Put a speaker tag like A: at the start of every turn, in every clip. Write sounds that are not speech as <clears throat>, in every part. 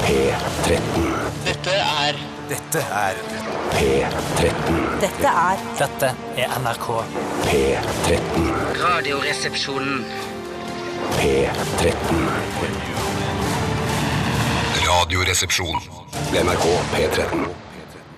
A: P13.
B: Dette er
C: Dette er
A: P13.
D: Dette er
E: Dette er NRK.
A: P13.
B: Radioresepsjonen.
A: P13.
F: Radioresepsjon.
A: NRK P13.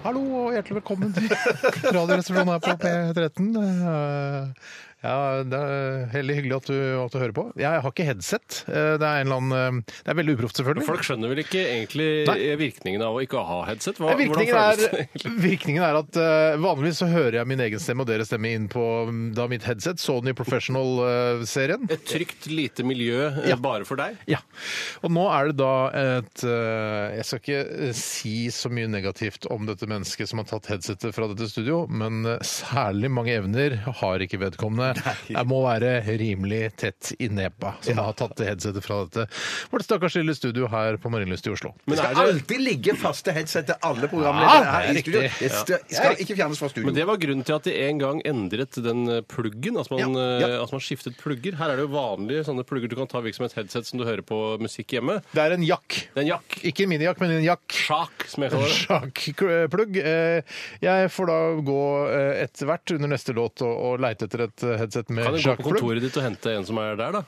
G: Hallo og hjertelig velkommen til Radioresepsjonen her på P13. Eh, Ja, det er Veldig hyggelig at du, at du hører på. Jeg har ikke headset. Eh, Det er, en eller annen, eh, det er veldig uproft, selvfølgelig.
H: Folk skjønner vel ikke egentlig virkningen av å ikke ha headset? Hva,
G: Virkningen
H: hvordan føles det? <laughs>
G: er, virkningen er at eh, vanligvis så hører jeg min egen stemme og deres stemme inn på mm, da mitt headset, Sony eh, Professional-serien.
H: Et trygt, lite miljø eh, bare for deg?
G: Ja. Og nå er det da et eh, Jeg skal ikke eh, si så mye negativt om dette mennesket som har tatt headsetet fra dette studio, men eh, særlig mange evner har ikke vedkommende. Det må være rimelig tett i nepa som har tatt det headsetet fra dette vårt stakkars lille studio her på Marienlyst i Oslo.
H: Men,
I: Det
H: er
I: skal
H: det,
I: alltid ligge faste headset til alle
G: Ja,
I: programledere
G: det er
I: her i
G: riktig.
I: studio. Det skal, skal ikke fjernes fra studio.
H: men det var grunnen til at de en gang endret den eh, pluggen. Altså man,
I: Ja, ja.
H: eh, at man skiftet plugger. Her er det jo vanlige sånne plugger du kan ta virksomhet headset som du hører på musikk hjemme.
G: Det er en jakk.
H: Det er en jakk.
G: Ikke en minijakk, men en jakk.
H: Sjakk, som jeg kaller det.
G: Sjakplugg. Eh, Jeg får da gå eh, etter hvert under neste låt og, og leite etter et eh, headset
H: Kan
G: med
H: du gå på
G: sjakkplugg.
H: kontoret ditt og hente en som er der, da?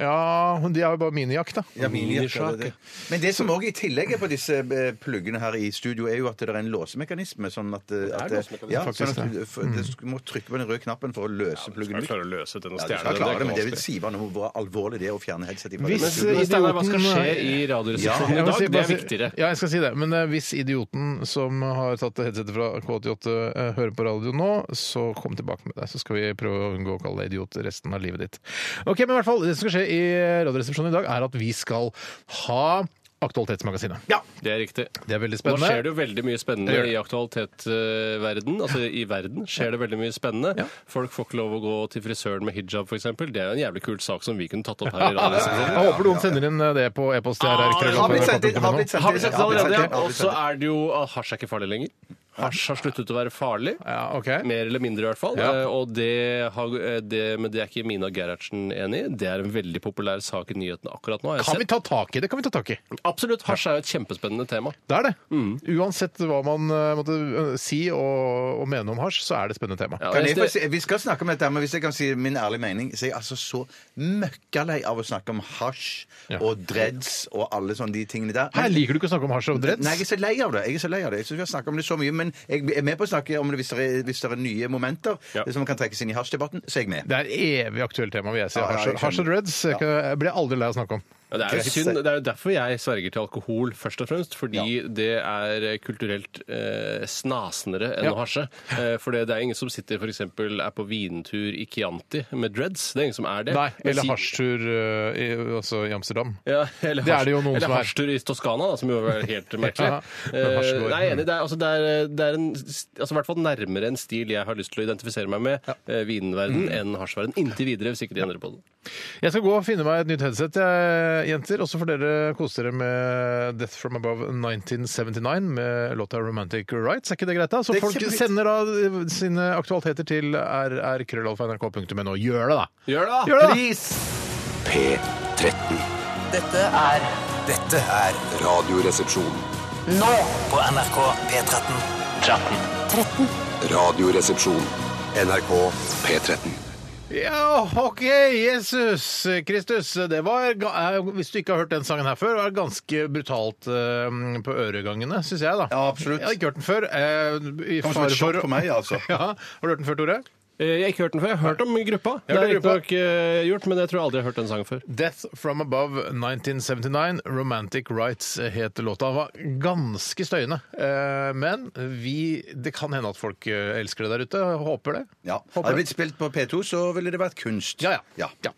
G: Ja, men de har jo bare minijakk, da.
I: Ja, minijakke,
H: Minisjake.
I: det er det. Men det som òg i tillegg er på disse eh, pluggene her i studio, er jo at det er en låsemekanisme. Sånn at, eh, at, det-
H: låsemekanisme,
I: ja,
G: faktisk,
I: sånn at du, for, det sk- må trykke på den røde knappen for å løse pluggen ut.
H: å løse den og
I: Ja, du skal klare det, men det vil si bare noe hvor alvorlig det er å fjerne headset ifra
G: Hvis,
H: Men
I: dette studioet.
G: eh,
H: Steinar, hva skal
G: idioten-
H: skje i Radioresepsjonen
G: <laughs> Jeg
H: i
G: må
H: dag?
G: si-
H: det
G: bare
H: er
G: si-
H: viktigere.
G: Ja, jeg skal si det. Men eh, hvis idioten som har tatt headsetet fra K88 eh, hører på radio nå, så kom tilbake med deg, så skal vi prøve å unngå å kalle deg idiot resten av livet ditt. Ok, men i hvert fall, Det som skal skje i Radioresepsjonen i dag, er at vi skal ha Aktualitetsmagasinet.
H: Det er riktig.
G: Det er veldig
H: Nå
G: spennende.
H: skjer det jo veldig mye spennende
G: Det gjør det.
H: i aktualitetsverden. Altså i verden skjer det veldig mye spennende. Folk får ikke lov å gå til frisøren med hijab, f.eks. Det er jo en jævlig kul sak som vi Ah, kunne tatt opp
G: <laughs>
H: her i radioen.
G: Jeg håper noen sender inn eh, det på e-post. til RR krøllalfa-
I: Har blitt sendt inn, har blitt sendt inn.
H: Har vi sett det
I: Har blitt sendt
H: allerede?
I: inn,
H: Ja.
I: har
H: Og
I: blitt
H: så
I: sendt inn.
H: er det jo ah, Hasj er ikke farlig lenger. Hasj har sluttet å være farlig.
G: Ja, ok.
H: Mer eller mindre, i hvert fall.
G: Ja.
H: Eh, Og det, har- eh, det, men det er ikke Mina Gerhardsen enig i. Det er en veldig populær sak i nyhetene akkurat nå. har jeg
G: Kan vi
H: sett.
G: ta tak i det? Kan vi ta tak i?
H: Absolutt. Hasj er jo et kjempespennende tema.
G: Det er det.
H: Mm.
G: Uansett hva man eh, måtte eh, si og, og mene om hasj, så er det et spennende tema.
H: Ja,
I: Kan
H: jeg-
I: jeg få si, vi skal snakke om dette, men hvis jeg kan si min ærlige mening, så er jeg altså så møkkalei av å snakke om hasj og dreads og alle sånne de tingene der.
G: Her liker du ikke å snakke om hasj og dreads?
I: Nei, jeg er så lei av det. Jeg er så lei av det. Jeg synes vi har snakket om det så mye, men jeg er med på å snakke om det hvis det er, hvis det er nye momenter
H: Ja.
I: som kan trekkes inn i hasjdebatten, så er jeg med.
G: Det er et evig aktuelt tema, vil jeg si.
I: Ja, ja,
G: Hasj
I: jeg skjønner.
G: hasj og dreads jeg kan- jeg blir jeg aldri lei av å snakke om.
H: Ja, det er jo
I: Greit.
H: synd. Det er jo derfor jeg sverger til alkohol, først og fremst. Fordi det er kulturelt eh, snasnere enn
G: Ja.
H: å hasje. Eh, for det, det er ingen som sitter f.eks. er på vintur i Chianti med dreads. Det er ingen som er det.
G: Nei,
H: Men
G: Eller
H: si-
G: hasjtur eh, i- altså i Amsterdam.
H: Ja, eller
G: Det er det jo noen
H: hasj-
G: som
H: eller
G: er.
H: hasjtur i Toskana, da, som jo er
G: <laughs>
H: helt merkelig.
G: Ja, men
H: Eh,
G: hasj går.
H: nei, jeg er enig. Det er, altså, det er, det er en, altså, i hvert fall nærmere en stil jeg har lyst til å identifisere meg med, eh, vinverden, enn hasjverden. Inntil videre, hvis ikke de endrer på det.
G: Jeg skal gå og finne meg et nytt headset, jeg, jenter. Og så får dere kose dere med Death From Above 1979 med låta Romantic Rights. Er ikke det greit, da? Så
I: Det er
G: folk
I: kjempefint.
G: sender da eh, sine aktualiteter til rrkrøllalfa.nrk.no. Gjør det, da!
H: Gjør det, da!
G: Gjør det, da!
A: P13.
B: Dette er
C: Dette er
F: Radioresepsjon.
B: nå.
C: på NRK P13.
F: Radioresepsjon. NRK P13.
G: Ja, OK, Jesus Kristus. Det var, ga- eh, hvis du ikke har hørt den sangen her før, var det ganske brutalt eh, på øregangene, syns jeg, da.
I: Ja, absolutt.
G: Jeg har ikke hørt den før. eh, i
I: Kom som et
G: fare
I: sjokk
G: for-
I: for meg, altså.
G: <laughs> Ja, Har du hørt den før, Tore?
H: Eh, Jeg har ikke hørt den før. Jeg har hørt om gruppa.
G: Jeg har
H: Det har
G: hørt om
H: riktignok eh, gjort, men jeg tror aldri jeg har hørt den sangen før.
G: 'Death From Above 1979', 'Romantic Rights' het låta. Den var ganske støyende. Eh, men vi, det kan hende at folk eh, elsker det der ute. Håper det.
I: Ja.
G: Håper
I: Hadde det blitt spilt på P2, så ville det vært kunst.
G: Ja, ja. ja.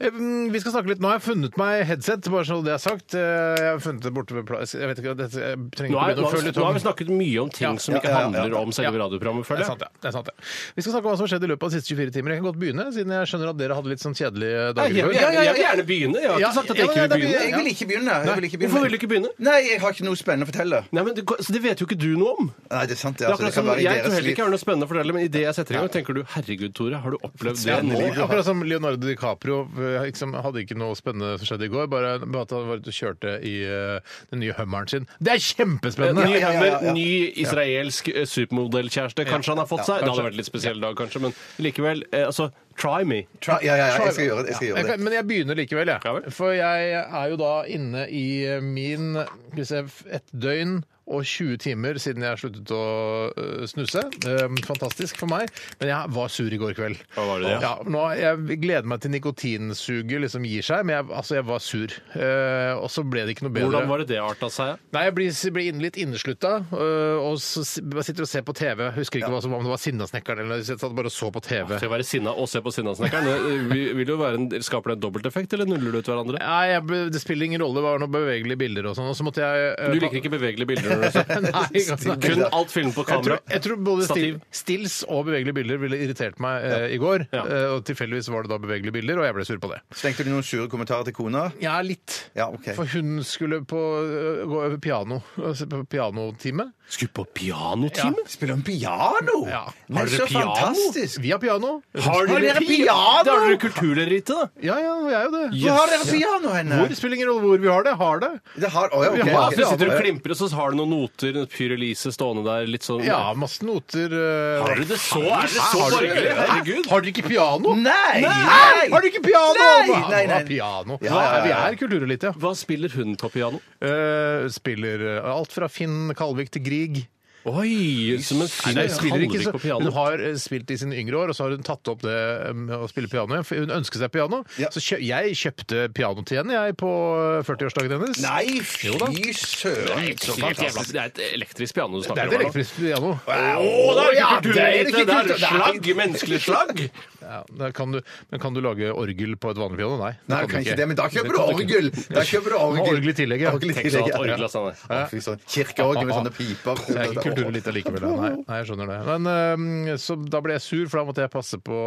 G: Um, Vi skal snakke litt. Nå har jeg funnet meg headset, bare så det er sagt. Eh, Jeg har funnet det borte ved plass Jeg vet ikke, dette jeg
H: Nå,
G: trenger
H: er,
G: ikke
H: nå,
G: å
H: har vi,
G: følge
H: nå har vi snakket mye om ting
G: Ja,
H: som
G: ja,
H: ikke
I: ja, ja, ja.
H: handler om selve
G: Ja.
H: radioprogrammet,
G: Det er
H: føler jeg.
G: sant, det. det er sant, det. Vi skal snakke om hva som har skjedd i løpet av de siste 24 timer. Jeg kan godt begynne, siden jeg skjønner at dere hadde litt sånn kjedelige dager i går.
H: Jeg, jeg vil gjerne begynne. Jeg har
G: Ja,
H: ikke sagt
G: ja,
H: at jeg ikke
G: men
H: vil
G: da
H: begynne.
I: Jeg vil ikke begynne. Jeg vil ikke begynne.
H: Hvorfor vil du ikke begynne?
I: Nei, jeg har ikke noe spennende å fortelle.
H: Nei, men det, så det vet jo ikke du noe om.
I: Nei, det er sant. Det,
H: Det er
I: altså, det
H: akkurat
I: kan
H: som,
I: være i
H: jeg tror
I: deres
H: heller
I: liv.
H: ikke jeg har noe spennende å fortelle, men idet jeg setter i gang, tenker du 'herregud, Tore, har du opplevd det?'
G: Ja, nå,
H: livet her?»
G: akkurat som Leonardo DiCaprio eh, liksom, hadde ikke noe spennende som skjedde i går, bare, bare at han var ute og kjørte i eh, den nye Hummeren sin. Det er kjempespennende!
H: Ny,
I: ja, ja, ja.
H: men ny israelsk eh, supermodellkjæreste. Kanskje han har fått seg. Det hadde vært litt spesiell dag, kanskje, men likevel. Eh, altså, try me.
I: Ja, ja, ja, jeg skal gjøre det. Jeg skal
G: Jeg
I: gjøre det.
G: kan, men jeg begynner likevel, jeg.
H: Ja vel.
G: For jeg er jo da inne i eh, min skal vi se, et døgn og 20 timer siden jeg sluttet å øh, snuse. Ehm, Fantastisk for meg. Men jeg var sur i går kveld.
H: Hva var det, ja?
G: ja? nå, jeg gleder meg til nikotinsuget liksom gir seg, men jeg, altså, jeg var sur. Eh, og så ble det ikke noe bedre.
H: Hvordan var det det arta seg?
G: Nei, jeg blir, blir inn- litt inneslutta, øh, og så si- bare sitter og ser på TV. Jeg Husker ikke hva som, om det var Sinnasnekkeren eller jeg satt bare og så på TV.
H: Skal jeg være sinna og se på Sinnasnekkeren? Det vil- Vil jo være en, skaper det en dobbelteffekt, eller nuller det ut hverandre?
G: Nei, jeg, ble- det spiller ingen rolle. Det var noen bevegelige bilder og sånn. Og så måtte jeg øh,
H: Du liker ikke bevegelige bilder? Når du ser.
G: <laughs> Nei, ikke sant.
H: Kun alt film på
G: jeg tror,
H: kamera.
G: jeg tror både
H: Stativ.
G: still, stills og bevegelige bilder ville irritert meg eh, i går.
H: Ja.
G: Eh, og tilfeldigvis var det da bevegelige bilder, og jeg ble sur på det.
I: Stengte du noen sure kommentarer til kona?
G: Ja, litt.
I: Ja, ok.
G: For hun skulle på, eh, gå over piano, altså på pianotime.
H: Skulle på pianotime?
I: Spiller hun piano?
G: Ja.
I: Men
H: Har dere
I: så
H: piano?
I: fantastisk!
G: Vi har piano.
H: Har
I: Har dere
H: dere
I: piano?
H: piano? Da har dere kulturlerite, da.
G: Ja, ja, vi er jo det.
I: Hvor har dere piano henne?
G: Hvor? Det spiller ingen rolle hvor vi har det. Har det.
I: Det har, å, ja, ok,
G: Vi
H: Ja,
G: har
I: ok.
H: så sitter du og klimper, og så har du noen noter, en Pyr Elise stående der, litt sånn
G: Ja, masse noter. eh,
H: Er det så, er det så
G: Har du-
H: borgerlig? Herregud.
G: Har dere ikke piano?
I: Nei!
G: Nei! Har dere ikke piano?
I: Nei,
G: Hva-
I: nei, nei.
G: hva Piano.
I: Ja, ja, ja, ja.
G: Vi er kulturelite, ja.
H: Hva spiller hun på piano?
G: Eh, spiller eh, alt fra Finn Kalvik til Grieg.
H: Oi, som en
G: Nei,
H: fin
G: nei, spiller ikke
H: halvvik
G: så
H: på
G: Hun
H: piano.
G: har eh, spilt i sine yngre år, og så har hun tatt opp det eh, med å spille piano. igjen, for Hun ønsket seg piano.
I: Ja.
G: Så kjø jeg kjøpte piano til henne jeg, på eh, 40-årsdagen hennes.
I: Nei, fy søren! Så fantastisk.
H: Det er et elektrisk piano du
G: Det
H: snakker
G: er et
H: om. her nå.
G: elektrisk piano.
H: Å, det
G: Ja,
H: er ikke
G: det er
H: kulturelite,
G: ikke
H: det er
G: kultur-
H: slagg, menneskelig slagg.
G: Ja, da kan du, men kan du lage orgel på et vanlig piano? Nei.
I: Nei, du kan ikke det, men da kjøper du orgel! Da kjøper du
G: Og
I: orgel.
G: orgel i tillegg, ja.
I: Orgel i
H: Tenk sånn
I: tillegg,
H: at
I: ja.
H: orgelet er sånn der.
I: Ja, fy søren. Kirkeorgel med sånne piper.
G: Det er ikke kulturelite likevel. ja. Nei, nei, jeg skjønner det. Men øhm, så da ble jeg sur, for da måtte jeg passe på,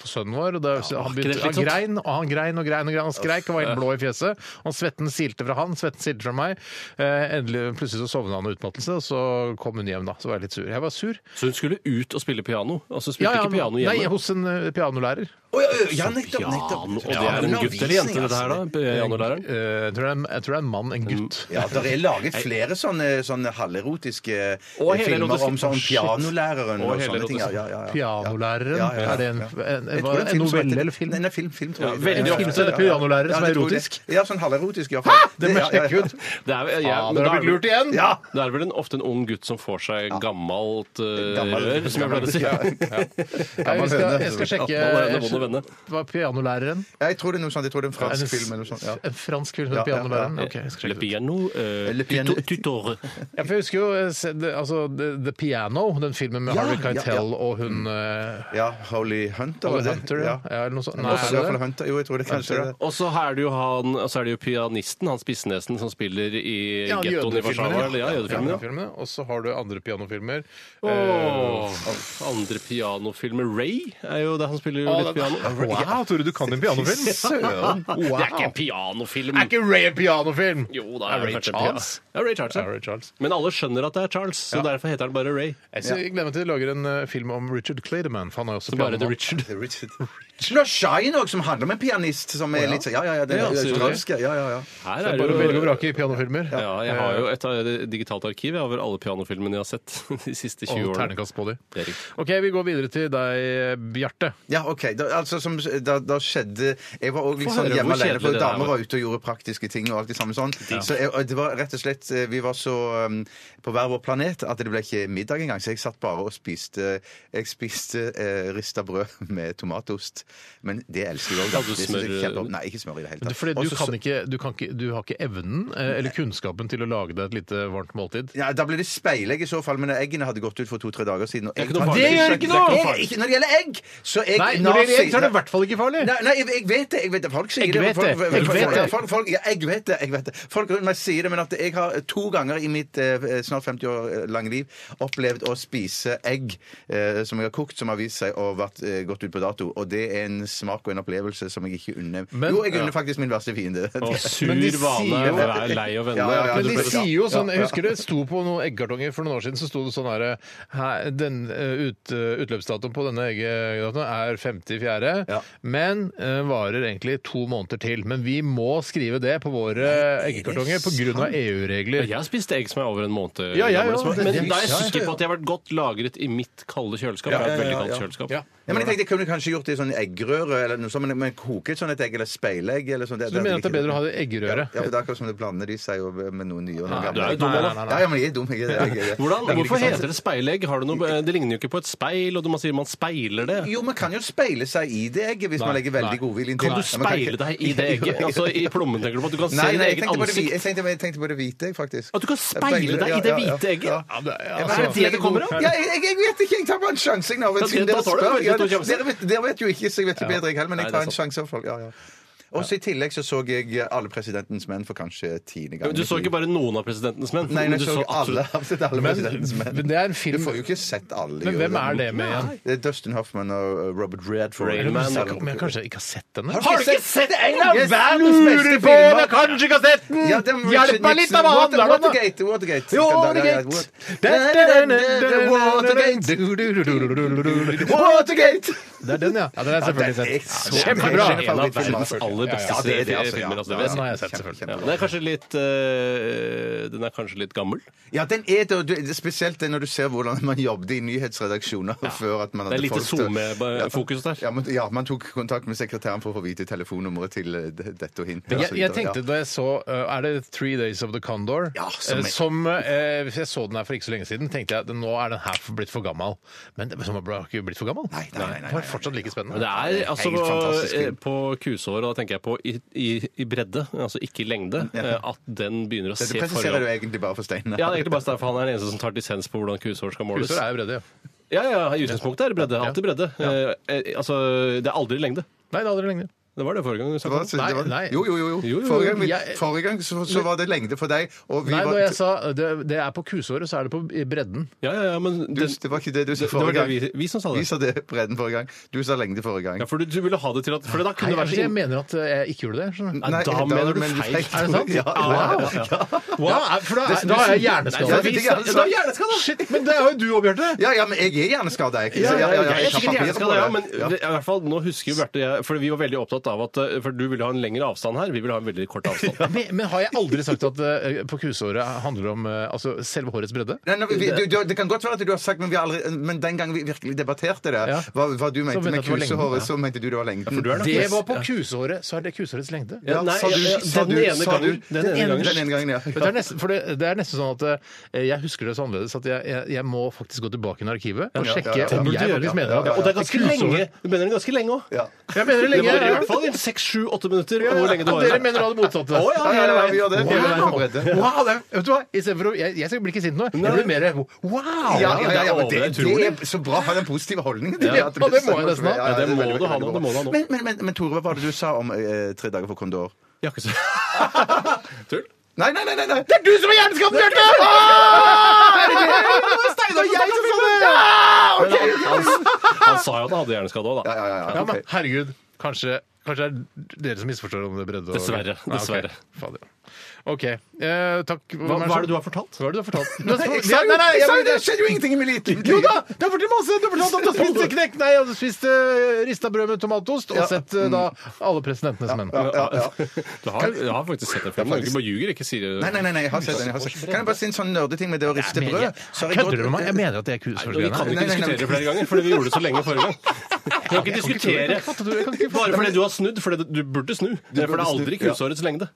G: på sønnen vår. Og da, så han,
H: var ikke det
G: begynte, han
H: slitsomt?
G: grein og han grein og grein og grein. Han skreik, han var helt blå i fjeset. Og svetten silte fra han, svetten silte fra meg. Eh, endelig, plutselig så sovna han av utmattelse, og så kom hun hjem, da. Så var jeg litt sur. Jeg var sur.
H: Så hun skulle ut og spille piano? Altså spilte ikke piano
G: nei,
H: hjemme?
G: hos en eh, pianolærer.
I: Å, ja, ja, ja, nettopp,
H: Piano,
I: nettopp.
H: og det er en gutt eller jente, dette her, da? Pianolæreren?
G: Eh, jeg, tror det er, en- jeg tror det er en mann, en gutt.
I: Ja, det er laget flere sånne, sånne halverotiske eh,
H: Og
I: filmer
H: helerotiske.
I: om sånn
H: Å, shit.
I: pianolæreren og,
H: Og
I: sånne ting. Ja,
H: helerotiske.
I: ja, ja, ja.
G: Pianolæreren?
I: Ja, ja, ja,
G: Er det en,
I: ja.
G: en,
I: Jeg
G: en,
I: tror det er en film som heter-
G: novelle eller film?
I: Nei, nei, film, film tror jeg.
H: Ja, veldig
I: Ja,
H: ofte så er
I: ja, ja,
H: det
I: ja, ja.
G: pianolærere som
I: Ja,
G: er
I: jeg tror det.
G: erotisk.
I: Ja, sånn halverotisk iallfall.
G: Det må jeg sjekke ut!
H: Det er, jeg,
G: Ja,
H: men
G: dere har
H: da er
G: blitt lurt
H: det-
G: igjen!
I: Ja!
H: Da er det vel en, ofte en ung gutt som får seg gammelt eh,
I: <laughs> Gammel-
H: rør, som jeg pleier å <laughs> si.
I: gammel-
G: Nei, vi skal, jeg skal
H: Ja, nå er det vond å
G: sjekke
H: vende.
G: Hva er pianolæreren?
I: Ja, Jeg tror det er noe sånt. Jeg tror det er
G: Er
I: en
G: det en
I: fransk
G: f-
I: film eller noe sånt. Ja.
G: En fransk film
I: Ja,
G: med
I: ja,
G: pianolæreren?
I: ja.
G: Ok, jeg skal
H: Le
G: sjekke det ut.
H: piano, eh,
I: Le piano.
H: tuto- tutore.
G: Ja, for jeg husker jo eh, se- det- altså, The, The Piano, den filmen med
I: Ja,
G: Harvey
I: ja, ja.
G: Keitel og hun eh,
I: ja, Holy Hunter,
G: Holly
I: var det?
G: Hunter, ja.
I: ja.
G: Ja, eller noe sånt. Nei,
I: Også i
G: er
I: hvert fall
G: det det?
I: Hunter. Jo, jeg tror det kanskje
G: Hunter,
I: er
G: ja.
I: det.
H: Og så er det jo han, og så er det jo pianisten, han spissnesen, som spiller i
G: Ja,
H: gettoen i Warszawa.
G: jødefilmene,
H: eller- Ja, jødefilmen, ja.
G: Pianofilmene, Og så har du andre pianofilmer. Eh,
H: Åh, Eh, andre pianofilmer. Ray er jo der han spiller jo litt piano.
G: Wow, Tore, du kan en
H: <laughs>
G: pianofilm! Søren!
H: Det er ikke en
G: Wow.
H: pianofilm!
G: Er ikke Ray en pianofilm?
H: Jo, da er
G: Er Ray
H: kanskje en
G: Charles?
H: pia- Ja, Ray Charles.
G: Ja,
H: Ja.
G: Ray Charles.
H: Men alle skjønner at det er Charles, så derfor heter han bare Ray.
G: Jeg ser- jeg gleder meg til de lager en eh, film om Richard Claderman, for han er jo også
H: Bare The
G: pianomann.
H: Richard.
I: Det er Richard. Lars Shine òg, som handler om en pianist som er litt sånn Ja, ja, ja. Det
H: Ja,
I: er
H: sier du det?
I: australsk. Ja, ja, ja.
H: Her
G: Det
H: er
G: er bare å velge og
H: jo
G: vrake i pianofilmer.
H: ja, jeg har jo et eh, digitalt arkiv jeg, over alle pianofilmene jeg har sett <laughs> de siste 20
G: Og
H: årene.
G: ternekast på dem.
H: Det er riktig.
G: OK, vi går videre til deg, Bjarte.
I: Ja, OK. Da, altså, som, da, da skjedde Jeg var òg litt
H: Få
I: sånn
H: høre,
I: hjemme
H: hvor
I: alene,
H: kjedelig
I: for
H: det der var.
I: damer var ute og gjorde praktiske ting og alt det samme sånn. Så jeg, og det var rett og slett eh, Vi var så um, på hver vår planet at det ble ikke middag engang, så jeg satt bare og spiste Jeg spiste eh, rista brød <laughs> med tomatost Men det elsker jeg òg.
H: Hadde du smør-
I: Nei, ikke smør i det hele
G: Du,
I: tatt.
G: fordi du,
I: Også så-
G: kan ikke, du, kan ikke, du har ikke evnen eh, eller kunnskapen til å lage deg et lite varmt måltid?
I: Ja, Da blir det speilegg i så fall, men eggene hadde gått ut for to-tre dager siden. og
H: Det er
I: jeg
H: ikke noe
I: tar-
H: farlig.
G: Det gjør ikke noe!
I: Jeg er ikke- Når det gjelder egg, så er jeg
G: Nei, når det gjelder egg, så er det i
I: nazi.
G: hvert fall ikke farlig!
I: Nei, nei, jeg, jeg vet det. jeg vet det, Folk sier det.
G: Jeg vet
I: Folk,
G: det,
I: folk,
G: jeg vet det.
I: folk, folk, folk, ja, jeg vet det. jeg vet det. Folk rundt meg sier det, men at jeg har to ganger i mitt eh, snart 50 år eh, lange liv opplevd å spise egg eh, som jeg har kokt, som har vist seg å ha vært eh, gått ut på dato. Og det er en smak og en opplevelse som jeg ikke unner.
G: Men-
I: Jo, jeg unner faktisk min verste fiende.
H: Og sur
G: Men de
H: vane
G: sier jo-
H: er lei å vende.
I: Ja, ja, ja,
H: er
G: Men
H: ikke
G: de
H: det
G: sier
H: bedre?
G: jo sånn, Jeg husker det sto på noen eggkartonger for noen år siden så sto det sånn her «Her- den eh, ut, eh, Utløpsdatoen på denne eggekartongen er 54.,
I: Ja.
G: men eh, varer egentlig to måneder til. Men vi må skrive det på våre eggekartonger pga. EU-regler.
H: Jeg har spist egg som er over en måned
G: Ja, ja,
H: gamle,
G: ja,
H: som-
G: det-
H: Men
G: det-
H: da er jeg
G: ja, ja,
H: sikker på at de har vært godt lagret i mitt kalde kjøleskap.
I: Ja,
H: Jeg har et
I: ja, ja,
H: veldig kaldt
I: ja.
H: kjøleskap.
G: Ja.
I: <laughs> Ja, men jeg tenkte jeg kunne kanskje gjort det i sånn eggerøre, eller noe sånt, men, men koke et sånt et egg, eller speilegg eller sånt.
G: Så du mener at det er bedre å ha det eggerøret?
I: Ja, for det er akkurat som det blander de seg jo med noe nye og noe
H: Nei, du
I: gamle.
H: er jo
G: Nei, nei,
H: dum,
G: nei, nei.
H: Olav.
I: Ja, ja, men jeg er dum. Jeg, er- jeg, jeg, jeg.
H: Hvordan,
I: Det er vel
H: hvorfor
I: ikke sant?
H: heter det speilegg? Har det, noe, det ligner jo ikke på et speil, og man sier man speiler det.
I: Jo, man kan jo speile seg i det egget hvis man legger veldig godviljen til.
H: Kan du
I: Ja, man
H: speile
I: ikke-
H: deg
I: <laughs>
H: i det egget? Altså I plommen, tenker du på? At du kan se
I: Nei,
H: ditt
I: nei, jeg
H: eget
I: tenkte, på det, hvi-
H: ansikt?
I: jeg, tenkte, jeg tenkte på det hvite, jeg, faktisk.
H: At du kan speile deg i det hvite egget?
G: Ja, det,
I: Ja,
G: altså,
H: Er det det det kommer av?
I: Ja, jeg, jeg, jeg vet ikke. Jeg tar bare en sjanse. jeg, nå, men
H: Ja,
I: siden
H: det-
I: dere
H: da tar du
I: spør.
H: veldig
I: Ja,
H: stor sjanse.
I: dere, vet, dere vet jo ikke, så jeg vet ikke bedre, jeg heller. Men
H: Nei,
I: jeg
H: det er
I: tar en
H: sant.
I: sjanse. for folk, ja, ja. Også I tillegg så så jeg Alle presidentens menn for kanskje tiende gang.
H: Du så ikke bare noen av presidentens menn?
I: Nei,
H: men
I: jeg
H: du
I: så
H: så
I: alle,
H: absolutt-
I: absolutt alle
G: Men
I: presidentens menn.
G: men det er en
I: Du
G: film
I: får jo ikke sett alle.
G: Men
I: gjør
G: hvem
I: det.
G: er det med igjen?
I: Det er Dustin Hoffman og uh, Robert Redford.
H: Rain Man.
G: Men jeg- men jeg kanskje ikke har sett denne?
I: Har du ikke sett en av
G: Jeg
I: verdens beste
G: lurer på
I: filmer?
G: om jeg kanskje ikke har sett den!
I: Ja, det er
G: Hjelp meg litt, da! Hva
I: Water-
G: handler den om? da?
I: Watergate. Watergate.
G: Jo, Watergate!
I: Watergate. Watergate.
G: Det er den, ja. ja den er selvfølgelig
I: Ja, den er
G: sett.
I: så
H: Det er
G: Kjempebra!
I: bra.
H: En av verdens aller beste
I: Ja, det er det, altså, ja.
H: filmer. Altså, det
I: Ja,
H: vet
G: Den
H: jeg.
G: har jeg sett,
I: Kjempe,
G: selvfølgelig.
I: kjempe.
H: Ja, den er kanskje litt eh, Den er kanskje litt gammel.
I: Ja, den er det, og du- spesielt det når du ser hvordan man jobbet i nyhetsredaksjoner før at man
H: Det
I: hadde
H: er lite
I: folk til-
H: SoMe-fokus der.
I: Ja, men, ja, man tok kontakt med sekretæren for å få vite telefonnummeret til eh, de- dette og hint. og så
G: Jeg, jeg
I: videre,
G: tenkte da jeg så uh, Er det Three Days of the Condor?
I: Ja, som
G: Eh,
I: jeg-
G: som eh, hvis jeg så den her for ikke så lenge siden, tenkte jeg at nå er den her for- blitt for gammel. Men den har ikke blitt for gammel.
I: Nei, nei, nei, nei, nei,
G: Den var
I: nei.
G: fortsatt like
H: Men
G: spennende.
H: det er altså
I: Helt fantastisk
H: eh,
I: film.
H: på kusehår, og da tenker jeg på i, i, i bredde, altså ikke i lengde, eh, at den begynner å
I: Dette
H: se
I: presiserer du egentlig bare for Steinar.
H: Ja, det er egentlig bare derfor han er den eneste som tar dissens på hvordan kusehår skal måles.
G: Husår er jo bredde, ja.
H: Ja, ja, I utgangspunktet er det bredde. Alltid bredde. Eh, eh, altså, det er aldri lengde.
G: Nei, det er aldri lenge.
H: Det var det forrige gang du
I: Hva,
H: snakket om.
I: så- det var-
G: Nei, nei.
I: Jo, jo, jo.
H: jo, jo.
I: Forrige gang, vi-
G: Jeg-
I: forrige gang så, så var det lengde for deg, og vi
G: Nei,
I: var
G: når jeg sa det, det er på kusåret, så er det på i bredden.
H: Ja, ja, ja, men
I: du,
H: den,
I: Det var ikke det du sa
H: det var
I: forrige
H: det
I: gang.
H: vi, vi som sa
I: Vi
H: det.
I: sa det bredden forrige gang. Du sa lengde forrige gang.
H: Ja, for du, du ville ha det til at For da
G: Nei,
H: kunne det vært sånn,
G: altså,
H: så
G: jeg
H: inn-
G: mener at jeg ikke gjorde det. skjønner du.
H: Nei, da mener du feil.
G: Er det sant?
I: Ja, ja, ja.
G: Wow. Wow, er- for da, er- da er jeg hjerneskada.
I: Nei, jeg vet ikke, altså.
G: Da er jeg hjerneskada. Shit, men det har jo du òg, Bjarte.
I: Ja, ja, men jeg er hjerneskada, jeg.
H: Ja,
I: Så
H: ja, ja, jeg er
I: jeg tar
H: sikkert
I: papirer
H: hjerneskada,
I: på det.
H: ja, men det- i hvert fall, nå husker jo Bjarte og jeg For vi var veldig opptatt av at eh, For du ville ha en lengre avstand her, vi ville ha en veldig kort avstand.
G: Men, men har jeg aldri sagt at eh, på kusåret handler om eh, altså, selve hårets bredde?
I: Nei, nei, vi, du, du, det kan godt være at du har sagt, men, vi har aldri, men den gangen vi virkelig debatterte det,
G: Ja.
I: hva, hva du
G: mente
I: mente
G: jeg
I: med
G: det var lengden,
I: kusehåret,
G: ja.
I: så mente du det var lengden.
H: for du er nok
G: Det
H: mest-
G: var på kusåret, så er det kusårets lengde.
H: Ja, nei,
I: sa du-
H: ja, ja,
I: sa
H: den
I: du-
H: ene
I: sa
H: gangen.
I: du-
H: Den ene gangen.
I: Den ene gangen, ja.
G: Men Det er, nesten, for det, det er nesten sånn at eh, jeg husker det så annerledes at jeg, jeg, jeg må faktisk gå tilbake i arkivet og
H: Ja,
G: sjekke
I: ja, ja.
G: om jeg faktisk mener at
H: Ja, og det er ganske
G: kusåret-
H: lenge. Du mener det ganske lenge òg.
I: Ja.
G: Jeg mener det
H: Det
G: lenge.
H: var i
G: ja.
H: hvert fall i seks, sju, åtte minutter.
G: Ja,
H: Hvor lenge det
G: og
H: var.
G: Dere mener da det motsatte.
H: Å, ja,
I: ja, ja, vi gjør det. Hele veien på
G: Wow!
I: bredde.
G: wow det, vet du hva? I stedet for å, jeg, jeg blir ikke sint nå. Jeg blir mer wow!
I: Ja, ja, ja, ja, men
H: Det er
I: det, det
H: utrolig.
I: er så bra å ha den positive holdningen. til
G: Ja,
I: det, at
G: det må jeg
I: bestemmer
G: nesten ha.
I: for-
H: Ja, det
I: er
H: må
I: veldig,
H: du ha
I: veldig
H: nå, det må du ha nå.
I: Men, men, men, men Tore, hva var det du sa om eh, tre dager for kondor?
H: Jeg har ikke sett- Tull?
I: Nei, nei, nei! nei, nei.
G: Det er du som er hjerneskapt, Bjarte!
I: Steinar, jeg som sa det!
H: Men han, han, han sa jo at han hadde hjerneskade òg,
I: Ja,
H: da.
I: ja, ja, ja.
G: Ja, men
I: ok.
G: herregud, kanskje, kanskje det er dere som misforstår om det er bredde og
H: Dessverre,
G: Nei, ok.
H: dessverre.
G: Fader. OK. Eh, takk.
H: Hva, hva er det du har fortalt?
G: Hva er det du har
I: <laughs>
G: fortalt?
I: Jeg sa jo- jeg sa jo det skjedde jo ingenting i mitt liv!
G: Jo da! Du har fortalt masse! Du har fortalt om du har spist knekk, nei, og du spiste rista brød med tomatost, og sett
I: Mm.
G: eh, da alle presidentenes menn. <laughs>
H: Du har, jeg har faktisk sett den filmen. Du bare ljuger, ikke sier
I: Nei, nei, nei, nei, jeg har sett den. Jeg har sett. den. Kan jeg bare si en sånn nerdeting med det å riste
G: Men
I: brød?
G: jeg- Kødder du med meg? Jeg mener at det er
H: Og Vi kan
G: kusårsgreiene.
H: ikke
I: Nei, nei, nei,
H: diskutere
I: men-
H: det flere ganger, fordi vi gjorde det så lenge forrige gang. Vi kan ikke diskutere bare fordi du har snudd, for du burde snu. Det er for det er aldri kusårets lengde.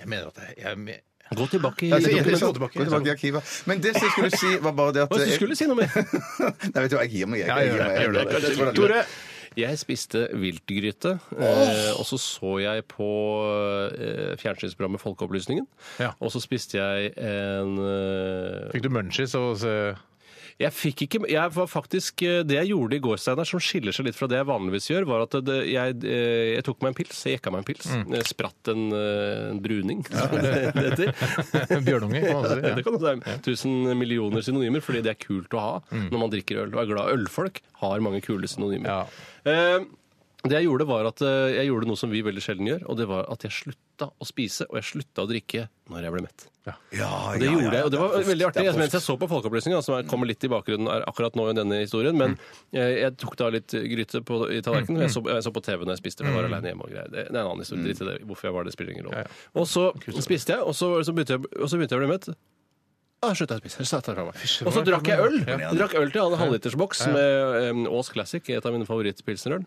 G: Jeg mener at det jeg me-
H: Gå tilbake i
I: Ja, så-
H: dokumentet.
I: så- gå tilbake i arkivet. Men det som jeg skulle si, var bare det at
H: Hva var det du skulle si noe mer?
I: <laughs> Nei, vet du hva, jeg gir meg. Jeg,
G: Ja,
I: jeg,
G: gjør det,
I: gir meg.
G: gjør det.
I: Jeg tror det er lurt.
G: Tore,
H: Jeg spiste viltgryte, eh, og så så jeg på eh, fjernsynsprogrammet Folkeopplysningen.
G: Ja.
H: Og så spiste jeg en eh,
G: Fikk du munchies og så-
H: Jeg fikk ikke Jeg var faktisk eh, Det jeg gjorde i går, Steinar, som skiller seg litt fra det jeg vanligvis gjør, var at det, jeg, eh, jeg tok meg en pils. Jeg jekka meg en pils.
G: Mm.
H: Jeg spratt en, eh, en bruning, som
G: <laughs>
H: det heter.
G: bjørnunge? Kan
H: <laughs>
G: man si.
H: Det kan også være tusen millioner synonymer, fordi det er kult å ha når man drikker øl. Og er glad ølfolk har mange kule synonymer.
G: Mm. Ja.
H: Eh, det jeg gjorde var at eh, jeg gjorde noe som vi veldig sjelden gjør, og det var at jeg slutta å spise og jeg slutta å drikke når jeg ble mett.
I: Ja,
H: Og det
I: ja,
H: gjorde
I: ja,
H: jeg, og det var
I: er proft,
H: veldig artig.
I: det er
H: Jeg, mens jeg så på Folkeopplysningen, som er- kommer litt i bakgrunnen er akkurat nå i denne historien, men eh, jeg tok da litt gryte på, i tallerkenen, og jeg så, jeg så på TV når jeg spiste, for jeg var alene hjemme og greier. Det det er en annen historie, drit i det. Hvorfor jeg var det, spiller ingen rolle. Og så spiste jeg, og så, så begynte jeg, og så begynte jeg å bli mett. Ah, slutta jeg å spise. slutta jeg å ta meg. Og så drakk jeg øl. Jeg Drakk øl til jeg hadde en halvlitersboks med um, Aas Classic, et av mine favorittpilsnerøl.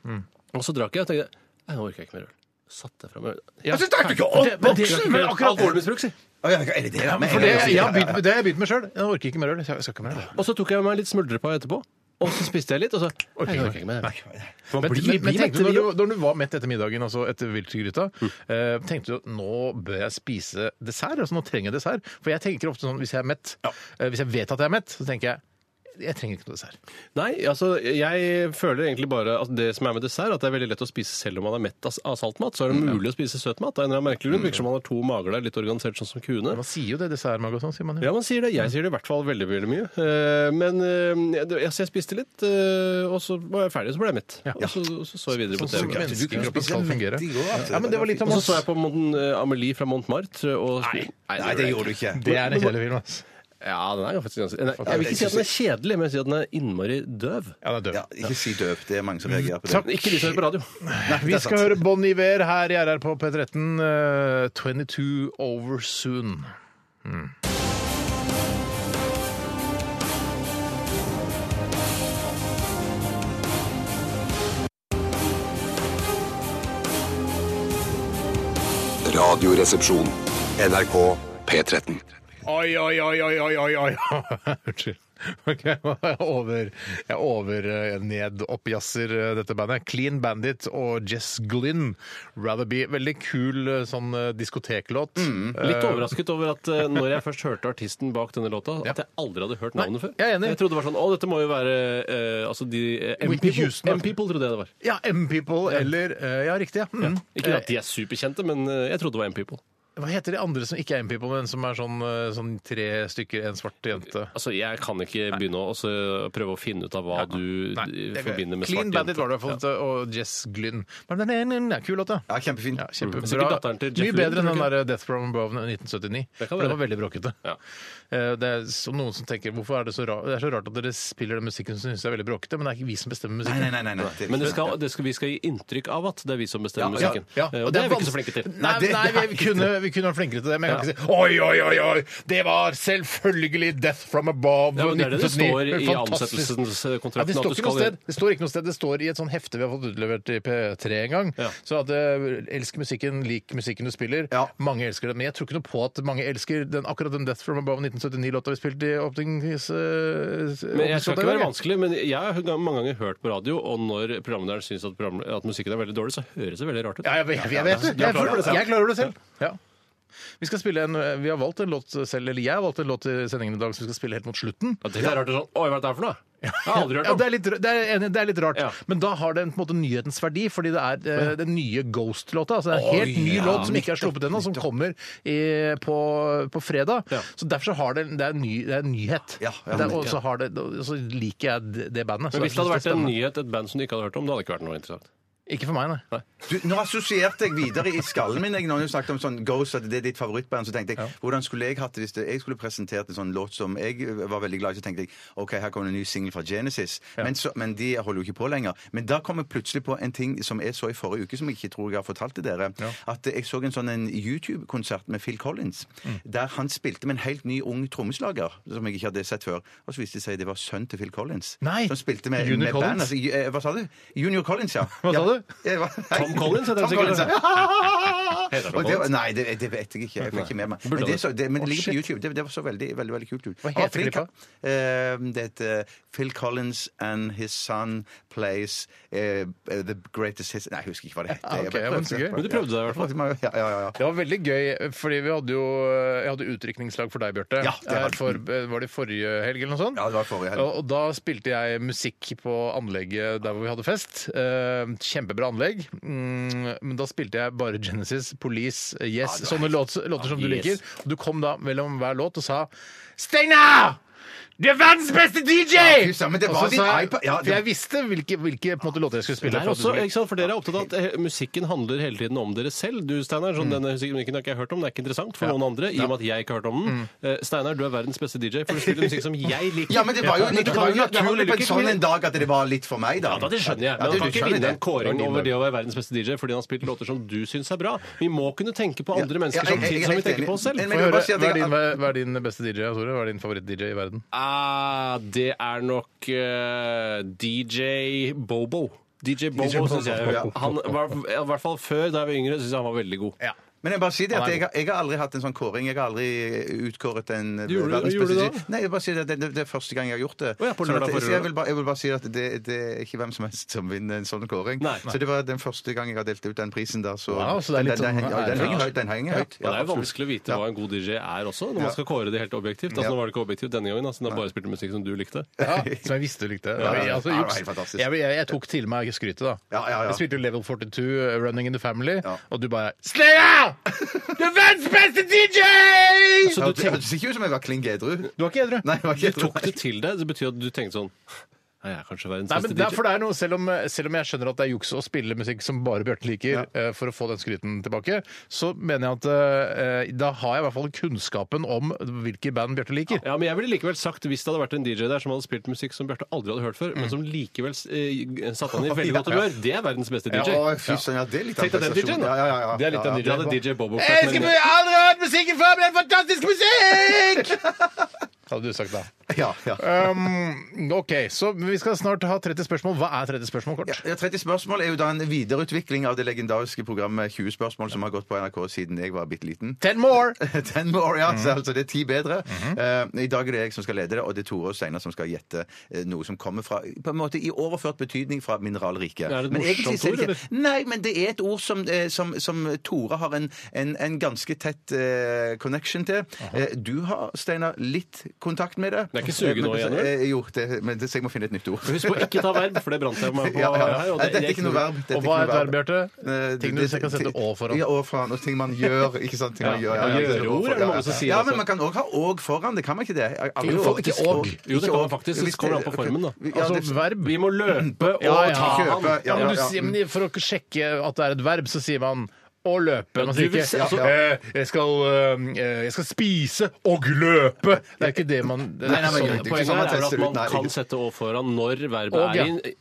H: Og så drakk jeg og tenkte Nei, nå orker jeg ikke mer øl. Satte jeg fra meg øl. Jeg
I: så drakk du ikke opp boksen, men akkurat-
H: Alkoholmisbruk, si!
I: Å, ja, er det det? Ja, men
G: For det,
I: jeg-
G: jeg har begynt, med- det har jeg begynt med sjøl. Jeg orker ikke mer øl. Jeg skal ikke mer øl.
H: Og så tok jeg meg litt smuldrepa etterpå. Og så spiste jeg litt, og så Nei, det orker jeg ikke mer.
G: Men, men, men tenkte du, når, du, når du var mett etter middagen, altså etter viltgryta, eh, tenkte du at nå bør jeg spise dessert? Altså nå trenger jeg dessert. For jeg tenker ofte sånn hvis jeg er mett, eh, hvis jeg vet at jeg er mett, så tenker jeg jeg trenger ikke noe dessert.
H: Nei, altså, jeg føler egentlig bare at det som er med dessert, at det er veldig lett å spise selv om man er mett av av saltmat. Så er det mulig å spise søtmat. Det er en eller annen merkelig grunn. Virker som man har to mager der, litt organisert sånn som kuene.
G: Man sier jo det, dessertmagasin, sånn sier man jo.
H: Ja, man sier det. Jeg sier det i hvert fall veldig veldig mye. Eh, Men eh, jeg, altså, jeg spiste litt, eh, og så var jeg ferdig, og så ble jeg mett. Og så, og så så jeg videre på
G: Sånn som
H: TV.
G: menneskekroppen skal fungere.
I: i går, altså.
G: Ja, men det var litt
H: Og
G: om
H: så
G: oss.
H: så jeg på Mon- eh, Amelie fra Montmartre. Og... Nei,
I: Nei, det gjorde du ikke.
G: Det er en kjedelig film, altså.
H: Ja, den er jo faktisk ganske Nei, Jeg vil ikke si at den er kjedelig, men jeg vil si at den er innmari døv.
G: Ja, det er død.
I: Ja, ikke si døp. Det er mange som reagerer på det.
G: Takk.
H: Ikke de som hører på radio.
G: Vi skal høre Bon Iver her i RR på P13. eh, 22 over soon.
F: Radioresepsjon. NRK P13.
G: Oi, oi, oi, oi, oi, oi, oi. <laughs> Unnskyld. Ok, jeg over, jeg over eh, ned oppjasser eh, dette bandet. Clean Bandit og Jess Glynn. Rather Be. Veldig kul eh, sånn eh, diskoteklåt.
H: Mm, Eh, Litt overrasket over at eh, når jeg først hørte artisten bak denne låta, at jeg aldri hadde hørt navnet før.
G: jeg er enig.
H: Jeg trodde det var sånn Å, dette må jo være eh, altså de eh,
G: Whitney
H: M-People.
G: Houston, da.
H: M-People trodde jeg det var. Eh,
G: Ja, M-People eller eh, Ja, riktig. ja. Mm.
H: Ikke at de er superkjente, men eh, jeg trodde det var M-People.
G: Hva heter de andre som ikke er M-People, men som er sånn, eh, sånn tre stykker, en svart jente?
H: Altså, jeg kan ikke begynne å også prøve å finne ut av hva du
G: Nei,
H: eh,
G: det-
H: forbinder med
G: Clean
H: svart
G: Bandit var
H: jente.
G: det i hvert fall, og Jess Glynn. Men den er- den er kul låt, da.
I: Ja, kjempefint.
G: Ja, kjempebra.
H: Sikkert datteren til Jeff
G: Mye
H: Lynne,
G: bedre enn den
H: tror du
G: der uh, Death From Above 1979.
H: Det kan
G: for den
H: være.
G: var veldig bråkete.
H: Ja.
G: Eh, Det er så- noen som tenker hvorfor er det så rart, det er så rart at dere spiller den musikken som synes er veldig bråkete, men det er ikke vi som bestemmer
I: Nei,
G: musikken.
I: nei, nei. nei, nei. det er
H: Men det
I: riktig.
H: skal, det skal, vi skal gi inntrykk av at det er vi som bestemmer
G: Ja,
H: musikken.
G: ja.
H: Eh, Og det er vi ikke så
G: vanskelig-
H: flinke til.
G: Nei,
I: det-
G: nei vi, kunne, vi kunne vært flinkere til det, men jeg kan ikke si oi, oi, oi, oi! Det var selvfølgelig Death From Above
H: Ja, men det er det det
G: 1979.
H: står i
G: Fantastisk.
H: ansettelseskontrakten,
G: Ja, det,
H: at
G: står
H: du
G: ikke noe
H: skal-
G: sted. det står ikke noe sted. Det står i et sånn hefte vi har fått utlevert i P3 en gang.
H: Ja.
G: Så at eh, elsk musikken, lik musikken du spiller.
I: Ja.
G: Mange elsker den. Men jeg tror ikke noe på at mange elsker den, akkurat den Death From Above 1979-låta vi spilte i åpnings... eh,
H: Men jeg skal
G: åpningslåta
H: ikke
G: i
H: være
G: dag.
H: vanskelig, men jeg har gang- mange ganger hørt på radio, og når programlederen syns at, program- at musikken er veldig dårlig, så høres det veldig rart ut.
G: Ja, jeg, vet- jeg vet det.
H: Du er
G: Jeg,
H: klar over det selv.
G: jeg klarer det selv. Ja. Vi, skal spille en, eh, vi har valgt en låt selv, eller jeg har valgt en låt i sendingen i dag som vi skal spille helt mot slutten.
H: Ja, det er rart det er sånn, Oi, hva er det her for noe? Jeg har aldri hørt
G: Ja,
H: om
G: det, er litt, det, er, enig, det er litt rart,
H: Ja.
G: men da har det en, på en måte nyhetens verdi, fordi det er eh, den nye Ghost-låta. Altså det er en helt ny låt som ikke er sluppet ennå, som kommer i, på, på fredag.
H: Ja.
G: Så derfor så har det, det, er, en ny, det er en nyhet.
I: Ja, ja,
G: Det er- og så har det- og så liker jeg det- det bandet. så
H: Men hvis det
G: derfor
H: hadde
G: synes
H: vært
G: jeg
H: en
G: er
H: nyhet, et band som du ikke hadde hørt om, det hadde ikke vært noe interessant.
G: spennende. Ikke for meg, nei.
I: Du, nå assosierte jeg videre i skallen min. Jeg, når du snakket om sånn Ghost, at det er ditt favorittband, så tenkte jeg hvordan skulle jeg hatt det hvis det, jeg skulle presentert en sånn låt som jeg var veldig glad i? Så tenkte jeg OK, her kommer en ny singel fra Genesis. Men, så, men de holder jo ikke på lenger. Men da kom jeg plutselig på en ting som jeg så i forrige uke, som jeg ikke tror jeg har fortalt til dere. At jeg så en sånn en YouTube-konsert med Phil Collins,
G: Mm.
I: der han spilte med en helt ny ung trommeslager som jeg ikke hadde sett før. Og så viste det seg det var sønnen til Phil Collins.
G: Nei!
I: Som spilte med,
G: Junior
I: med band.
G: Collins?
I: Altså, eh, hva sa du? Junior Collins, ja.
G: Hva sa
I: ja,
G: du?
H: det?
I: Jeg var- nei.
H: Tom Collins heter han
I: Tom
H: sikkert.
I: Collins, ja.
H: <laughs> Heter han
I: Og det,
H: Collins?
I: var- nei, det, det vet jeg ikke. Jeg fikk ikke med meg.
H: Burde
I: Men det,
H: det.
I: så, det, men det
G: Å,
I: ligger på
G: shit.
I: YouTube. Det, det var så veldig, veldig, veldig kult ut.
G: Hva heter
I: Ah, Phil
G: klippa?
I: Col- Eh, det heter Phil Collins and His Son Plays eh, The Greatest Hits Nei, jeg husker ikke hva det heter.
G: Ah, ok,
I: Jeg bare
G: ja, men så
I: prøvde-
G: gøy.
H: Men du prøvde deg i hvert fall.
I: Ja, ja, ja, ja.
G: Det var veldig gøy, fordi vi hadde jo Jeg hadde utdrikningslag for deg, Bjarte.
I: Ja, det var-
G: Eh, for, var det forrige helg eller noe sånt?
I: Ja, det var forrige helg.
G: Og, og da spilte jeg musikk på anlegget der hvor vi hadde fest. Eh, kjempebra anlegg. Mm, men da spilte jeg bare Genesis, Police, eh, Yes, sånne låter, låter som du
H: Yes.
G: liker. Og du kom da mellom hver låt og sa Steinar! Du er verdens beste DJ!
I: Ja, fy søren, men det
G: Og
I: var
G: så
I: din
G: sa jeg-
I: iPad- ja, det-
G: For jeg visste hvilke, hvilke på en måte, låter jeg skulle spille. for at
H: Det er
G: du
H: også,
G: skulle-
H: ikke sant, for Dere er opptatt av at eh, musikken handler hele tiden om dere selv. Du, Steinar, sånn, denne musikken har ikke jeg hørt om, den er ikke interessant for noen andre. i og med at jeg ikke har hørt om den. Eh, Steinar, du er verdens beste DJ, for du <laughs> spiller musikk som jeg liker.
I: Ja, men det var jo,
H: Ja, men
I: det
H: du kan
I: var jo
H: ikke- det handler
I: naturlig på en
H: ikke om-
I: sånn en dag at det var litt for meg, da.
H: Ja, da, det skjønner jeg. Men
I: Ja, du
H: han kan ikke
I: skjønner
H: vinne en
I: det.
H: kåring
G: din
H: over
G: dag.
H: det å være verdens beste DJ fordi han har spilt låter som du syns er bra. Vi må kunne tenke på andre
I: Ja,
H: mennesker
I: ja, jeg- jeg
H: samtidig
I: er
H: som vi
I: helt
H: tenker
I: enig.
H: på oss selv.
I: Men-
G: Få
I: jeg vil bare
G: høre,
I: si at
G: hva, er
I: jeg-
G: din, hva er din beste DJ, Tore? Hva er din favoritt-DJ i verden?
H: Ah, det er nok eh, DJ Bobo. DJ Bobo,
G: Bobo,
H: syns jeg.
G: ja.
H: Han var, I hvert fall før, da jeg var yngre, syns jeg han var veldig god.
G: Ja.
I: Men jeg bare sier det
G: Han
I: at
G: er
I: jeg, har- jeg har aldri hatt en sånn kåring. Jeg har aldri utkåret en
H: Gjorde
I: eh,
H: du- gjorde du det da?
I: Nei, jeg bare sier det, at det, det, det er første gang jeg har gjort det.
H: Å ja, på
I: Sånn at-
H: lørdag forrige
I: så jeg,
H: lørdag.
I: vil bare, jeg vil bare si at det, det er ikke hvem som helst som vinner en sånn kåring.
H: Nei.
I: Så det var den første gang jeg har delt ut den prisen der. Så,
G: Wow, så det er litt
I: den,
G: sånn-
I: den, ja, den, henger høyt. Den henger
H: Og
I: høyt.
H: det er jo
I: absolutt.
H: vanskelig å vite
I: Ja.
H: hva en god DJ er også, når man skal kåre det helt objektivt. Altså,
I: Ja.
H: Nå var det ikke objektivt denne gangen, da, siden han bare spilte musikk som du likte.
G: Ja, <laughs> som jeg visste du likte.
I: ja, ja.
G: Altså,
I: Ja, det var
G: juks.
I: helt fantastisk.
G: jeg, jeg, jeg tok til meg skrytet, da.
I: Ja, ja, ja.
G: Jeg spilte jo Level 42, Running in the Family,
I: Ja.
G: og du bare Slayer! Du er verdens beste
I: <laughs>
G: DJ!
H: Så
I: Ja,
H: du,
I: Det
H: tenkte,
I: hørtes ikke ut som jeg var klink edru.
G: Du var ikke edru.
I: Nei, jeg var
H: du
I: ikke edru.
H: tok det til deg. Det betyr at du tenkte sånn Nei, jeg er kanskje verdens
G: Nei,
H: beste
G: men det er,
H: DJ.
G: for det er noe, selv, om, uh, selv om jeg skjønner at det er juks å spille musikk som bare Bjarte liker, eh, for å få den skryten tilbake, så mener jeg at eh, da har jeg i hvert fall kunnskapen om hvilke band Bjarte liker.
H: Ja, men jeg ville likevel sagt, Hvis det hadde vært en DJ der som hadde spilt musikk som Bjarte aldri hadde hørt før, men som likevel eh, satte han i veldig godt humør, det er verdens beste DJ.
I: Å, fy søren, ja, det er litt av en
H: Tenk deg den
I: prestasjon.
H: DJ-en, da.
I: Ja, ja, ja, ja.
G: Det er litt av
I: Ja,
G: en
I: ja.
H: Det hadde DJ Bobo
G: Jeg
H: sagt.
G: elsker
H: men-
G: aldri hørt musikken før, men det er fantastisk
I: <laughs>
G: musikk! Hadde du sagt da.
I: Ja, ja.
G: Um, ok, så vi skal snart ha 30 spørsmål. Hva er 30 spørsmål kort?
I: Ja, 30 spørsmål er jo da en videreutvikling av det legendariske programmet 20 spørsmål som har gått på NRK siden jeg var bitte liten.
G: Ten more!
I: <laughs> Ten more, ja,
H: Mhm.
I: så altså det er ti bedre. Eh, I dag er det jeg som skal lede det, og det er Tore og Steinar som skal gjette eh, noe som kommer fra på en måte i overført betydning fra mineralriket.
H: Er det et
I: Men
H: morsomt
I: egentlig så er
H: ord,
I: det ikke- Nei, men det er et ord som, eh, som, som Tore har en, en, en ganske tett eh, connection til. Eh, du har, Steinar, litt kontakt med det.
H: Det er ikke suge nå igjen, vel?
I: Eh, Jo, det, men det, så jeg må finne et nytt ord.
H: Husk på ikke ta verb, for det brant jeg meg på
I: <laughs> Ja, ja,
H: her.
I: ja.
H: og
I: Nei, Dette er ikke noe verb. Dette er
G: Og hva
I: ikke
G: er
I: noe
G: et verb, Bjarte?
I: Eh,
G: Ting du
I: det-
G: kan sette
I: ting-
G: å foran.
I: Ja, å foran. Og ting man gjør. Ikke sant? Ting man
H: <laughs> Ja,
I: gjør.
H: og gjøreord er det mange som sier
I: Ja,
H: også.
I: men man kan òg ha og foran. Det kan man ikke det? Jeg-
G: Jo,
I: jeg-
G: faktisk
I: og-
G: og.
H: Jo, det
I: ikke
H: kan man
I: og.
H: faktisk.
I: Hvis
H: Det kommer an på formen, da.
I: Ja, det-
G: Altså verb.
H: Vi må løpe og
G: Ja, ja.
H: ta han.
I: Kjøpe, ja,
G: Men
I: ja,
G: du
I: ja.
G: sier- men For å sjekke at det er et verb, så sier man å løpe. Man
H: du
G: sier
H: vil si-
G: ikke
H: altså-
G: eh, jeg, skal, eh, jeg skal spise og løpe. Det er ikke det man det er
I: nei,
G: ikke
I: men
G: sånn-
I: det er ikke
H: Poenget
I: sånn
H: er
I: man
H: at
I: tester ut,
H: man
I: nei.
H: kan sette å foran når verbet
G: Og, ja.
H: er i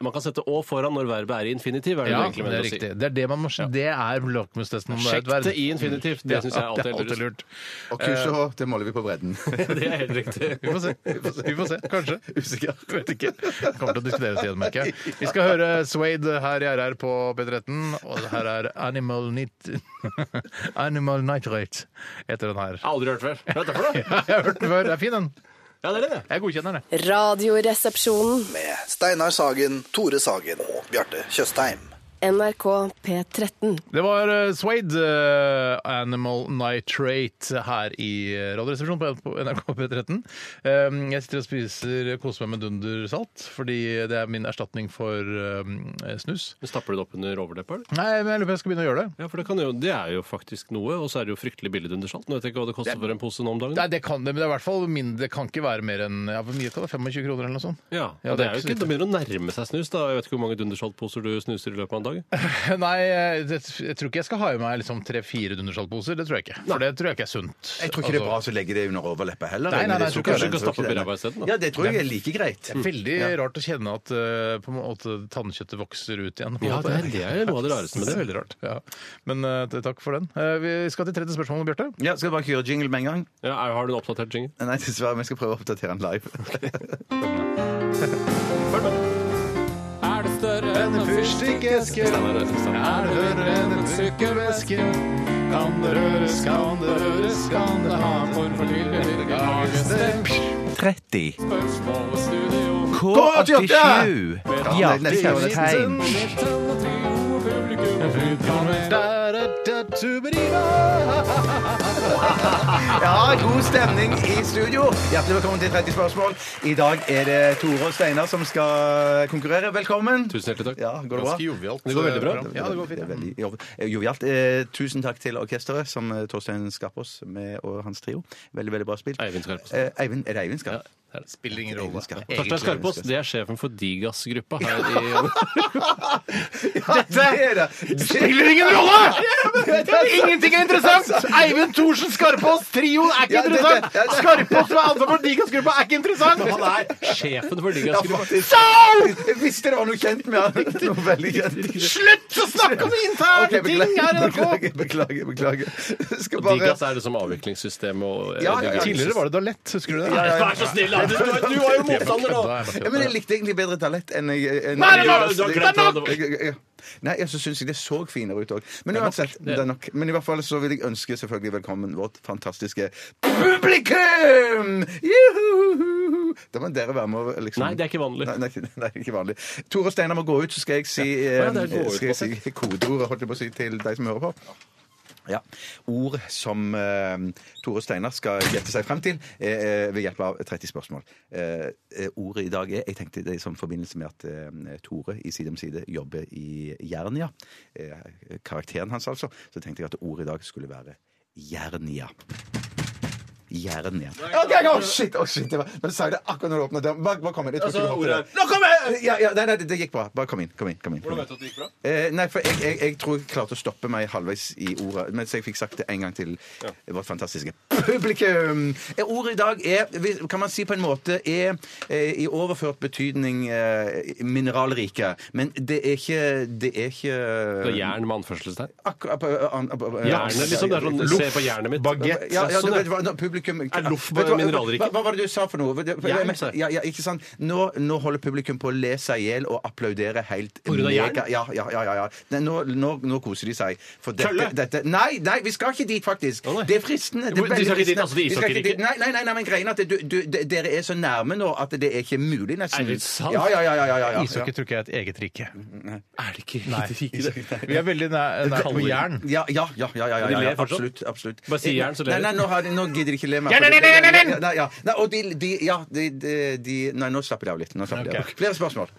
H: man kan sette å foran når verbet er i infinitiv. Er det
G: Ja,
H: du egentlig
G: det er
H: mener å si.
G: riktig. Det er det man må Det er lakmustesten om det er
H: Sjekk
G: et verb.
H: det i infinitiv. Det syns jeg
G: Ja,
H: alltid er lurt.
G: lurt.
I: Og kurset H, det måler vi
H: <laughs>
I: på bredden.
H: Det er helt riktig.
G: Vi får se. Vi får se. Kanskje.
I: Usikker.
G: Vet ikke. Kommer til å diskuteres igjen, merker jeg. Vi skal høre Swade her i RR på P13, og det her er Animal Nit... <laughs> Animal Nitrate heter den her.
H: Aldri hørt før. Hva er dette for noe?
G: Jeg har hørt den før. Det er fin, den.
H: Ja, det er det.
G: Jeg godkjenner det.
D: Radioresepsjonen.
E: med Steinar Sagen, Tore Sagen og Bjarte Tjøstheim.
D: NRK P13.
G: Det var eh, Swade, eh, Animal Nitrate, her i Radioresepsjonen på NRK P13. Um, Jeg sitter og spiser koser meg med dundersalt, fordi det er min erstatning for um, snus.
H: Men Stapper du det opp under overleppa? eller?
G: Nei, men jeg lurer på om jeg skal begynne å gjøre det.
H: Ja, for det, kan jo, det er jo faktisk noe, og så er det jo fryktelig billig under salt. Nå vet jeg ikke hva det koster for en pose nå om dagen.
G: Nei, det kan det, men det er i hvert fall mindre, det kan ikke være mer enn ja, Hvor mye kan det 25 kroner eller noe sånt? <laughs>
H: Ja,
G: Ja,
H: og det, er
G: så
H: jo ikke, det
G: lite.
H: begynner å nærme seg snus. da. Jeg vet ikke hvor mange dundersaltposer du snuser i løpet av en dag.
G: Nei, det, jeg tror ikke jeg skal ha i meg liksom tre-fire dundersaltposer. Det tror jeg ikke. For det tror jeg ikke er sunt. Altså,
I: Jeg tror ikke det er bra å legge det under overleppa heller.
G: Nei, nei, nei,
I: men det
G: jeg tror
I: sukker-
H: kanskje du kan
I: jeg tror
H: stappe
I: ikke det.
H: opp i ræva isteden, da.
I: Ja, det tror jeg er like greit.
G: Det er veldig rart å kjenne at eh, på en måte tannkjøttet vokser ut igjen. på en
H: Ja,
G: måte.
H: det
G: <laughs>
H: er, det er noe av det rareste
G: Det
H: med det.
G: er veldig rart. Ja. Men eh, takk for den. Eh, vi skal til tredje spørsmål, Bjarte.
I: Ja, skal jeg bare kjøre jingle med en gang?
H: Ja,
I: <laughs>
H: er- har du en oppdatert jingle?
I: Nei, dessverre. Men jeg skal prøve å oppdatere <laughs> den live.
H: Er det større enn en
G: fyrstikkesker. Her hører en en sukkervæske. Kan det røres, kan det høres, kan det ha en form for tilbehør? Dagens sted,
J: 30.
G: spørsmål og studio.
J: K87. Bjarte
I: Neste år,
J: Tjøstheim.
I: Ja, god stemning i studio. Hjertelig velkommen til 30 spørsmål. I dag er det Tore og Steinar som skal konkurrere. Velkommen.
H: Tusen hjertelig takk.
I: Ja, går det bra?
G: Ganske jovialt.
H: Det går veldig bra.
G: program. Ja, det går
I: Det er
G: fint.
I: veldig jov- eh, jovialt. Eh, tusen takk til orkesteret, som eh, Torstein Skarpaas med og hans trio. Veldig, veldig bra spilt.
H: Eivind Skarpaas.
I: Eh, Eivind, er det Eivind Skarp?
H: Ja, det
G: Spiller ingen rolle.
I: Eivind Skarp.
H: Torstein Skarpaas, det er sjefen for Digas-gruppa her <laughs> i
I: Dette er det!
G: Spiller ingen rolle! Ingenting er interessant! Eivind Thorsen Skarpaas, trioen er ikke
I: Ja, det-
G: interessant!
I: det- det-
G: Skarpaas med ansvar for Digas-gruppa er ikke interessant!
H: Han er sjefen for
I: Ja,
H: Digas-gruppa.
I: faktisk. Jeg visste det var noe kjent med han. Noe veldig kjent.
G: Slutt å snakke om
H: Ah,
G: interne
I: Ok,
G: ting her i NRK!
I: beklager, beklager, beklager. Skal bare
H: Digas er det som avviklingssystem og
I: Ja, ja, ja.
G: Tidligere var det da lett, husker du det?
H: Vær så snill, da! Du, du var jo motstander nå!
I: ja, men jeg likte egentlig bedre talent enn jeg enn
H: Nei, nei, nei, du har glemt hva det var.
I: Jeg- jeg- jeg- Nei, jeg så syns jeg det så finere ut òg. Men uansett, det er nok. Men i hvert fall så vil jeg ønske selvfølgelig velkommen vårt fantastiske publikum! Juhu! Da må dere være med og liksom
H: Nei, det er ikke vanlig.
I: Nei, nei, nei, det er ikke vanlig. Tore og Steinar må gå ut, så skal jeg si, eh,
H: Ja.
I: ja.
H: Ja, det er gå ut,
I: skal jeg si kodeordet holdt jeg på å si, til deg som hører på. Ja. Ord som eh, Tore Steinar skal gjette seg frem til eh, eh, ved hjelp av 30 spørsmål. Eh, eh, ordet i dag er Jeg tenkte det er i sånn forbindelse med at eh, Tore i Side om side jobber i Jernia. Eh, karakteren hans, altså. Så tenkte jeg at ordet i dag skulle være Jernia. Jernia. Ok, oh, shit, oh, shit, det var, men sa jeg det akkurat når du åpnet døren. Bare, bare kom inn. Jeg tror ikke du hørte det. Nå kommer jeg! Ja, ja, nei, nei, det, det gikk bra. Bare kom inn. kom inn, kom inn. Hvordan vet du at det gikk bra? Eh, nei, for jeg, jeg, jeg tror jeg klarte å stoppe meg halvveis i ordet. Mens jeg fikk sagt det en gang til eh, vårt fantastiske publikum. Eh, Ordet i dag er, vi- kan man si på en måte, er eh, i overført betydning eh, mineralrike. Men det er ikke Det er ikke
H: Det er jern med anførselstegn.
I: Akkurat eh,
H: Jernet, liksom. Det er sånn, se på jernet mitt.
I: Bagett. Ja, ja,
H: Sånn,
I: du
H: ja.
I: vet hva, nå, publikum
H: Er loff
I: Vet du hva-
H: mineralrike?
I: Hva, hva var det du sa for noe? Det-
H: Jern, sa jeg.
I: ja, ja, ikke sant? Nå, nå holder publikum på å le seg i hjel og applaudere helt
H: grunn av
I: mega-
H: jern?
I: Ja, ja, ja, ja, ja. Nei, Nå, nå, nå koser de seg. For dette,
H: Kølle?
I: dette Nei, nei, vi skal ikke dit, faktisk.
H: Å, nei.
I: Det er fristende. Det er
H: Men de skal
I: veldig
H: ikke dit,
I: fristende.
H: altså, de
I: Vi skal
H: ishockeyriket?
I: ikke dit. Nei, nei, nei, nei, men greien er at du, du, de- dere er så nærme nå at det er ikke mulig, nesten.
H: Er det sant?
I: Ja, ja, ja. ja, ja, ja, ja.
G: Ishockey tror ikke jeg er et eget rike.
H: Er det ikke riktig?
G: Vi er veldig nær nær på jern.
I: Ja, ja, ja. ja, ja, ja,
H: de
I: ja,
H: ler
I: ja
H: fortsatt?
I: absolutt. absolutt.
H: Bare si jern, så ler
I: Nei,
H: de.
I: nei, nå, har de, nå gidder de ikke le mer.
G: Ja,
I: for
G: nei,
I: det-
G: nei, nei, nei, nei!
I: Nei, ja. nei, og de, de, ja, de, de, de Nei, nå slapper de av litt. Nå slapper de
G: Ok.
I: av. Flere spørsmål.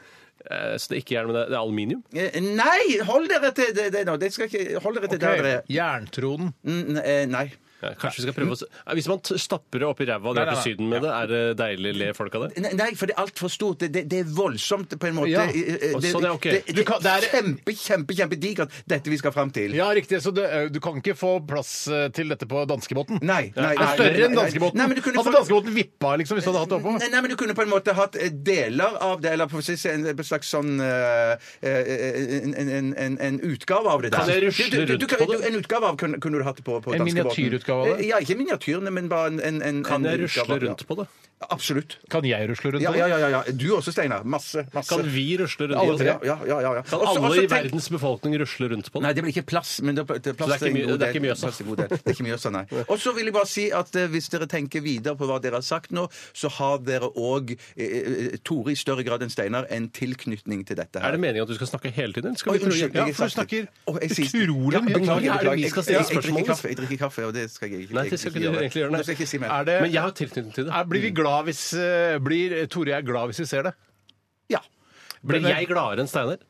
H: Eh, Så det er ikke jern, men det er- det er aluminium?
I: Eh, Nei! Hold dere til det, det nå. Det skal ikke, hold dere til der dere er.
G: Jerntronen.
I: Mm, eh, Nei.
H: Ja, kanskje vi skal prøve å s- Eh, Hvis man t- stapper det oppi ræva og
G: Nei,
H: drar
G: nei,
H: til Syden med det, er det deilig? Ler folk av det?
I: Nei, Nei, for det er altfor stort. Det, det, det er voldsomt, på en måte.
G: Ja.
I: Eh, eh,
H: Og så det er ok.
I: det,
G: Du kan- det er-
I: kjempe, kjempe, kjempedigert, dette vi skal fram til.
G: Ja, riktig. Så det, eh, du kan ikke få plass eh, til dette på danskebåten?
I: Nei, nei, nei,
G: Er større enn
I: nei, nei.
G: danskebåten?
I: Nei, men du kunne
H: Altså,
G: Hadde
I: fått-
G: danskebåten vippa, liksom, hvis du hadde hatt det oppå?
I: Nei, nei, men du kunne på en måte hatt eh, deler av det, eller på å si en en slags sånn eh, eh, en, en, en, en utgave av det der.
H: Kan jeg rusle
I: Du- du- du-
H: rundt
I: du kan-
H: på det?
I: du- En utgave av kunne, kunne du hatt det på, på
G: En
I: danskebåten.
G: miniatyrutgave av det?
I: Eh, Ja, ikke miniatyrene, men bare en, en, en
H: Kan
I: en
H: jeg
I: utgave
H: rusle
I: av det.
H: rundt på det?
I: Absolutt.
G: Kan jeg rusle rundt sånn?
I: Ja,
G: på
I: ja,
G: det?
I: ja, ja, ja. Du også, Steinar. Masse. masse.
H: Kan vi
G: Alle
H: rusle rundt på
I: Ja,
H: det?
G: tre.
I: ja, ja, ja, ja.
H: Kan
I: Også-
H: alle
I: også
H: i
I: Altså, tenk-
H: verdens befolkning rusle rundt på
I: Nei,
H: det?
I: det blir ikke plass. Men det er pl- det er plass
H: Så det er ikke
I: til en
H: mye-
I: god
H: det er ikke
I: del-
H: Mjøsa.
I: plass til en god del. Det er ikke
H: <laughs>
I: Mjøsa, nei. Og så vil jeg bare si at eh, hvis dere tenker videre på hva dere har sagt nå, så har dere òg, Tore i større grad enn Steinar, en tilknytning til dette
H: Er
I: her.
H: det meningen at du skal snakke hele tiden? Skal
I: Oi,
H: vi prøve å
I: unnskyld,
H: hjelpe?
G: Ja, for du snakker
I: Å, jeg sier-
G: utrolig
I: Ja,
G: mye.
I: beklager,
H: Hva er det
I: beklager.
H: vi skal stille
I: Jeg- jeg- Jeg
H: spørsmål?
I: drikker kaffe, jeg drikker kaffe, og det skal jeg ikke
H: Nei, det skal ikke du egentlig gjøre, nei.
I: Nå skal jeg ikke si mer.
G: Er det,
H: Men jeg har tilknytning til det.
G: er, blir vi glad hvis eh, Blir Tore og jeg glad hvis vi ser det?
I: Ja.
H: Blir
G: Men-
H: jeg gladere enn Steinar? Det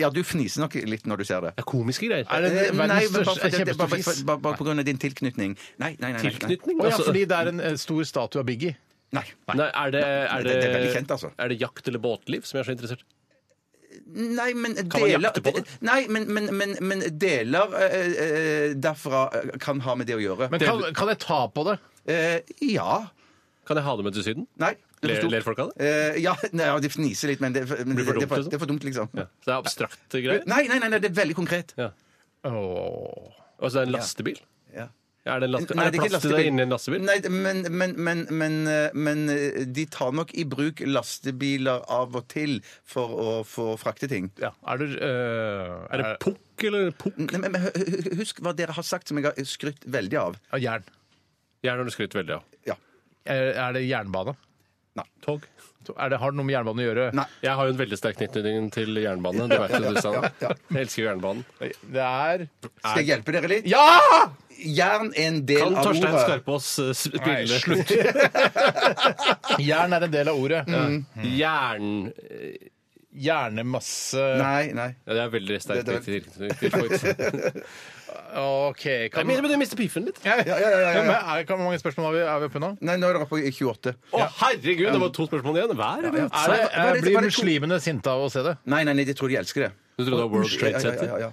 I: ja, du fniser nok litt når du ser det.
H: er komiske greier.
G: Er det
I: Eh,
G: verdens
I: Nei, bare,
G: største,
I: for- det- det-
G: kjempestor
I: bare,
G: fis?
I: for- bare, bare på grunn av din tilknytning. Nei, nei, nei. nei, nei.
H: Tilknytning?
G: Å ja,
H: Altså-
G: fordi det er en eh, stor statue av Biggie.
I: Nei.
H: Nei, er det, er det,
I: det- det er veldig kjent, altså.
H: Er det jakt eller båtliv som jeg er så interessert i?
I: Nei, men
H: man
I: deler
H: jakte på det?
I: Nei, men, men, men, men deler eh, eh, derfra eh, kan ha med det å gjøre.
G: Men kan, kan jeg ta på det?
I: Eh, ja.
H: Kan jeg ha det med til Syden?
I: Nei. det er for
H: Ler,
I: stort.
H: ler folk av det?
I: Eh, ja, <laughs> nei, ja, de fniser litt, men det, men det,
H: Blir for
I: det, er for-
H: dumt, liksom?
I: det er for dumt, liksom.
H: Ja. Så det er abstrakte greier?
I: Nei, nei, nei, nei, det er veldig konkret.
H: Ja.
G: Åh.
H: Altså det er en lastebil?
I: Ja.
H: Er det, en laste,
I: Nei,
H: er det
I: ikke
H: plass til det inni en lastebil?
I: Nei, men, men, men, men, eh, men eh, de tar nok i bruk lastebiler av og til for å få frakte ting.
H: Ja.
G: Er det, eh,
H: Er det pukk eller pukk?
I: Nei, men, men hu- hu- husk hva dere har sagt som jeg har skrytt veldig av.
G: ja, jern?
H: Jern har du skrytt veldig av.
I: Ja.
G: Er, er det jernbane?
I: Nei.
G: Tog? Er det, har det noe med jernbane å gjøre?
I: Nei.
H: Jeg har jo en veldig sterk tilknytning til jernbane. Det vet jo du, Sanne. Jeg elsker jo jernbanen.
G: Det er
I: Skal jeg hjelpe dere litt?
G: Ja!
I: Jern er en del
H: Kan
I: av
H: Torstein
I: ordet.
H: Skarpaas eh,
G: Nei,
H: spille
G: slutt. Jern er en del av ordet.
I: Mm.
H: Jern eh,
G: Hjernemasse
I: Nei, nei.
H: ja, Det er veldig sterk
I: Det-
H: tilknytning til folk.
G: OK. Kan,
H: Men du mister piffen litt.
G: ja, ja,
I: ja, ja, ja.
G: men er, kan, hvor mange spørsmål har vi, er vi oppe nå?
I: Nei, nå er dere oppe i 28.
H: Å, herregud! Det var to spørsmål igjen hver. eller?
G: Er det,
I: hva er det-
G: blir
I: hva er det to-
G: muslimene sinte av å se det?
I: Nei, nei, nei, de tror de elsker det.
H: Du trodde det var World Trade
I: Ja,
H: Center?
I: ja, ja, ja.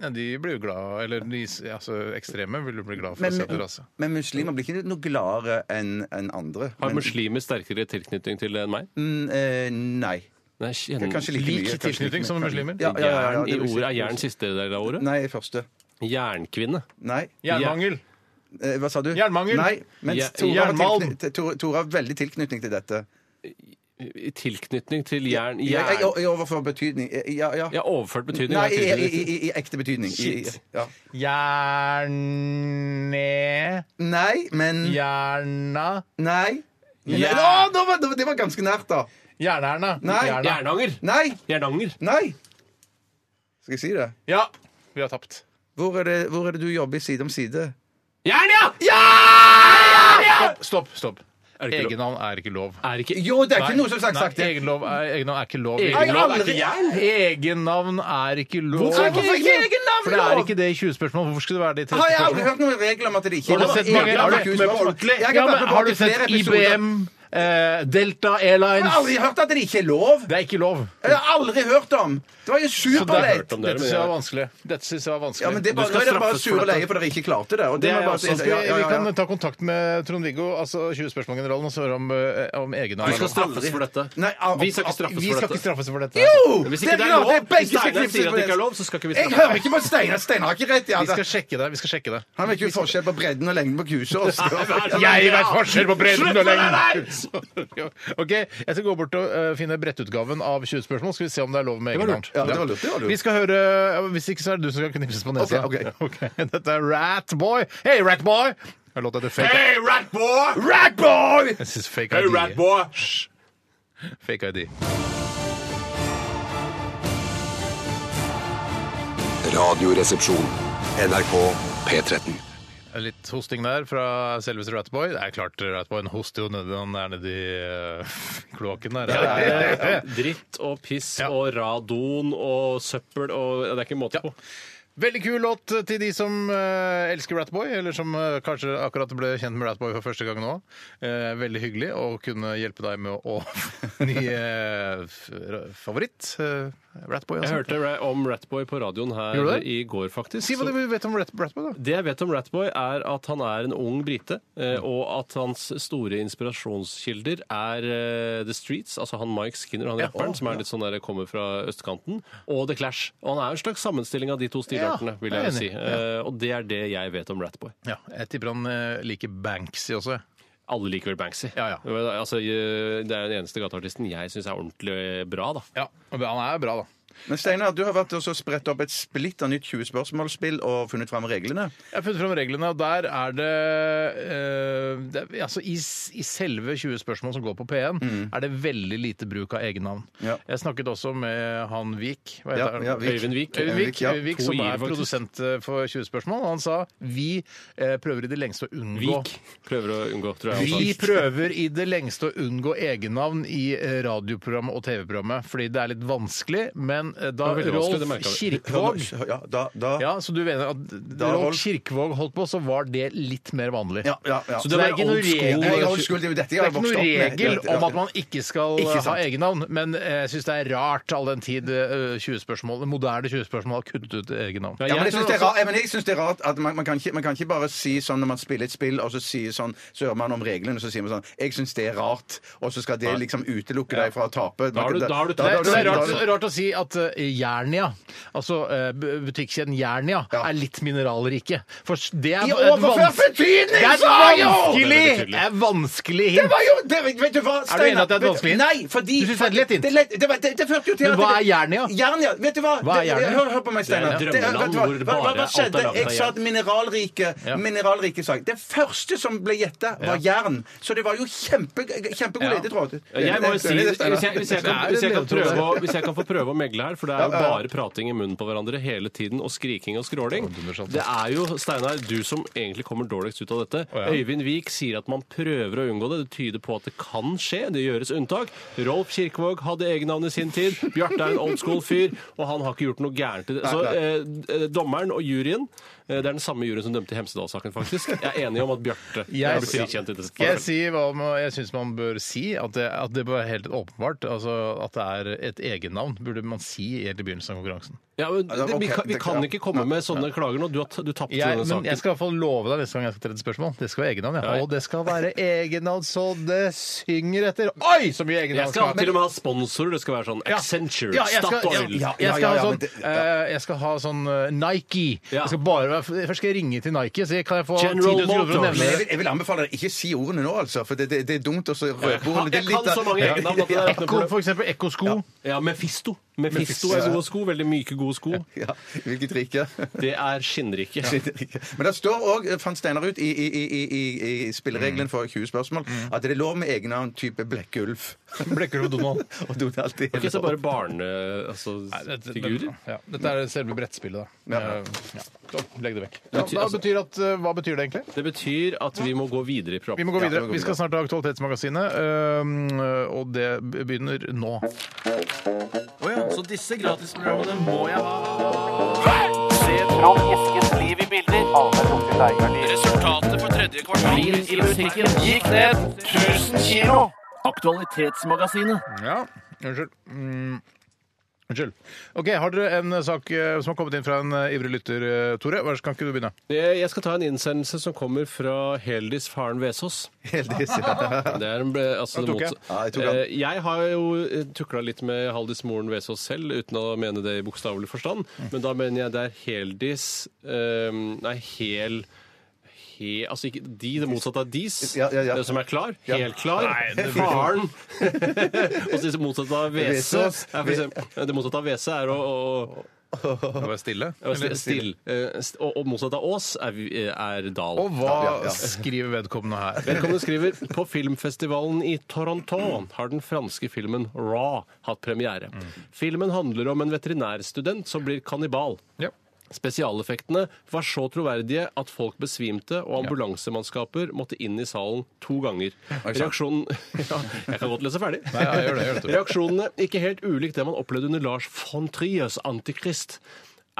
G: Ja, de blir jo glad Eller de altså, ekstreme vil jo bli glad for
I: Men,
G: å se det. Altså.
I: men muslimer blir ikke noe gladere enn enn andre.
H: Har
I: Men-
H: muslimer sterkere tilknytning til det enn meg?
I: Mm, eh, Nei.
H: Nei,
I: Det
H: kjenner
I: er Kanskje like mye.
G: Lik
I: kanskje
G: tilknytning
I: like mye.
G: som muslimer?
I: Ja, ja, ja, ja,
H: Jern i
I: det vil si-
H: ordet er jern siste del av ordet.
I: Nei, første.
H: Jernkvinne.
I: Nei.
G: Jernmangel.
I: Eh, Hva sa du?
G: Jernmangel.
I: Nei, men
H: Ja-
I: Tore har,
G: jernmalm.
I: tilkny- Tore- Tore har veldig tilknytning til dette.
H: I tilknytning til jern.
I: Jeg, jeg,
H: jern.
I: jeg overfor betydning. Eh, Ja, ja.
H: Jeg har overført betydning.
I: Nei,
H: av
I: i, i,
H: tilknytning.
I: i, i ekte betydning. I, i,
H: Shit.
I: ja.
G: Hjerne...
I: Nei, men
G: Hjerna
I: Nei.
G: Jern-
I: Å, nå var, det var ganske nært, da.
G: Jernerna.
I: Nei.
G: Jerna.
H: Jernanger!
I: Nei.
H: Jernanger.
I: Nei. Skal jeg si det?
G: Ja, vi har tapt.
I: Hvor er det, hvor er det du jobber side om side?
H: Jern, ja!
G: Stopp, stopp.
H: Er det ikke lov?
G: Egennavn er ikke lov.
H: Er det ikke
I: Jo, det er ikke
G: Nei,
I: noe som sagt
G: nei,
I: sagt det.
G: Egennavn er, egennavn er ikke lov.
H: Egennavn er
I: aldri-
H: ikke jern?
G: Egennavn er ikke lov.
H: Hvorfor
I: ikke Hvorfor ikke egen navn
G: For det er
I: lov?
G: ikke det i 20 spørsmål. Hvorfor skulle det være det i 30
I: Har jeg aldri
G: spørsmål?
I: hørt noen regler om at det ikke
G: Har du
I: er
G: sett
I: lov?
G: mange-
I: Jeg
G: har du
I: vært
G: sett
I: med på ordentlig? Jeg har
G: Ja,
I: vært
G: men har
I: med på
G: du
I: ordentlig i
G: sett
I: flere episoder.
G: IBM, eh, Delta
I: Jeg har aldri
G: Airlines?
I: hørt at det ikke er lov.
G: Det er ikke lov.
I: Jeg har aldri hørt om. Det var jo
G: Så det-
I: superleit.
H: hørt om det,
G: Dette
H: men
G: syns jeg
H: jeg-
G: var vanskelig. Dette synes jeg var vanskelig.
I: Ja, men det er bare,
H: Du
I: nå
H: skal
I: er dere bare
H: straffes for
I: sure og
H: dette.
I: leie fordi dere ikke klarte
H: Det
I: det. Og det, må
H: er
I: jeg bare
H: også-
G: Vi,
I: si. Ja, ja,
G: vi
I: ja,
G: kan
I: ja.
G: ta kontakt med Trond-Viggo, altså 20 spørsmål-generalen, og så høre om, eh, om
H: Du skal
G: egennavn.
H: straffes for dette.
I: Nei, al-
H: Vi skal ikke straffes
G: Vi skal
H: for
G: ikke
H: dette.
G: straffes for dette.
I: Jo!
H: Hvis
I: Det
H: ikke
I: er
H: det er
I: klart,
H: lov,
I: det er begge
H: hvis Steinar
I: skriftlige
H: sier at det ikke er
I: spørsmål.
H: lov, så skal ikke vi
I: Jeg
H: straffe
I: hører ikke på Steinar. Steinar har ikke rett. Ja.
G: Vi skal sjekke det. vi skal sjekke det.
I: Han vet jo forskjell på bredden og lengden på kuset.
H: <laughs>
I: Oskar.
G: Jeg vet forskjell på bredden og <laughs>
H: lengden!
G: Ok, Jeg skal gå bort og eh, finne brettutgaven av 20 spørsmål. Skal vi se om det er lov med
H: var
G: egennavn.
H: lurt.
I: Ja, det var lurt, det var lurt.
G: Vi skal høre eh, Hvis ikke, så er det du som skal knipses på nesa.
I: Ok, ok.
G: <laughs> Ok, Dette er Ratboy. Hei, Ratboy! Jeg låter det fake.
H: Hey, ratboy!
I: Ratboy!
G: Jeg synes fake
H: Hey,
G: ID.
H: ratboy!
G: Fake ID.
F: Radioresepsjon. NRK P13.
G: Litt hosting der fra selveste Ratboy. Det er klart Ratboy hoster jo nedi han er nedi uh, <laughs> kloakken der.
H: eh, <laughs> Dritt og piss og radon og søppel og Det er ikke måte på.
G: Veldig kul låt til de som eh, elsker Ratboy, eller som eh, kanskje akkurat ble kjent med Ratboy for første gang nå. Eh, veldig hyggelig å kunne hjelpe deg med å, <laughs> å ny eh, f- ra- favoritt. eh, Ratboy,
H: Jeg
G: altså.
H: hørte ra- om Ratboy på radioen
G: Gjorde du
H: her
G: det?
H: i går, faktisk.
G: Si hva
H: Så-
G: du vet om Rat Ratboy, da.
H: Det jeg vet om Ratboy, er at han er en ung brite, eh, og at hans store inspirasjonskilder er eh, The Streets, altså han Mike Skinner, han rapperen, som er litt sånn der, kommer fra østkanten, og The Clash. Og han er en slags sammenstilling av de to stilartene,
G: Ja,
H: vil
G: jeg er
H: jeg jo si.
G: enig.
H: Eh, Og det er det jeg vet om Ratboy.
G: Ja, jeg tipper han eh, liker Banksy også. jeg.
H: Alle liker vel Banksy.
G: Ja, ja.
H: Men, altså, eh, det er den eneste gateartisten jeg syns er ordentlig bra, da.
G: Ja, og Han er bra, da.
I: Men Steinar, du har vært og så spredt opp et splitter nytt 20 spørsmålsspill og funnet fram reglene.
G: Jeg har funnet fram reglene, og der er det, eh, det er, altså i, s- I selve 20 spørsmål som går på P1, er det veldig lite bruk av egennavn.
I: Ja.
G: Jeg snakket også med han Vik. Hva
I: Ja,
G: heter han?
I: ja, Vik.
H: Øyvind Vik.
G: Øyvind Eh, Vik,
I: ja.
G: Øyvind Vik,
H: To
G: som
H: i-er,
G: er
H: faktisk.
G: produsent eh, for 20 spørsmål. og Han sa vi eh, prøver i det lengste å unngå
H: Vik prøver å unngå, tror jeg.
G: Vi
H: også.
G: prøver i det lengste å unngå egennavn i eh, radioprogrammet og TV-programmet, fordi det er litt vanskelig. Men eh, da
H: Det var
G: Rolf
H: veldig vanskelig, det merket vi.
G: Kirkvaag
I: Ja, da, da.
G: ja, Så du mener at Rolf
I: Rolf-
G: Kirkvaag holdt på, så var det litt mer vanlig?
I: Ja, ja, ja.
G: Så
H: det
G: det er
H: var
G: ikke noe
H: old school.
G: regel,
I: Nei, old school, det er jo dette
G: det
I: jeg
G: er
I: har
G: ikke
I: vokst
G: noe
I: opp med.
G: regel
I: Ja, ja, ja.
G: om at man ikke skal
I: Ikke
G: ha
I: sant.
G: egennavn, men eh, jeg syns det er rart all den tid eh, 20-spørsmål, moderne 20-spørsmål har kuttet ut egennavn.
H: Ja,
I: Ja,
H: jeg
I: men jeg
H: tror
I: syns det, er
H: også-
I: rart- ja, men jeg synes det er rart at man, man, kan ikke, man kan ikke bare si sånn når man spiller et spill, og så sier sånn, så hører man om reglene, og så sier man sånn 'Jeg syns det er rart', og så skal det liksom utelukke deg fra å tape.
H: Da har du- da har du-
G: Det
H: Ja,
G: er,
H: det
G: det
H: er
G: er rart,
I: da-
G: rart å si at at eh, Jernia, altså eh, bu- butikkjeden Jernia,
I: Ja.
G: er litt mineralrike. For s- det er
I: I
G: et
I: overført
G: vans- Det
I: betydning,
G: er et
I: sa jeg jo!
G: vanskelig!
H: Det er betydelig.
G: Det er vanskelig
I: Det
G: hint.
I: var jo det, Vet du hva, Steinar?
G: enig at det er et
I: Vet
G: vanskelig hint?
I: Nei, fordi
G: Du synes det er et lett hint?
I: Det, lett- det, var- det, det førte jo til
G: Men
I: at
G: hva er
I: det-
G: Jernia?
I: Jernia? Vet du hva?
G: Hva er
I: Det-
G: Jernia?
I: Hør, hør på meg,
H: Det
I: Steinar.
H: er et
I: Det-
H: drømmeland
I: vet du hva?
H: hvor det
I: Hva, hva,
H: bare
I: hva
H: alt er
I: skjedde?
H: laget av
I: Jeg sa at mineralrike
G: Ja.
I: Mineralrike sak. Det første som ble gjetta, var jern. Så det var jo kjempe, kjempegod
H: Ja.
I: ledetråd.
H: Jeg må jo si,
I: Enig i
H: hvis
I: det,
H: jeg,
I: Steinar?
H: hvis jeg, hvis jeg, kan, hvis jeg, kan, prøve, å- hvis jeg kan få prøve å megle her, for det er jo bare prating i munnen på hverandre hele tiden, og skriking og skråling. Det er jo, Steinar, du som egentlig kommer dårligst ut av dette. Øyvind Wiik sier at man prøver å unngå det. Det tyder på at det kan skje. Det gjøres unntak. Rolf Kirkevåg hadde egennavn i sin tid. Bjarte er en old school fyr, og han har ikke gjort noe gærent i det. Så eh, dommeren og juryen eh, det er den samme juryen som dømte i Hemsedal-saken, faktisk. Jeg er enig om at Bjarte
G: Jeg-
H: blir frikjent i dette
G: Skal jeg si hva man, jeg syns man bør si? At det, at det bør være helt åpenbart. Altså, at det er et egennavn, burde man si helt i begynnelsen av konkurransen.
H: Ja, men det, vi,
I: Altså,
H: kan,
I: ok,
H: vi
I: det-
H: kan
I: ja.
H: ikke komme med sånne klager nå. Du, har t- du tapte
G: Jeg,
H: denne
G: men
H: saken.
G: jeg skal i hvert fall love deg neste gang jeg skal tredje spørsmål. Det skal være egennavn. Ja.
H: Ja, ja.
G: Og det skal være egennavn så det synger etter. Oi, så mye egennavn!
H: Jeg skal
G: ha.
H: til og med ha sponsorer. Det skal være sånn
G: Ja.
H: Accenture,
G: Ja, jeg skal,
H: Statoil
G: ja,
H: ja,
G: jeg skal
I: ja,
G: ha
I: ja,
G: sånn,
I: men det-
G: eh, jeg skal ha sånn eh, Nike.
H: Ja.
G: Jeg skal bare, være- først skal jeg ringe til Nike, så kan jeg få 10
H: General
G: 000 kroner for å
H: Motors.
G: nevne
I: Men jeg
G: det.
I: vil, jeg vil anbefale deg ikke si ordene nå, altså. For det, det, det er dumt å så røpe
H: Jeg kan-
I: ordene.
H: jeg
I: Det er
H: kan
I: litt av-
H: så mange egennavn at det er ikke noe
G: Ekko,
H: problem.
G: for eksempel Ekko-sko.
H: Mefisto. Mefisto er gode sko. Veldig myke, gode sko.
I: Ja, hvilket rike?
H: Det er skinnrike.
I: Men det står òg, fant Steinar ut, i, i, i, i, i- i
H: Mm.
I: spillereglene for 20 spørsmål, at det er lov med egennavn type Blekkulf.
G: Blekker og Donald.
I: <laughs> Og Donald er
H: Ok, så bare
I: lov.
H: barnefigurer. Altså, figurer.
G: Ja, dette er selve brettspillet, da.
I: Ja.
G: Eh, Ja. Så, Legg det vekk.
H: Det
G: Ja,
H: betyr-
G: da
H: altså-
G: betyr at, eh, hva betyr det egentlig?
H: det betyr at vi må gå videre
G: Vi
H: i programmet.
G: må gå
I: Ja,
G: videre.
I: vi må gå
G: Vi skal
I: videre.
G: snart til Aktualitetsmagasinet, øhm, og det begynner nå.
B: Så disse gratisprogrammene må jeg ha. Resultatet på tredje kvartal i musikken gikk ned 1000 kilo. Aktualitetsmagasinet.
G: Ja, unnskyld. Mm. Unnskyld. Ok, Har dere en eh, sak eh, som har kommet inn fra en eh, ivrig lytter, eh, Tore? Vær så kan ikke du begynne?
H: Jeg jeg skal ta en innsendelse som kommer fra Heldis faren Vesaas.
I: Heldigvis, ja.
H: Det er en ble, altså,
G: Den
H: det
G: tok jeg.
H: motsatte.
I: Ja, jeg tok den.
H: Eh, jeg har jo eh, tukla litt med Haldis moren Vesaas selv, uten å mene det i bokstavelig forstand. Men da mener jeg det er heldis eh, Nei, hel he, Altså ikke de, det motsatte av dis,
I: Ja, ja, ja.
H: eh, som er klar.
I: Ja.
H: Helt klar. <laughs> Faren. Og det motsatte av vese
I: Vesaas.
H: er for eksempel, Det motsatte av vese er å, å,
G: Være stille?
H: å sti- still, eh, st- og, og motsatt av ås er, vi- eh, er dal.
G: Og hva
I: Ja, ja, ja.
G: skriver vedkommende her?
H: Vedkommende skriver på filmfestivalen i Toronto har den franske filmen Raw hatt premiere. Filmen handler om en veterinærstudent som blir kannibal.
G: Ja.
H: Spesialeffektene var så troverdige at folk besvimte, og ambulansemannskaper måtte inn i salen to ganger. Reaksjonen <laughs> ja, Jeg kan godt lese ferdig.
G: ja, gjør det, gjør det.
H: Reaksjonene ikke helt ulik det man opplevde under Lars von Triers Antikrist.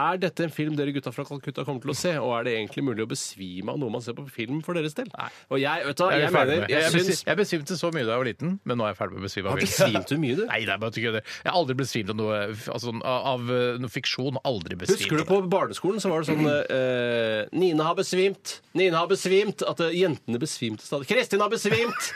H: Er dette en film dere gutta fra Calcutta kommer til å se? Og er det egentlig mulig å besvime av noe man ser på film for deres del? Og jeg, vet du, hva,
G: Jeg,
H: jeg
G: er ferdig
H: mener,
G: med.
H: jeg
G: jeg,
H: syns
G: besi- jeg besvimte så mye da jeg var liten, men nå er jeg ferdig med å besvime. av
H: Har
G: vilt.
H: <laughs> besvimt du mye, du?
G: Nei, det er bare at jeg kødder. Jeg har aldri besvimt av noe altså, sånn, av av, eh, noe fiksjon. Aldri besvimt.
H: Husker du
G: av
H: på barneskolen så var det sånn eh, Nina har besvimt, Nina har besvimt. At eh, jentene besvimte stadig. Kristin har besvimt!
I: <laughs>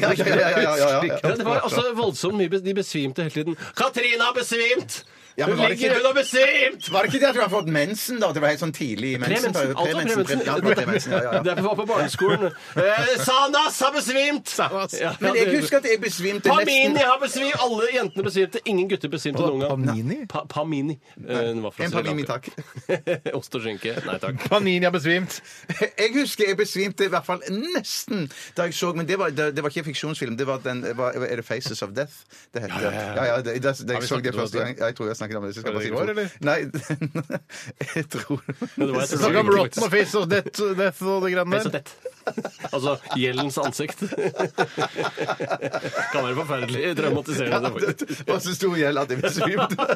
I: Ja, ja, ja, ja, ja, ja.
H: Ja, det var altså voldsomt mye bes- De besvimte hele tiden. Katrine har besvimt!
I: Ja, men
H: hun
I: var det
H: ligger,
I: ikke-
H: hun har besvimt!
I: Var det ikke det at du har fått mensen, da? Det var helt sånn tidlig i mensen.
H: Premensen. Alt var premensen.
I: Altså Ja, det var premensen, ja, ja, ja.
H: <laughs> Det var på barneskolen. Eh, Sanas har besvimt! Ja,
I: Men
H: det-
I: jeg husker at jeg besvimte nesten
H: Pamini har besvimt! Alle jentene besvimte. Ingen gutter besvimte noen gang.
G: Pamini?
H: Pa Pamini. Eh, hun var fra
I: En
H: Sri
I: Pamini,
H: Lanka.
I: takk.
H: <laughs> Ost og skinke. Nei takk.
G: Panini har besvimt.
I: <laughs> Jeg husker jeg besvimte i hvert fall nesten da jeg så Men det var, det, det var ikke fiksjonsfilm. Det var den var, Er det Faces of Death? Det heter ja, ja, ja. det, det, det, jeg så det
G: snakket om
I: første
G: det?
I: gang. Ja, Jeg tror jeg snakket om det. Så skal
G: Var
I: jeg
G: det
I: bare
G: i
I: si det. Nei, <laughs> jeg tror
H: Men det var
I: <laughs>
H: et
G: Snakk om
H: rocket-
G: rotten og fish og death, death og det
H: Det er så
G: greiene der.
H: tett. <laughs> Altså gjeldens ansikt. <laughs> kan være forferdelig traumatiserende. faktisk.
I: Det var så stor gjeld at jeg
G: <laughs>
I: besvimte.
H: <laughs>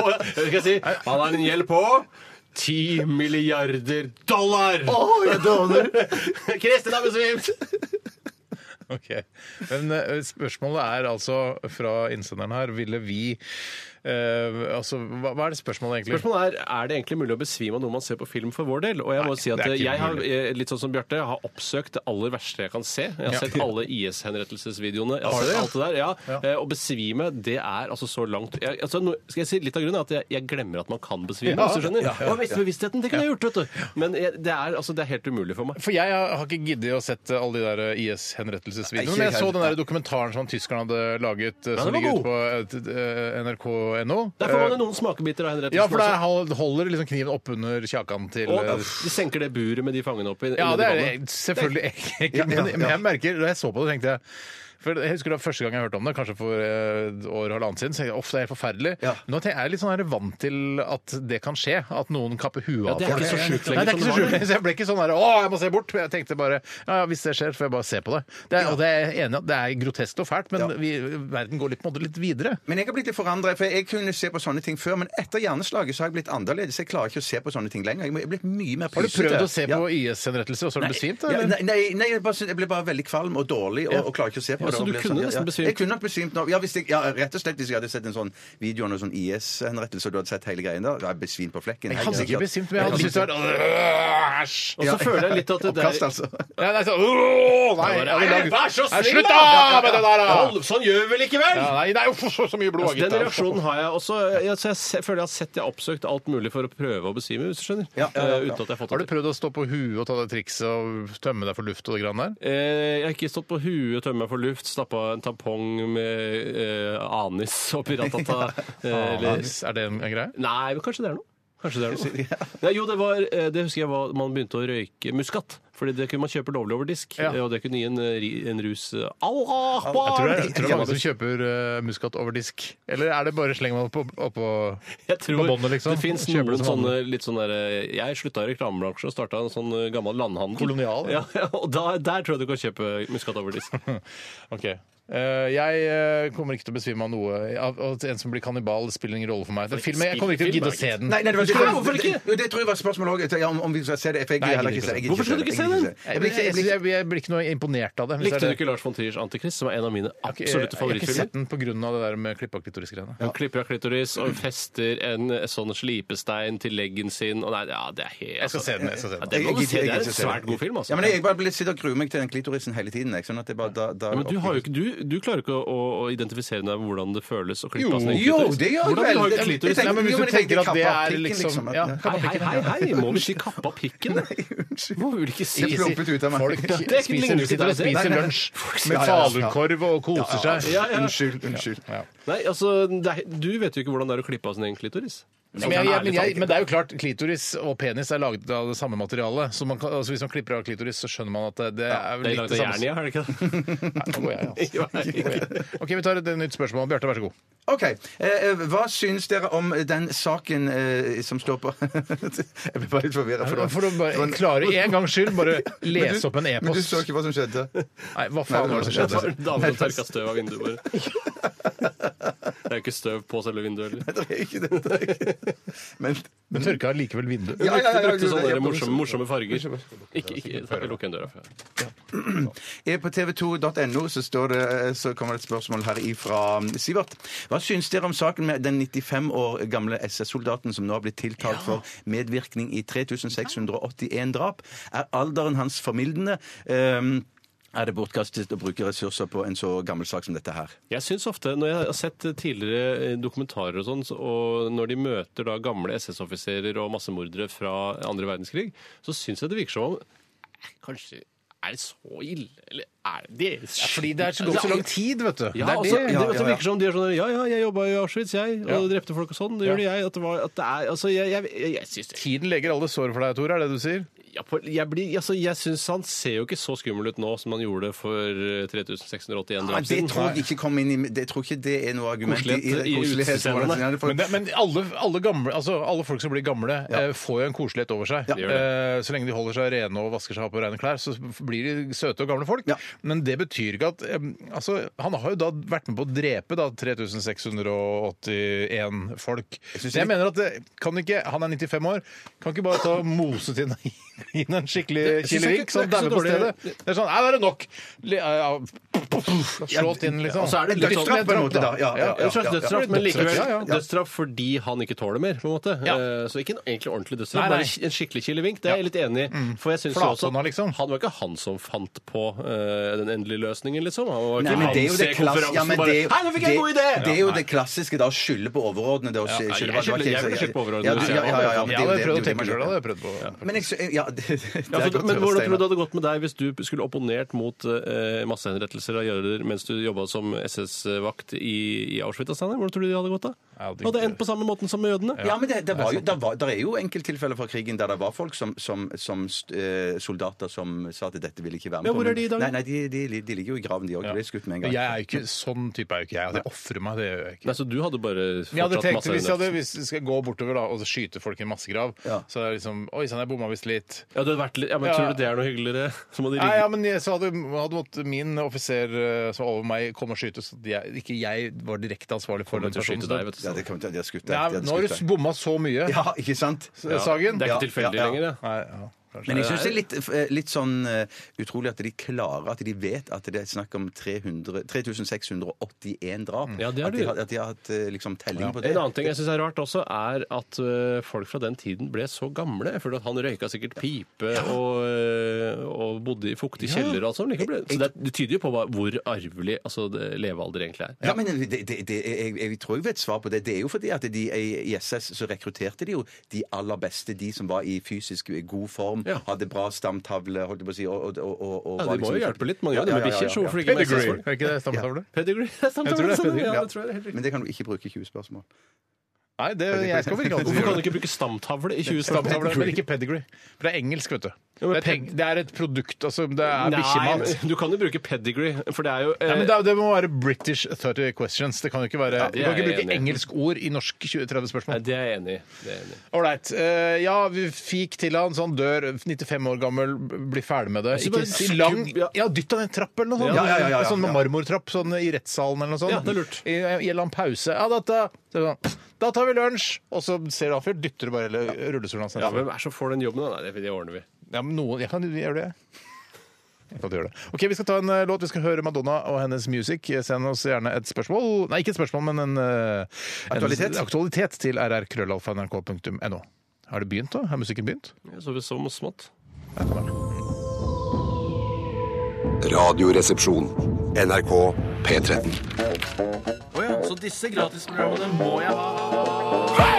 H: Og hva skal jeg si, han har en gjeld på 10 milliarder dollar!
I: Å, jeg dåner!
H: <laughs> Kristin har besvimt!
G: Ok. Men eh, spørsmålet er altså fra innsenderen her Ville vi eh, altså, hva, hva er det spørsmålet egentlig?
H: Spørsmålet er er det egentlig mulig å besvime av noe man ser på film for vår del. Og jeg må
G: Nei,
H: si at
G: det er ikke
H: jeg har,
G: mulig.
H: eh, litt sånn som Bjarte, jeg har oppsøkt det aller verste jeg kan se. Jeg har
G: Ja.
H: sett alle IS-henrettelsesvideoene. Jeg
G: Har
H: har
G: du det?
H: sett alt det der, ja. Eh, Og besvime, det er altså så langt jeg, altså, nå, Skal jeg si litt av grunnen er at jeg, jeg glemmer at man kan besvime,
G: Ja,
H: hvis du skjønner.
G: ja, ja,
H: Og hvis- bevisstheten, det kunne jeg gjort, vet du. Men jeg, det, er, altså, det er helt umulig for meg.
G: For jeg har har ikke giddet å sett eh, alle de der eh, IS-henrettelsesvideoene.
I: Nei, ikke
G: Men jeg så
I: heller.
G: den der dokumentaren som tyskerne hadde laget, eh, som
H: den var
G: ligger ute på eh, t- eh, nrk.no.
H: Der får man jo noen smakebiter av henrettelsen.
G: Eh, Ja, for der
H: også.
G: hol- holder liksom kniven oppunder kjakan til
H: Og
G: eh,
H: de senker det buret med de fangene oppi.
G: Ja,
H: under
G: det
H: vannet.
G: er selvfølgelig ekkelt.
I: Ja, ja,
G: Men,
I: ja.
G: men jeg merker, da jeg så på det, tenkte jeg for Jeg husker det var første gang jeg hørte om det, kanskje for eh, et år og halvannet siden. så tenkte jeg, Uff, det er helt forferdelig.
I: Ja.
G: Nå tenker jeg, jeg er litt sånn her vant til at det kan skje. At noen kapper huet
H: Ja,
G: av
H: det er
G: folk.
H: ikke så sjukt
G: Nei,
H: lenger
G: det er ikke
H: som
G: så
H: det var.
G: sjukt. <laughs> Så jeg ble ikke sånn her Å, jeg må se bort! Jeg tenkte bare ja, ja, hvis det skjer, får jeg bare se på det. det er, og det er jeg enig i at det er grotesk og fælt, men
I: Ja.
G: vi, verden går litt, på en måte litt videre.
I: Men jeg har blitt litt forandret, for jeg kunne se på sånne ting før, men etter hjerneslaget så har jeg blitt annerledes. Jeg klarer ikke å se på sånne ting lenger. Jeg må- jeg er blitt mye mer
G: Har du
I: pysete.
G: prøvd å se
I: Ja.
G: på IS-henrettelser, og så har du besvimt?
I: Ja,
G: eller?
I: nei, nei, nei jeg, bare, synes- jeg ble bare veldig kvalm og dårlig og, og klarer ikke å se på
H: Ja,
I: det.
H: så
I: og
H: du
I: ble
H: kunne nesten besvimt?
I: Ja, jeg kunne nok besvimt nå. Ja, hvis jeg, ja, rett og slett hvis jeg hadde sett en sånn video om en sånn IS-henrettelse og du hadde sett hele greien da, hadde jeg besvimt på flekken.
G: Jeg
I: helt
G: hadde ikke
I: sikkert.
G: besvimt, men jeg hadde syntes det var Æsj!
H: Og så føler jeg litt at det
I: Oppkast,
H: der
I: altså.
G: Ja, det er sånn Åh, nei,
H: Nei,
G: ja, vi lager-
H: vær så
G: Nei,
H: snill,
G: Slutt,
H: da!
G: da! Med det der, da!
H: Hold- Sånn gjør vi vel ikke vel?
G: Ja, nei, nei, uff, så så mye blod av
H: Altså, den
G: gitar.
H: reaksjonen har jeg også. Jeg, så jeg se- føler jeg har sett jeg har oppsøkt alt mulig for å prøve å besvime, hvis du skjønner.
I: Ja, ja, ja,
H: Eh,
I: ja.
H: Uten at jeg har fått
G: Har du
H: det til.
G: prøvd å stå på huet og ta det trikset og tømme deg for luft og det grann der?
H: Eh, Jeg har ikke stått på huet, tømme meg for luft, stappa en tampong med eh, anis og piratata.
G: <laughs>
H: eh, eller-
G: Anis, Er det en en greie?
H: Nei, men kanskje det er noe. Kanskje det er noe. Nei, jo, det, var, eh, det husker jeg var man begynte å røyke muskat. Fordi det kunne man kjøpe lovlig over disk,
G: Ja.
H: eh, og det kunne gi en, eh, ri- en rus eh,
G: Jeg tror
H: Allah akbar!
G: det er, jeg tror det er mange som kjøper eh, muskat over disk. Eller er det bare slenger man oppå oppå
H: Jeg tror
G: På båndet, liksom.
H: det fins
G: Kjøper
H: noen
G: det som
H: sånne litt sånn der eh, Jeg slutta i reklamebransjen og starta en sånn eh, gammel landhandel.
G: Kolonial, ja.
H: Ja, ja, <laughs> og da, der tror jeg du kan kjøpe muskat over
G: <laughs>
H: disk.
G: OK. Eh, jeg eh, kommer ikke til å besvime av noe. Av- av- En som blir kannibal, spiller ingen rolle for meg. Den filmen, Jeg kommer ikke til å gidde å se den.
I: <laughs> Nei, nei, det var
H: Hæ, hvorfor ikke?
I: Det, det tror jeg var spørsmålet òg. Ja, om, om vi skal se det. For jeg
G: Nei,
I: gidder heller
G: jeg
I: ikke se
G: gidder ikke
I: jeg gidder
H: Hvorfor skal du ikke se
I: jeg
H: den?
I: gidder Jeg blir ikke- jeg
G: Jeg, jeg,
I: blir ikke-
G: jeg, jeg blir ikke noe imponert av det. hvis
H: Likte
G: det
H: du
G: er det.
H: ikke Lars von Triers 'Antikrist', som er en av mine
G: Ok,
H: absolutte
G: Jeg har ikke
H: favorittfilmer?
G: sett den pga. det der med klippa klitoris-greiene.
H: Han klipper av klitoris og fester en eh, sånn slipestein til leggen sin. Og nei, ja, det er helt
G: Jeg skal se den. jeg skal se
H: Ja,
G: den.
H: det, må
I: Jeg
H: du se. det
I: gidder- jeg gidder
H: er en
I: ikke se det.
H: svært god film, altså.
I: Ja, men jeg bare blir- sitter og gruer meg til den klitorisen hele tiden. Jeg, sånn at det bare, da, da,
H: Ja, men du, har jo ikke, du, du klarer ikke å, å, å identifisere deg med hvordan det føles å klippe av sin
I: Jo,
H: klitoris.
I: det gjør jeg
H: Hvordan
I: vel.
H: har du
I: Det-
H: klitoris?
I: det-
G: Nei, men
I: Jo,
G: hvis
I: men
G: du
I: jeg tenker
G: tenker at det
I: kappa av
G: er
I: pikken,
G: liksom
I: liksom, at-
G: ja,
I: Nei,
G: kappa
H: Hei, hei,
G: pikken,
H: hei,
G: ja.
H: hei! Må vi si 'kappa
G: <laughs>
H: pikken'? Må vi vel ikke si
G: Ikke
I: plumpet
G: si-
I: ut av meg.
G: Folk
I: Det
H: ligner
G: spiser,
H: jo ikke
G: sitter og
H: deg, det.
G: spiser
I: Nei, nei, nei.
G: lunsj
I: Ja,
G: med
I: ja, ja.
G: falukorv og koser seg.
H: Ja, ja.
I: Unnskyld. unnskyld.
H: Nei, altså, det, er- du vet jo ikke hvordan det er å klippe av sin egen klitoris.
G: Men, jeg, jeg, men, jeg, men det er jo klart, klitoris og penis er laget av det samme materialet. Så man kan, altså hvis man klipper av klitoris, så skjønner man at det, det er vel
H: Det er
G: litt
H: laget
G: det
H: av jern,
G: samme.
H: ja, er det ikke <laughs> det?
G: Nei, nå går jeg, altså.
H: <laughs>
G: OK, vi tar et nytt spørsmål. Bjarte, vær så god.
I: OK. Eh, hva syns dere om den saken eh, som står på <laughs> Jeg ble bare litt forvirra. For det var-
G: For å bare klare en gangs skyld, <laughs> bare lese opp en
I: Men du
G: e-post.
I: så ikke hva som skjedde? <laughs>
G: Nei, hva faen var det som
H: Det
G: skjedde?
H: var en Dame som tørka støv av vinduet bare. Det er jo ikke støv på selve vinduet heller.
I: Det er ikke det. det er ikke det. Men
G: Men tørka likevel vinduet.
I: Ja, ja, ja,
H: Du
I: ja,
H: brukte
I: ja,
H: sånne
I: ja,
H: der
I: ja,
H: morsomme, morsomme farger. Ikke, ikke, ikke lukk igjen døra. for jeg-
I: Eh, På tv2.no så, står det, eh, så kommer det et spørsmål her ifra mm, Sivert. Hva syns dere om saken med den 95 år gamle SS-soldaten som nå har blitt tiltalt for medvirkning i 3681 drap? Er alderen hans formildende? Ehm, er det bortkastet å bruke ressurser på en så gammel sak som dette her?
H: Jeg syns ofte, når jeg har sett tidligere eh, dokumentarer og sånn, så- og når de møter da gamle SS-offiserer og massemordere fra andre verdenskrig, så syns jeg det virker som om eh, Kanskje er det så ille? Eller er det deres skyld?
G: Fordi det er så gått så lang tid, vet du. Det
H: Ja,
G: er
H: altså,
G: det.
H: det, det virker som de er sånn der, Ja, ja, jeg jobba i Auschwitz, jeg, og
G: Ja.
H: drepte folk og sånn. Det gjorde jeg. At det var, at det er, altså, jeg jeg, jeg, jeg syns det-
G: Tiden leger alle sår for deg, Tore, er det du sier?
H: ja, på- jeg, blir- altså, jeg syns han ser jo ikke så skummel ut nå som han gjorde for eh, 3681
I: Nei,
H: drap
I: det
H: siden.
I: tror jeg ikke kom inn i Det tror ikke det er noe argument i, i,
H: Koselighet i
I: koselighet.
H: utestedene.
I: Ja, det får-
G: Men, det, men alle, alle, gamle, altså alle folk som blir gamle, eh, får jo en koselighet over seg.
H: Ja. De gjør
G: Eh, så lenge de holder seg rene og vasker seg opp og rene klær, så blir de søte og gamle folk.
I: Ja.
G: Men det betyr ikke at eh, altså, Han har jo da vært med på å drepe da, 3681 folk. Jeg, eh,
I: synes det-
G: <laughs> mener at det, kan ikke, han er 95 år, kan ikke bare ta mose til Gi den en
H: Det-
G: skikkelig
H: jeg synes ikke-
G: kilevink, sånn
H: det er ikke så
G: dauer på
H: dårlig.
G: stedet. Det er sånn Nei, nå er det nok! Le- ja, Slå til, liksom.
I: Og så er det
H: sånn-
G: Litt
I: dødsstraff på en måte, da. Ja, ja, ja,
H: En slags
I: ja, ja.
H: dødsstraff, men likevel
G: Ja, ja, ja.
H: dødsstraff fordi han ikke tåler mer. på en måte.
G: Ja.
H: Eh, Så ikke en egentlig ordentlig dødsstraff,
G: Nei, nei.
H: bare en skikkelig kilevink. Det er jeg litt enig i.
I: Mm.
H: For jeg synes jo også
G: Flathånda, liksom.
H: Han var ikke han som fant på eh, den endelige løsningen, liksom. Han var
I: Nei,
H: ikke
I: men det er jo det klass...
H: konferansen
I: ja, men det,
H: bare Hei, nå fikk jeg en god idé!
I: det- Det er jo det klassiske da, å skylde på overordnede. og
H: Ja,
I: skylde
H: jeg
I: på- det var
H: skylder-
I: ikke-
H: jeg ville skyldt på overordnede,
I: Ja, du-
H: hvis jeg
I: ja,
H: var
I: ja, ja, ja,
H: overordnet.
I: men
G: Ja,
I: det er
G: det
I: jo det-
G: prøvde å
I: det er jo
G: tenke sjøl, da.
I: det man
G: Det
I: gjør.
G: har jeg prøvd på. Ja.
I: Men jeg, så- ja, <laughs> det, det
H: Ja,
I: er
H: for,
I: godt
H: men
I: å
H: Hvordan
I: høre,
H: tror
I: Steinar.
H: du det hadde gått med deg hvis du skulle opponert mot eh, massehenrettelser av jøder mens du jobba som SS-vakt i, i Auschwitz? Steinar? Hvordan tror du det hadde gått da?
G: Ja, det-
H: Det hadde endt på samme måten som med jødene?
I: Ja, men det, det, var jo,
H: sånn.
I: det, var, der er jo enkelttilfeller fra krigen der det var folk som, som, som eh, soldater som sa at dette ville ikke være med
H: Ja,
I: på.
H: hvor er
I: men-
H: de i dag?
I: Nei, nei, de, de, de ligger jo i graven, de òg. De ble skutt med en
G: Men
I: gang.
G: Jeg er jo ikke sånn type er jo ikke jeg. Jeg ofrer meg, det gjør jeg ikke.
H: Nei, Så du hadde bare
G: Men jeg hadde tenkt, hvis
H: fortsatt
G: jeg hadde
H: massehenrettelser?
G: hvis jeg skal gå bortover da, og så skyte folk i en massegrav,
I: Ja.
G: så er det liksom Oi sann, jeg bomma visst litt.
H: Ja, det hadde vært litt, ja, men
G: Ja.
H: Tror du det er noe hyggeligere? <laughs> Så må de
G: Nei,
H: ringe.
G: ja, men jeg, så hadde, hadde måttet min offiser eh, som var over meg, komme og skyte, så at jeg, ikke jeg var direkte ansvarlig for den
H: til å
G: personen.
H: skyte deg, vet du.
I: Ja, det kan, de har skutt deg.
G: Nei,
I: de hadde
G: nå har du
I: skutt deg.
G: bomma så
H: <laughs>
G: mye,
I: Ja, ikke sant?
G: eh, Sagen.
H: Det er
I: Ja,
H: ikke tilfeldig
I: ja, ja.
H: lenger, det.
G: Nei, ja, kanskje.
I: Men jeg syns det er litt, eh, litt sånn eh, utrolig at de klarer at de vet at det er snakk om 300 3681 drap.
H: Ja, det er
I: at,
H: det.
I: de, har- at de har hatt eh, liksom telling på det.
H: En annen ting jeg syns er rart også, er at ø, folk fra den tiden ble så gamle. Jeg føler at han røyka sikkert pipe og, ø, og bodde i fuktig kjeller og alt sånt. Likevel. Så det, det tyder jo på hva, hvor arvelig altså, det, levealder egentlig er.
I: Ja, men det, det, det, jeg, jeg tror jeg vet svar på det. Det er jo fordi at de eh, i SS så rekrutterte de jo de aller beste, de som var i fysisk eh, god form,
H: Ja.
I: hadde bra stamtavle, holdt jeg på å si, og, og, og, og, og
H: Ja,
I: var
H: de må jo
I: liksom-
H: hjelpe litt. Man gjør det med bikkjer, så hvorfor ikke med
G: Pedigree.
H: SS-folk?
G: Er ikke det stammetavle?
H: Pedigree? <laughs>
G: Jeg tror det er pedigree,
H: Ja,
I: ja.
H: det tror jeg er helt riktig.
I: Men det kan du ikke bruke i 20 spørsmål.
G: Nei, det, jeg skal vel ikke alltid
H: Hvorfor kan
G: gjøre
H: du
G: det.
H: ikke bruke stamtavle i 20
G: Stamtavle,
H: stamtavler?
G: men ikke pedigree. For det er engelsk, vet du.
H: Ja, men
G: det, er peng, det er et produkt, altså. Det er bikkjemat.
H: Nei, du kan jo bruke pedigree, for det er jo øh, ø,
G: Nei, men det, det må være British 30 questions. Det kan jo ikke være,
H: Eh,
G: Du
H: Ja, det
G: kan
H: er
G: ikke
H: jeg
G: bruke
H: enig i.
G: engelsk ord i norsk 20-30
H: Nei,
G: spørsmål.
H: det er jeg enig i. Det er jeg enig i.
G: Ålreit. ja, vi fikk til han, så han dør 95 år gammel, blir ferdig med det.
H: Så
G: Ikke
H: Altså, bare
G: si
H: skubb-
G: lang
H: ja.
G: Ja, dytt han i en trapp eller noe sånt.
I: Ja, ja, ja, ja, ja.
G: Sånn med marmortrapp sånn i rettssalen eller noe sånt.
H: Ja, det er lurt.
G: I, I en eller annen pause. Ja, dette det er sånn, Da tar vi lunsj! Og så ser du han fyr, dytter du bare hele rullestolen hans
H: Ja,
G: nedover.
H: Hvem er det som får den jobben? da? Nei, det, det ordner vi.
G: Ja, men noen, jeg kan gjøre det. Jeg kan gjøre det. Ok, Vi skal ta en eh, låt. Vi skal høre Madonna og hennes music. Send oss gjerne et spørsmål Nei, ikke et spørsmål, men en, eh,
I: Aktualitet.
G: en aktualitet til rrkrøllalfa.nrk.no. Har det begynt, da? Har musikken begynt?
H: Ja, Så vi så smått.
F: Radioresepsjon. NRK P13.
B: Så disse gratisprogrammene må jeg ha.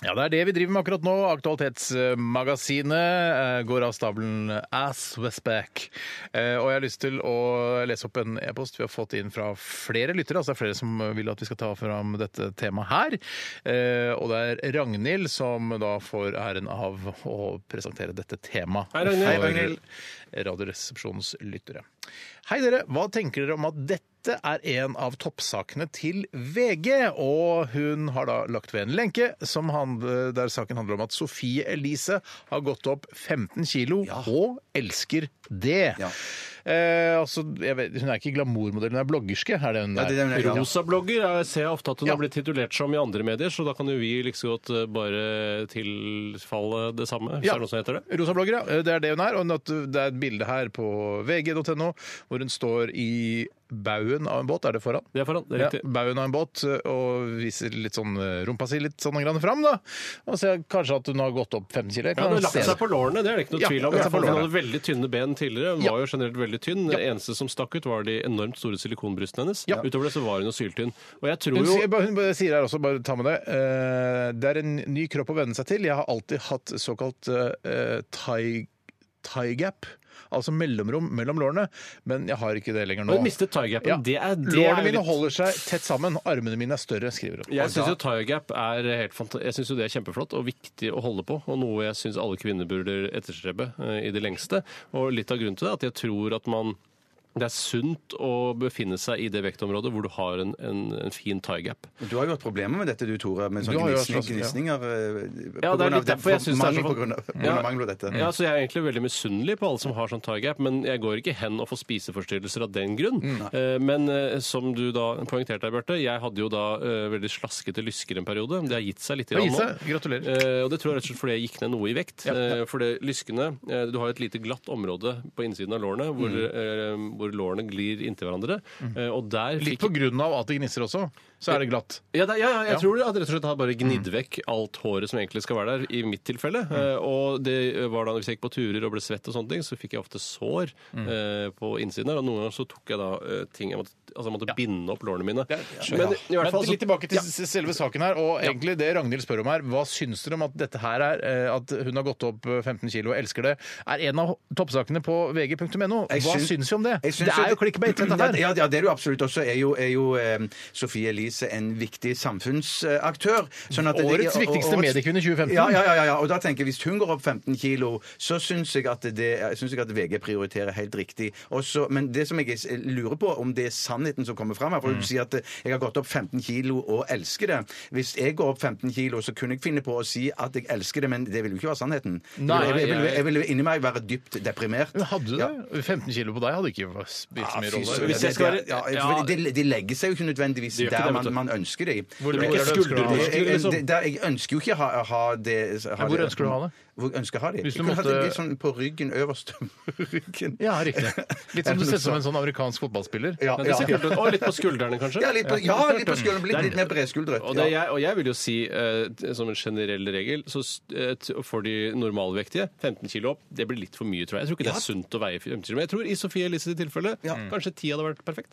G: Ja, det er det vi driver med akkurat nå. Aktualitetsmagasinet eh, går av stabelen as was back. Eh, Og jeg har lyst til å lese opp en e-post vi har fått inn fra flere lyttere. Altså det er flere som vil at vi skal ta fram dette temaet her. Eh, Og det er Ragnhild som da får æren av å presentere dette temaet.
H: Hei, Ragnhild.
G: for
H: Hei, Ragnhild.
G: Radioresepsjonens lyttere. Hei dere, hva tenker dere om at dette er en av toppsakene til VG? Og hun har da lagt ved en lenke som handler, der saken handler om at Sofie Elise har gått opp 15 kilo og elsker det.
I: Ja.
G: Eh, altså, jeg vet, hun er ikke glamourmodell, hun er bloggerske. Er det hun
I: Ja,
G: der?
I: det er det- ja.
H: Rosa-blogger jeg ser jeg ofte at hun
G: Ja.
H: har blitt titulert som i andre medier, så da kan jo vi like så godt eh, bare tilfalle det samme, hvis
G: Ja.
H: det er noe som heter det.
G: Rosa blogger, ja. eh, Det er det hun er. Og at eh, det er et bilde her på vg.no hvor hun står i baugen av en båt. Er det foran?
H: Det er foran, det er
G: Ja,
H: riktig.
G: baugen av en båt eh, og viser litt sånn eh, rumpa si litt sånn grann fram, da. Og ser kanskje at hun har gått opp 15 kilo. Jeg
H: Ja,
G: kan
H: hun har lagt
G: se
H: seg
G: det.
H: på lårene, det er det ikke noe
G: Ja,
H: tvil om.
G: lagt
H: I
G: seg på
H: hvert fall, Hun
G: lårene.
H: hadde veldig tynne ben tidligere, hun
G: Ja.
H: var jo generelt veldig tynn. Det
G: Ja.
H: eneste som stakk ut, var de enormt store silikonbrystene hennes.
G: Ja.
H: Utover det så var hun jo syltynn. Og jeg tror
G: Hun,
H: jo
G: sier- hun bare sier her også, bare ta med det eh, Det er en ny kropp å venne seg til. Jeg har alltid hatt såkalt eh, thai, thai gap, altså mellomrom mellom lårene, men jeg har ikke det lenger nå.
H: Hun mistet thigh-gapen.
G: Ja.
H: Det er det
G: Lårene
H: er jo
G: mine
H: litt-
G: holder seg tett sammen. Armene mine er større, skriver hun.
H: Jeg syns jo tie-gap er helt fanta- Jeg synes jo det er kjempeflott og viktig å holde på, og noe jeg syns alle kvinner burde etterstrebe eh, i det lengste. Og litt av grunnen til det er at jeg tror at man Det er sunt å befinne seg i det vektområdet hvor du har en, en, en fin tie gap.
I: Du har jo hatt problemer med dette, du Tore, med
G: Du
I: sånne
G: har jo
I: gnisninger.
G: hatt slags-
I: gnisninger
H: sånn,
I: eh,
H: Ja, det er litt derfor jeg syns det er så
I: på grunn av, på grunn av mangel på dette.
G: Mm.
H: Ja, så jeg er egentlig veldig misunnelig på alle som har sånn tie gap, men jeg går ikke hen og får spiseforstyrrelser av den grunn.
G: Mm,
H: Eh, Men eh, som du da poengterte, her, Bjarte, jeg hadde jo da eh, veldig slaskete lysker en periode. Det har gitt seg litt
G: Det har
H: grann
G: gitt
H: nå.
G: seg. Gratulerer.
H: Eh, Og det tror jeg rett og slett fordi jeg gikk ned noe i vekt. Eh, For det lyskene eh, Du har jo et lite glatt område på innsiden av lårene hvor,
G: Mm.
H: eh, hvor lårene glir inntil hverandre, Eh, og der
G: Litt
H: fikk
G: på grunn av at det gnisser også, så er det glatt.
H: ja, det, ja, ja, jeg
G: Ja.
H: tror at rett og slett har bare gnidd vekk alt håret som egentlig skal være der, i mitt tilfelle. Eh, og det var da hvis jeg gikk på turer og ble svett og sånne ting, så fikk jeg ofte sår eh, på innsiden der. Og noen ganger så tok jeg da eh, ting jeg måtte, altså jeg måtte binde opp lårene mine. Men i hvert
G: Men
H: fall så-
G: litt tilbake til s- selve saken her, og egentlig det Ragnhild spør om her. Hva syns dere om at dette her er eh, At hun har gått opp eh, 15 kilo og elsker det, er en av toppsakene på vg.no.
I: Jeg
G: Hva
I: syns-
G: syns vi om det?
I: Jeg syns
G: Det er jo clickbait, dette <clears throat> her.
I: Ja, ja, det er det jo absolutt. Og så er jo, er jo eh, Sofie Elise en viktig samfunnsaktør. sånn at det-
G: Årets
I: ja,
G: viktigste
I: årets-
G: mediekvinne 2015.
I: Ja, ja, ja, ja, ja. Og da tenker jeg, hvis hun går opp 15 kilo, så syns jeg at, det, syns jeg at VG prioriterer helt riktig. Og så- men det som jeg s- lurer på, om det er sannheten som kommer fram her. For
G: Mm.
I: du sier at eh, jeg har gått opp 15 kilo og elsker det. Hvis jeg går opp 15 kilo, så kunne jeg finne på å si at jeg elsker det, men det vil jo ikke være sannheten.
G: Nei,
I: jeg, vil- jeg, vil-
H: jeg-
I: jeg vil inni meg være dypt deprimert.
G: Men Hadde du
I: Ja.
G: det? 15 kilo på deg hadde ikke spilt så mye
I: Fy
G: rolle.
I: søren.
H: Hvis jeg skal være-
I: Ja, for de, de legger seg jo ikke nødvendigvis
H: De gjør ikke
I: der
H: det,
I: man,
H: vet du.
I: man ønsker de.
G: Hvor-
H: Det
G: hvor
H: blir ikke
G: er det ønsker du å ha det?
H: skuldermuskler,
I: Jeg, jeg,
H: liksom.
I: det- der, jeg ønsker jo ikke å ha, ha det ha
G: hvor ønsker du å ha det?
I: Hvor ønsker jeg å ha det?
G: Hvis du
I: Jeg kunne hatt
G: måtte-
I: det litt sånn på ryggen, øverst ryggen.
G: Ja, riktig.
I: <laughs>
G: Litt <laughs> som du ser ut som en sånn amerikansk fotballspiller.
I: Ja,
H: Ja, det ser
I: ja.
H: kult ut. Og litt på skuldrene, kanskje.
I: Ja, litt på, ja, litt på skulderen. Litt, litt mer bredskuldret.
H: Og, det
I: Ja.
H: jeg, og jeg vil jo si, eh, t- som en generell regel, så s- eh, t- for de normalvektige 15 kilo opp, det blir litt for mye, tror jeg. Jeg tror ikke det er sunt å veie 15 kilo. Men jeg tror i Sofie Elises tilfelle kanskje 10 hadde vært perfekt.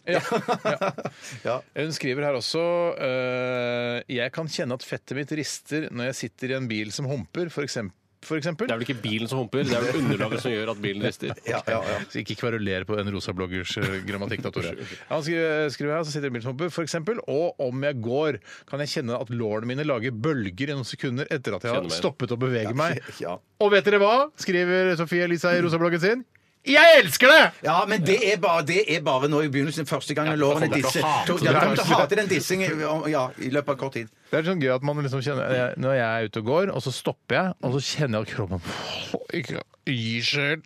G: Hun skriver her også eh, Jeg kan kjenne at fettet mitt rister når jeg sitter i en bil som humper, for eksempel. For eksempel.
H: Det er vel ikke bilen som humper, det er vel underlaget som gjør at bilen rister.
I: Ja, ja, ja.
G: Så ikke kveruler på en rosa bloggers eh, grammatikk, da, Tore. Han skriver, skriver her, så sitter det en bilsnumpe, for eksempel, og om jeg går, kan jeg kjenne at lårene mine lager bølger i noen sekunder etter at jeg
H: Kjenner
G: har
H: meg.
G: stoppet å bevege meg.
I: ja.
G: Og vet dere hva, skriver Sofie Elise i rosabloggen sin, jeg elsker det!
I: Ja, men det er bare, det er bare nå i begynnelsen. Første gang lårene
H: kommer til å
I: disser.
H: hate
I: To-
H: det.
I: Ja, du kommer til å hate den dissingen ja, i løpet av kort tid.
G: Det er sånn gøy at man liksom kjenner jeg- Når jeg er ute og går, og så stopper jeg, og så kjenner jeg at kroppen «Åh, ikke gir seg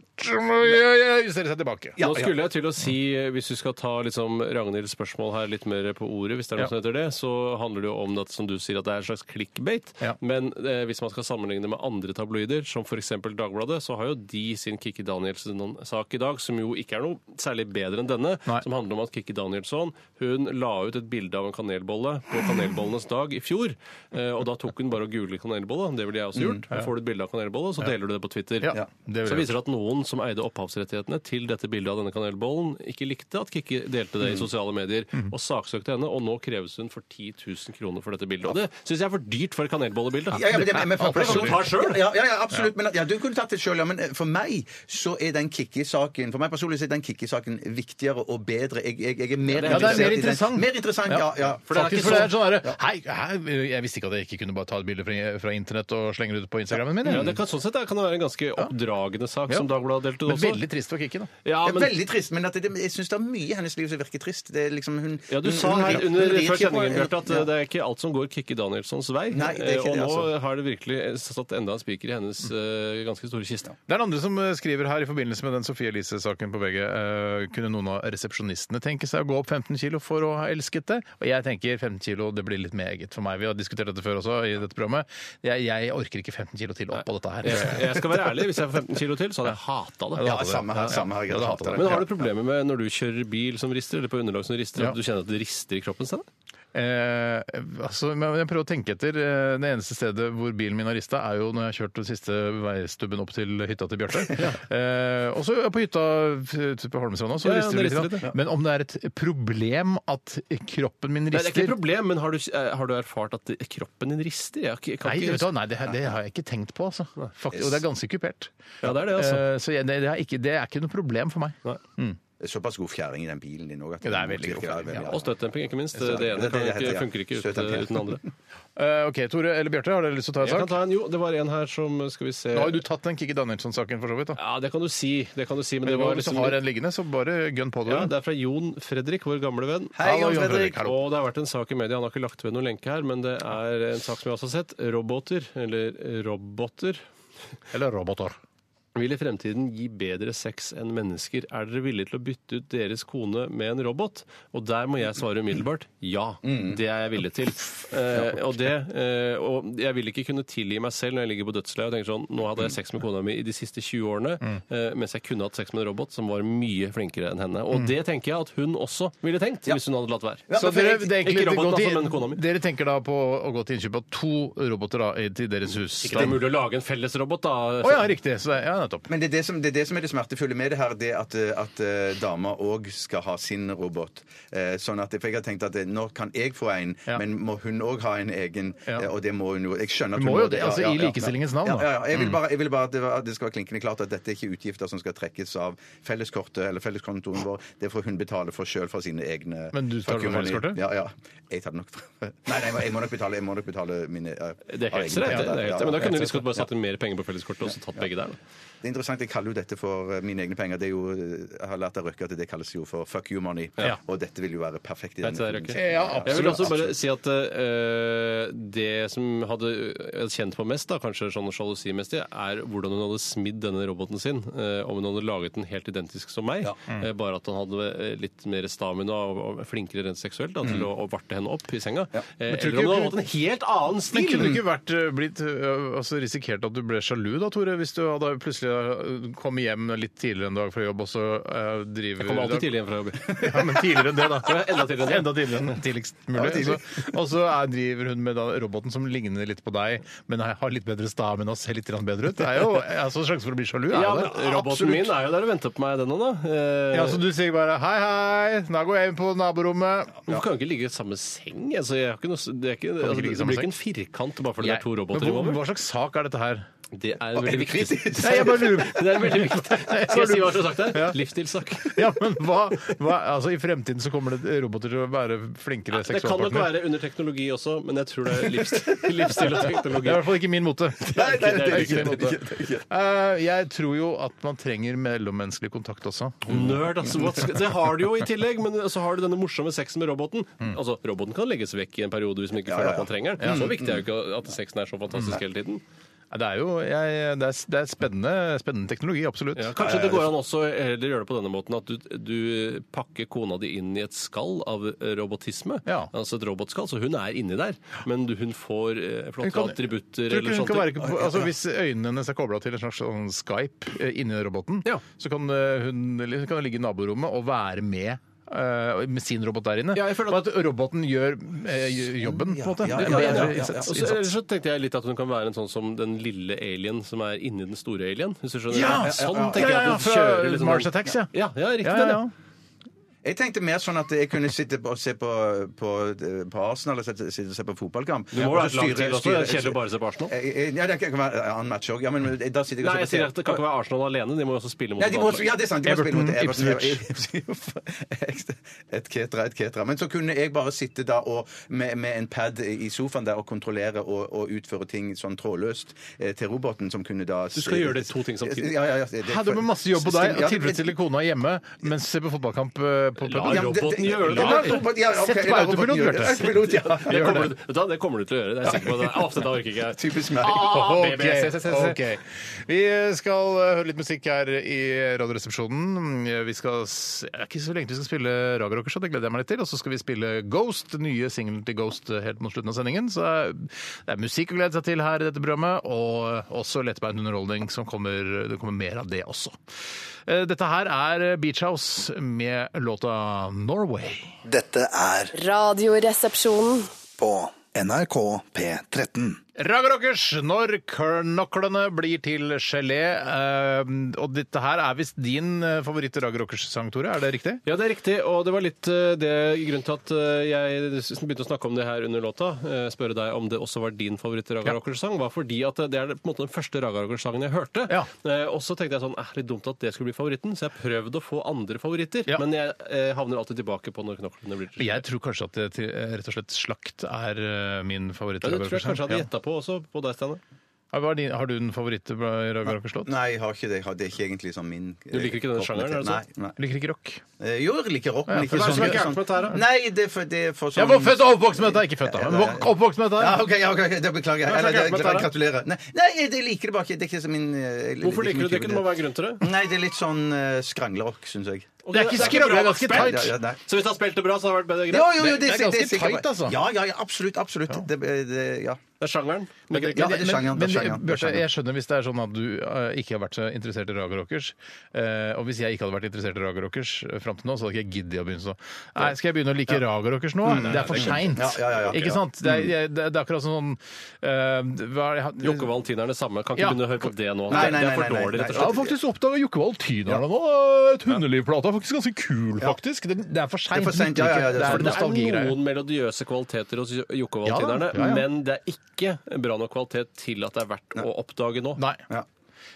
G: helt», Justerer seg tilbake.
I: Ja,
H: Nå
I: ja.
H: skulle jeg til å si, eh, hvis du skal ta liksom Ragnhilds spørsmål her litt mer på ordet, hvis det er noe
G: Ja.
H: som heter det, så handler det jo om at, som du sier, at det er en slags clickbait.
G: Ja.
H: Men eh, hvis man skal sammenligne med andre tabloider, som f.eks. Dagbladet, så har jo de sin Kikki Danielsen-sak i dag, som jo ikke er noe særlig bedre enn denne,
G: Nei.
H: som handler om at Kikki Danielsson hun la ut et bilde av en kanelbolle på kanelbollenes dag i fjor. Eh, og da tok hun bare og googlet kanelbolle, det ville jeg også gjort. Får du et bilde av kanelbolle, så deler du det på Twitter.
G: Mm, Ja, det vil
H: så
G: jeg
H: viser det at noen som eide opphavsrettighetene til dette bildet av denne kanelbollen, ikke likte at Kikki delte
I: Mm.
H: det i sosiale medier, og saksøkte henne, og nå kreves hun for 10 000 kroner for dette bildet. Og det syns jeg er for dyrt for et kanelbollebilde.
I: Ja, ja, men det, men, men,
H: Alt er sånn du tar selv.
I: Ja, ja, ja, absolutt. Men, at- ja, du kunne tatt det sjøl, ja. Men eh, for meg så er den Kikki-saken For meg personlig så er den Kikki-saken viktigere og bedre. Jeg, jeg, jeg er mer
G: Ja, det er mer
I: i den.
G: interessant.
I: Mer interessant, ja. ja.
G: For det er ikke sånn, sånn derre, hei, hei, jeg visste ikke at jeg ikke kunne bare ta et bilde fra, fra internett og slenge det ut på Instagrammen min. jeg».
H: Ja, det kan, sånn sett det kan det være en ganske oppdragende sak
G: Ja.
H: som Dagbladet delte
G: Men
H: også.
G: veldig trist for Kikki, da.
H: ja,
I: Det er
H: men,
I: veldig trist, men at det, jeg syns det er mye i hennes liv som virker trist. Det er liksom hun
H: ja, Du
I: hun-
H: sa
I: hun-
H: her
I: hun-
H: under
I: hun rir
H: før
I: ikke på-
H: sendingen Bjarte, at eh,
I: Ja.
H: det er ikke alt som går Kikki Danielssons vei.
I: Nei, det er ikke
H: Eh, og
I: det,
H: nå
I: altså. Mm.
H: har det virkelig satt enda en spiker i hennes eh, ganske store kiste.
G: Det er den andre som eh, skriver her i forbindelse med den Sofie Elise-saken på VG. eh, kunne noen av resepsjonistene tenke seg å gå opp 15 kilo for å ha elsket det? Og jeg tenker 15 kilo, det blir litt meget for meg. Vi har diskutert dette før også i dette programmet. Jeg, jeg orker ikke 15 kilo til opp på dette her.
H: Jeg, jeg
G: <laughs>
H: skal være ærlig, hvis jeg får 15 kilo til, så hadde jeg hata det.
I: Ja, samme her. Samme her.
G: Ja, det hater jeg.
H: Men har du problemer med når du kjører bil som rister, eller på underlag som rister,
G: Ja.
H: at du kjenner at det rister i kroppen? Stedet?
G: Eh, altså, men jeg prøver å tenke etter. Eh, Det eneste stedet hvor bilen min har rista, er jo når jeg har kjørt den siste veistubben opp til hytta til Bjarte. eh, og så på hytta ute på Holmestranda, så
H: Ja, ja,
G: rister
H: det
G: det litt.
H: rister
G: grann.
H: litt, ja.
G: Men om det er et problem at kroppen min
H: Nei, det er ikke
G: rister
H: et problem, men har du, eh, har du erfart at det- kroppen din rister? Jeg kan ikke- kan
G: Nei,
H: ikke
G: vet du, hva, nei det, her- det har jeg ikke tenkt på, altså. Faktisk, og det er ganske kupert.
H: Ja, det er det, altså.
G: Eh, så jeg, det, det, er ikke, det er ikke noe problem for meg.
H: Nei.
I: såpass god fjæring i den bilen din òg.
G: Ja, det er veldig god fjæring,
H: Og støtdemping, ikke minst. Det ene kan ikke, funker ikke ut, uten andre.
G: Eh, OK, Tore eller Bjarte, har dere lyst til å ta
H: Jeg
G: en sak?
H: kan ta en, jo, det var en her som Skal vi se
G: Nå har jo du tatt den Kikki Danielsson-saken, for så vidt. da.
H: Ja, det kan du si. Det kan du si, men,
G: Men
H: det var
G: Hvis du
H: liksom
G: har en liggende, så bare gønn på det.
H: Ja, det er fra Jon Fredrik, vår gamle venn.
G: Hei, Jon Jon Fredrik. Fredrik, hallo.
H: Og det har vært en sak i media, han har ikke lagt ved noen lenke her, men det er en sak som jeg også har sett. Roboter, eller roboter,
G: Eller roboter.
H: vil i fremtiden gi bedre sex enn mennesker. Er dere villige til å bytte ut deres kone med en robot? Og der må jeg svare umiddelbart ja. Det er jeg villig til. Eh, og, det, eh, og jeg vil ikke kunne tilgi meg selv når jeg ligger på dødsleiet og tenker sånn Nå hadde jeg sex med kona mi i de siste 20 årene, eh, mens jeg kunne hatt sex med en robot som var mye flinkere enn henne. Og det tenker jeg at hun også ville tenkt, hvis hun hadde latt være.
G: Så dere, det er egentlig,
H: Ikke roboten,
G: gå til-
H: altså, men kona mi.
G: dere tenker da på å gå til innkjøp av to roboter da, i- til deres hus?
H: Ikke det er mulig å lage en felles robot, da.
G: Å ja, riktig. Så det, ja, nettopp.
I: Men det er det, som, det er det som er det smertefulle med det her, det at, eh, at eh, dama òg skal ha sin robot. Eh, sånn at, for jeg har tenkt at eh, nå kan jeg få en,
G: Ja.
I: men må hun òg ha en egen?
G: Ja.
I: Eh, og det må hun jo. Jeg skjønner at
G: Hun
I: hun
G: må jo det, altså, i likestillingens navn, da.
I: Ja,
G: Mm.
I: ja, ja. Jeg vil bare, jeg vil bare at, det var, at det skal være klinkende klart at dette er ikke utgifter som skal trekkes av felleskortet eller felleskontoen vår. Det får hun betale for sjøl fra sine egne
G: Men du tar det fra
I: fakturaer.
G: felleskortet?
I: Ja, ja. Jeg tar det nok fra Nei, <laughs> nei, jeg må- jeg må nok betale, jeg må nok betale mine eh,
H: Det er
I: av
H: helt rett. det
I: egne penger.
H: er helt
I: Ja,
H: rett. Men da
I: ja,
H: kunne
I: helt
H: vi skulle
I: rett.
H: bare satt inn mer penger på felleskortet og så tatt begge der. da.
I: Det er interessant, Jeg kaller jo dette for eh, mine egne penger. Det er jo, eh, jeg har lært av Røkke at det kalles jo for fuck you money.
H: Ja.
I: Og dette vil jo være perfekt. i
H: Nei, til deg, Røkke.
G: Ja,
H: Jeg vil også bare
I: Absolutt.
H: si at eh, det som hadde jeg hadde kjent på mest, da, kanskje sånn sjalusimessig, er hvordan hun hadde smidd denne roboten sin. eh, om hun hadde laget den helt identisk som meg, eh, bare at han hadde eh, litt mer stamina og, og flinkere rent seksuelt da, til å, å varte henne opp i senga. Eh,
G: Mm. tror
H: eller
G: ikke
H: om hun
G: du-
H: hadde hatt en helt annen
G: Men
H: stil!
G: kunne du ikke vært, ø, blitt, ø, altså risikert at du ble sjalu da, Tore? Hvis du hadde plutselig ø, kommet hjem litt tidligere en dag fra jobb, og så ø, driver
H: Jeg kommer alltid tidlig hjem fra jobb.
G: <laughs> Ja, men tidligere enn det, da.
H: <laughs> Ja, enda tidligere enn det.
G: Enda tidligere enn tidligst mulig. Så- Og så er- driver hun med da, roboten som ligner litt på deg, men har litt bedre stamina og ser litt grann bedre ut. Det er jo altså, sjansen for å bli sjalu. Er
H: Ja,
G: jo
H: men
G: der.
H: roboten min er jo der og venter på meg, denne, da. Eh,
G: Ja, altså, så du sier bare hei, hei, da går jeg inn på naborommet.
H: Hvorfor kan vi ikke ligge i samme seng? Altså, jeg har ikke noe, det, er ikke,
G: ikke
H: altså,
G: ligge i
H: det
G: samme
H: blir ikke en firkant bare fordi det er to roboter
G: Men hvor,
H: involvert.
G: hva slags sak er dette her?
H: Det er veldig viktig.
G: Nei, jeg bare lurer
H: Det er veldig viktig. Skal jeg si hva som er sagt der? Livsstilssak.
G: Ja, men hva, hva Altså, i fremtiden så kommer det roboter til å være flinkere
H: Det kan nok
G: seksualpartner.
H: være under teknologi også, men jeg tror det er livsstil, <laughs> livsstil og
G: Det er i
H: teknologi.
G: hvert fall ikke min mote.
H: <laughs> Nei, det er
G: Det er ikke min mote. Eh, Jeg tror jo at man trenger mellommenneskelig kontakt også.
H: Nerd, altså. What? Det har du jo i tillegg, men så har du denne morsomme sexen med roboten.
G: Mm.
H: Altså, Roboten kan legges vekk i en periode hvis man ikke føler at man trenger den. Så viktig er jo ikke
G: Mm.
H: at sexen er så fantastisk hele tiden.
G: Ja, Det er jo jeg, det er, det er spennende, spennende teknologi, absolutt.
H: Ja, kanskje
G: eh,
H: det går an også heller gjøre det på denne måten at du, du pakker kona di inn i et skall av robotisme.
G: Ja.
H: Altså et robotskall, så hun er inni der. Men du, hun får eh,
G: Hun
H: flotte
G: kan-
H: attributter
G: Tror ikke
H: eller
G: hun kan
H: sånt.
G: være, altså, hvis øynene hennes er kobla til en slags sånn Skype eh, inni roboten,
H: Ja.
G: så kan eh, hun, eller hun kan ligge i naborommet og være med. eh, Med sin robot der inne.
H: Ja, jeg føler Sånn,
G: at... at roboten gjør eh, gjør jobben, på en måte.
I: ja,
G: Det
I: ja,
G: kan
I: ja,
G: være
I: ja, ja.
G: innsats-
H: Og så,
G: innsats.
H: ellers så tenkte jeg litt at hun kan være en sånn som den lille alien som er inni den store alien. Hvis du skjønner?
G: Ja,
H: sånn
G: ja, ja,
H: tenker jeg
G: ja,
H: at hun
G: fra
H: kjører litt sånn-
G: Mars Attacks, ja.
H: Ja, ja, riktig.
G: Ja,
H: den,
G: ja,
H: ja.
G: ja.
I: Jeg tenkte mer sånn at jeg kunne sitte på- og se på, på, eh, på Arsenal eller sitte sitte og se på fotballkamp.
H: Du må
I: Og
H: ha et
I: så
H: langt
I: styre-
H: tid også.
I: styre-
H: Det er kjedelig å bare se på Arsenal.
I: Eh, eh, Ja, det kan være en annen match òg. Ja, men da sitter jeg
H: Nei,
I: og
H: jeg sier at det kan ikke være Arsenal alene. De må jo også spille mot
I: Nei, de må,
H: et annet lag.
I: ja, det er sant. De må spille mot
G: Everton,
I: Everton. <laughs> Et ketra, et ketra. Men så kunne jeg bare sitte da og, med, med en pad i sofaen der og kontrollere og, og utføre ting sånn trådløst eh, til roboten, som kunne da
H: Du skal gjøre det to ting samtidig.
I: Ja, ja, ja, det-
G: Hæ, du må masse jobb på deg og
I: Ja,
G: tilfredsstille kona hjemme mens du ser på fotballkamp eh, på
H: La
G: puben.
I: ja, det-
H: roboten gjøre det.
I: La roboten- ja, ok,
G: Sett på
I: la roboten
G: autopilot,
I: gjøre det.
G: Bjarte.
I: <laughs> Autopilot, ja.
H: Det kommer, du, vet du hva, det kommer du til å gjøre. Det er jeg sikker på. Det er- Ofte da orker ikke jeg.
I: Typisk meg.
H: Ah,
G: Ok,
H: baby, se, se, se, se.
G: ok. Vi skal eh, høre litt musikk her i Radioresepsjonen. Eh, Vi skal, s- det er ikke så lenge til vi skal spille Raga Rockers, så det gleder jeg meg litt til. Og så skal vi spille Ghost, den nye singelen til Ghost eh, helt mot slutten av sendingen. Så eh, det er musikk å glede seg til her i dette programmet, og eh, også lettbeint underholdning som kommer. Det kommer mer av det også. Eh, Dette her er eh, Beach House med låta 'Norway'.
E: Dette er
D: Radioresepsjonen.
E: på NRK P13.
G: Raga Rockers, når knoklene blir til gelé. Eh, og dette her er visst din eh, favoritt Raga Rockers-sang, Tore? Er det riktig?
H: Ja, det er riktig, og det var litt eh, det grunnen til at eh, jeg s- begynte å snakke om det her under låta. eh, Spørre deg om det også var din favoritt Raga
G: Ja.
H: Rockers-sang. Var fordi at eh, det er på en måte den første Raga Rockers-sangen jeg hørte.
G: Ja.
H: Eh, Og så tenkte jeg sånn, eh, litt dumt at det skulle bli favoritten, så jeg prøvde å få andre favoritter.
G: Ja.
H: Men jeg eh, havner alltid tilbake på når knoklene blir til.
G: Jeg tror kanskje at det, til- eh, rett og slett Slakt er eh, min favoritt.
H: Ja, det
G: Raga
H: tror jeg
G: Rockers-sang.
H: kanskje jeg hadde
G: Ja.
H: gjetta på også, på deg, Steinar.
G: Ja, hva er din- Har du en favoritt Raga Rockers-låt?
I: Nei, jeg har ikke det. Jeg har- Det er ikke egentlig sånn min
H: Du liker ikke den sjangeren, er det sant?
I: Nei, nei.
G: Liker ikke rock.
I: Eh, Jo, jeg liker rock, men
G: Ja, for
I: ikke
G: hva er det
I: sånn
G: som er gærent
H: med dette her, da?
I: Nei, det er for, det er for sånn
G: Jeg var født og oppvokst med dette! Ikke født, da. men vok- Oppvokst med dette!
I: Ja,
G: her.
I: OK, ja, ok, det beklager jeg.
H: Hva er det som
I: Eller,
H: er gærent
I: det,
H: med dette her, da?
I: gratulerer. Nei, nei, jeg jeg liker det bare ikke. Det er ikke så min eh, jeg liker
H: Hvorfor liker du det ikke?
I: min type.
H: Det må være grunn til det.
I: Nei, det er litt sånn eh, skranglerock, syns jeg.
H: Og
G: Det er ikke skrevet, det er ganske
H: bra.
G: tight.
I: Ja, ja, nei.
H: Så hvis du har spilt det bra, så har det vært bedre
I: Jo,
H: greit?
I: jo, jo,
G: Det er
I: sik-
G: ganske
I: sikkert
G: tight,
I: bra.
G: altså.
I: Ja, ja, ja, absolutt. Absolutt. Det, det, ja.
H: Det er sjangeren.
G: Men-
H: Men,
I: Ja, det er sjangeren, det er
G: men-
I: sjangeren, det er
G: Bjarte,
I: sjangeren.
G: jeg skjønner hvis det er sånn at du eh, ikke har vært så interessert i Raga Rockers. eh, og hvis jeg ikke hadde vært interessert i Raga Rockers eh, fram til nå, så hadde ikke jeg giddet å begynne sånn. Nei, skal jeg begynne å like Raga Rockers nå?
I: Mm,
G: det er for seint.
I: Ja, ja, ja, ja. Mm.
G: Ikke sant? Det er, jeg- det er akkurat sånn eh, hva er det jeg-
H: Jokke Valentin er det samme. Kan ikke
G: Ja.
H: begynne å høre på det nå.
I: Nei,
H: Det-
I: nei,
H: det er
I: nei,
H: for
I: nei,
H: dårlig,
I: nei,
H: rett og
G: Jeg har
H: slett.
G: faktisk oppdaga Jokke Valentinerne nå. Et hundelivplate er faktisk ganske kul, faktisk. Det, det er for
I: Det er for
G: seint.
I: sent, ja, ja, ja, det er for-
G: er
H: Det er
G: nostalgigreier.
H: noen melodiøse kvaliteter hos Jokke
G: Ja da,
H: Valentinerne,
G: ja, ja.
H: men det er ikke bra nok kvalitet til at det er verdt å oppdage nå.
G: Nei.
I: Ja.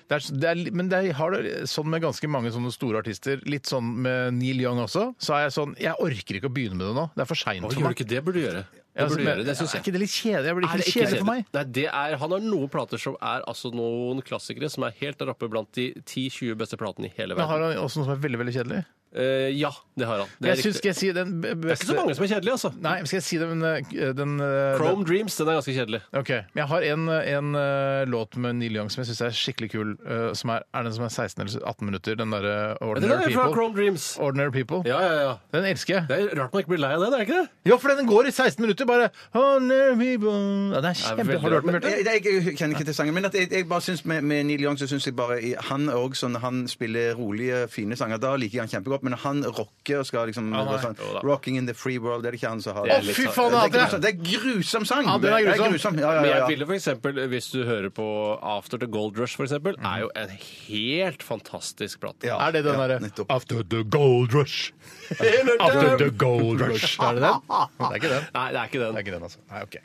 G: Det er, det er, li- men det er, har det sånn med ganske mange sånne store artister, litt sånn med Neil Young også, så er jeg sånn Jeg orker ikke å begynne med det nå. Det er for seint
H: Å,
G: for
H: gjør
G: meg. altså,
H: du ikke det, burde du gjøre. Det burde du gjøre, det synes
G: Er
H: jeg.
G: ikke det litt kjedelig? Jeg blir ikke
H: Er
G: litt
H: det ikke
G: kjedelig for meg.
H: Nei, det er, han har noen plater som er altså noen klassikere som er helt der oppe blant de 10-20 beste platene i hele
G: Men
H: verden.
G: har han også noe som er veldig veldig kjedelig?
H: Eh, ja, det har han. Det er,
G: Jeg synes,
H: riktig.
G: skal jeg si den b-
H: det er ikke så
G: beste
H: mange som er kjedelige, altså.
G: Nei, skal jeg si den, eh, den eh,
H: Chrome Dreams den er ganske kjedelig.
G: Ok, men Jeg har en, en eh, låt med Neil Young som jeg syns er skikkelig kul. eh, som er, er den som er 16 eller 18 minutter? Den derre
H: Den er
G: Ordinary
H: fra
G: People.
H: Chrome Dreams.
G: Ordinary People.
H: Ja, ja, ja.
G: Den elsker jeg.
H: Det er Rart man ikke blir lei av det, det er ikke det?
G: Ja, for den går i 16 minutter, bare Ordinary People. Ja, den er
H: Det
G: kjempe...
H: er veldig
G: Har du hørt den,
I: Men
G: Bjarte?
I: jeg, jeg, jeg kjenner ikke til sangen, men at jeg, jeg bare synes med, med Neil Young så synes jeg bare i- Han er også sånn, han spiller rolige, fine sanger. Da liker jeg han kjempegodt, men han rocker og skal liksom
G: nei.
I: gå sånn,
H: Jo da.
I: 'Rocking in the free world'. Det er det ikke han som har
G: Å, fy faen, jeg
I: det,
G: hater
I: er
G: det!
I: grusom, det er grusom sang!
G: Ja, den er
I: Det
G: grusom.
I: Ja, ja,
H: Men
I: ja,
H: jeg
I: ja.
H: ville for eksempel, hvis du hører på After the Gold Rush, for eksempel, er jo en helt fantastisk plate.
I: Ja,
G: Er det den
I: ja,
G: derre
I: nettopp.
G: After the gold <laughs> rush. After the gold rush. Er det den? Det er ikke den.
H: Nei, det er ikke
G: Det er
H: den.
G: ikke den, altså. Nei, ok.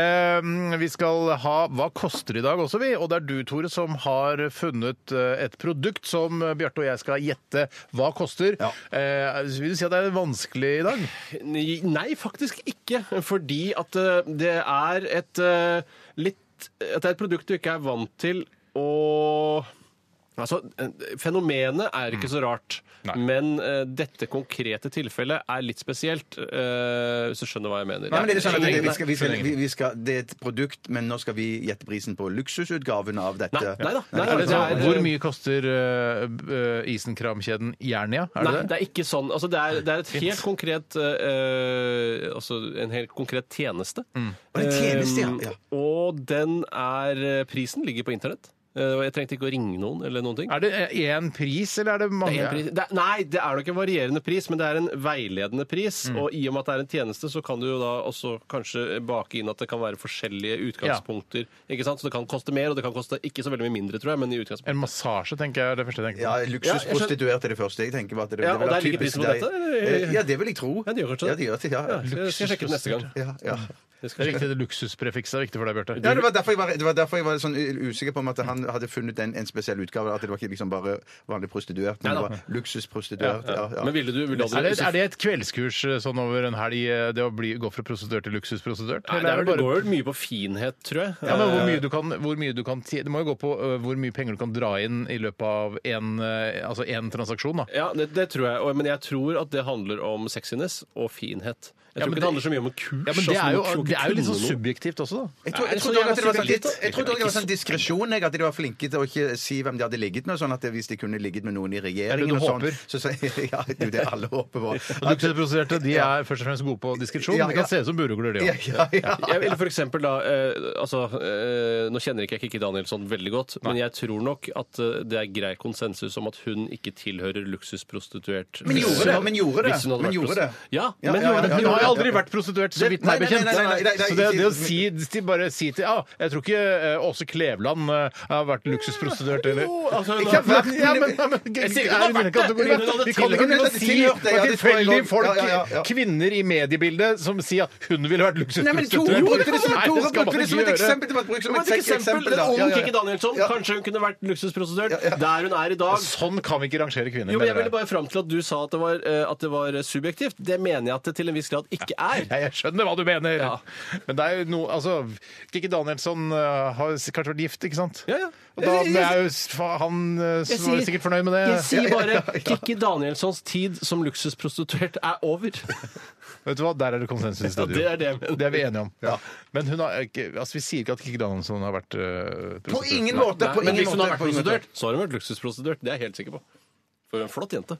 G: Ehm, vi skal ha Hva koster i dag også, vi. Og det er du, Tore, som har funnet eh, et produkt som eh, Bjarte og jeg skal gjette hva koster.
I: Ja.
G: Eh, vil du si at det er vanskelig i dag?
H: Nei, faktisk ikke. Fordi at eh, det er et eh, litt At det er et produkt du ikke er vant til å Altså, eh, Fenomenet er
I: Mm.
H: ikke så rart, men eh, dette konkrete tilfellet er litt spesielt. eh, hvis du skjønner hva jeg mener.
I: Nei, men det er sånn at det, vi skal, vi skal,
G: Nei.
I: vi, vi skal, det er et produkt, men nå skal vi gjette prisen på luksusutgaven av dette.
H: Nei, nei da. Nei,
G: Er
H: nei,
G: det sånn, hvor mye koster eh, eh, isenkramkjeden Jernia? Er det
H: Nei, det
G: det?
H: er ikke sånn. Altså, det, er, det er et helt konkret eh, altså, En helt konkret tjeneste.
G: Mm.
I: Og det er tjeneste, ja.
H: Um,
I: ja.
H: og den er eh, Prisen ligger på internett. Eh, og jeg trengte ikke å ringe noen eller noen ting.
G: Er det én pris, eller er det
H: Det
G: mange?
H: er en pris. Det er, nei, det er nok en varierende pris, men det er en veiledende pris.
G: Mm.
H: Og i og med at det er en tjeneste, så kan du jo da også kanskje eh, bake inn at det kan være forskjellige utgangspunkter. Ikke sant? Så det kan koste mer, og det kan koste ikke så veldig mye mindre, tror jeg, men i utgangspunktet.
G: En massasje, tenker jeg er det første jeg tenker på.
I: Ja, Luksusprostituerte er det første jeg tenker på. At det,
H: Ja,
I: det vil
H: og
I: være
H: der ligger
I: typisk
H: prisen på
I: deg.
H: dette, eller?
I: Eh, Ja, det vil jeg tro.
H: Ja, det gjør kanskje det.
I: det. Ja, det, ja,
H: Ja, jeg skal sjekke det neste gang.
I: ja, ja.
H: Det skal
G: Det er viktig, det luksusprefikset er viktig for deg, Bjarte.
I: Ja, det var derfor jeg var, det var, derfor jeg var sånn u- usikker på om at han hadde funnet en, en spesiell utgave. At det var ikke liksom bare vanlig prostituert, men det var luksusprostituert. Ja, ja.
H: Men ville du, ville du aldri
G: Er det, er det et kveldskurs eh, sånn over en helg, eh, det å bli, gå fra prostituert til luksusprostituert?
H: Nei,
G: Eller
H: det,
G: er
H: er,
G: det
H: det
G: bare-
H: går jo mye på finhet, tror jeg. Eh,
G: Ja, men
I: Eh,
G: hvor mye du kan, hvor mye du kan tje- Det må jo gå på ø, hvor mye penger du kan dra inn i løpet av én altså en transaksjon. da.
H: Ja, det, det tror jeg. Og, men jeg tror at det handler om sexiness og finhet. Jeg
G: Ja, men
H: tror ikke det,
G: det-
H: handler så mye om en kurs.
G: Ja, men Det
H: altså,
G: er jo,
H: du må ikke
G: det er jo litt
H: kunne
G: sånn
H: noe.
G: subjektivt også, da.
H: Er det så
I: Jeg tror- jeg trodde også at det
H: jævla
I: var sånn litt- jeg trodde også det var sånn diskresjon, jeg. At det var var flinke til å ikke si hvem de hadde ligget med, sånn at hvis de kunne ligget med noen i regjeringen
G: Er det
I: og
G: ingen
I: sånn, så, så, ja, det er jo det alle håper på.
G: Dukkeproduserte de
I: Ja.
G: er først og fremst gode på diskresjon.
I: Ja,
G: Det
I: ja.
G: kan se ut som burugler, de
I: Ja,
G: òg.
I: ja, ja.
H: Jeg vil for eksempel da eh, altså, eh, Nå kjenner ikke jeg Kikki Danielsson veldig godt, men jeg tror nok at eh, det er grei konsensus om at hun ikke tilhører luksusprostituert.
I: Men gjorde det, men gjorde det,
H: Hvis hun hadde
I: men
H: vært prosti-
I: gjorde det.
H: Ja,
I: Ja,
H: men
I: ja,
H: gjorde
I: ja,
H: det.
G: Hun
I: ja,
G: har
I: ja.
G: jo aldri vært prostituert, så
I: Det-
G: vidt meg
I: nei, nei,
G: bekjent.
I: nei, nei, nei, nei,
G: Så det, det å
I: ikke-
G: si, til bare si til Ja, jeg tror ikke eh, Åse Kleveland eh, har vært luksusprostituert, eller
I: Ikke altså, har vært,
G: ja, men, ja, men,
H: Jeg sier hun har
G: er i denne
H: vært det.
G: kategorien.
H: Hun hadde
G: Vi kan
I: tilhørt-
G: ikke begynne å
I: hun
G: si
I: tilhørte,
G: det
I: ja,
G: er
I: det tror jeg
G: tilfeldige
I: godt.
G: folk,
I: Ja, ja, ja.
G: kvinner i mediebildet, som sier at hun ville vært
I: Nei, men Tore
G: luksusprostituert.
I: brukte det som,
G: Nei,
I: Tore
G: skal man
I: brukte det
G: ikke
I: som et
G: gjøre.
I: eksempel. Det var brukt som
H: Men
I: et
H: et eksempel,
I: eksempel,
H: En
I: da.
H: ung
I: Ja, ja, ja.
H: Kikki Danielsson. Kanskje hun kunne vært luksusprostituert der hun er i dag.
G: Sånn kan vi ikke rangere kvinner.
H: Jo, men jeg
G: mener
H: ville bare fram til at du sa at det, var, eh, at det var subjektivt. Det mener jeg at det til en viss grad ikke er.
G: Ja, jeg skjønner hva du mener.
H: Ja.
G: Men det er jo noe Altså, Kikki Danielsson eh, har s- kanskje vært gift, ikke sant?
H: Ja, ja.
G: Og da
H: Jeg- jeg-
G: ble jeg jo s- fa- Han eh,
H: Jeg
G: s- var
H: sier-
G: sikkert fornøyd med det.
H: Jeg sier bare Kikki Danielssons tid som luksusprostituert er over.
G: Vet du hva, der er det konsensus i studio.
H: det er det jeg mener.
G: Det er vi enige om. Men hun har ikke Altså, vi sier ikke at Kikki Danielsson har vært eh,
I: På
G: prostituert.
I: ingen måte! På
H: Men
I: ingen
H: hvis hun har
I: måte.
H: vært
I: på ingen måte.
H: prostituert, så har hun vært luksusprostituert. Det er jeg helt sikker på. For hun er en flott jente.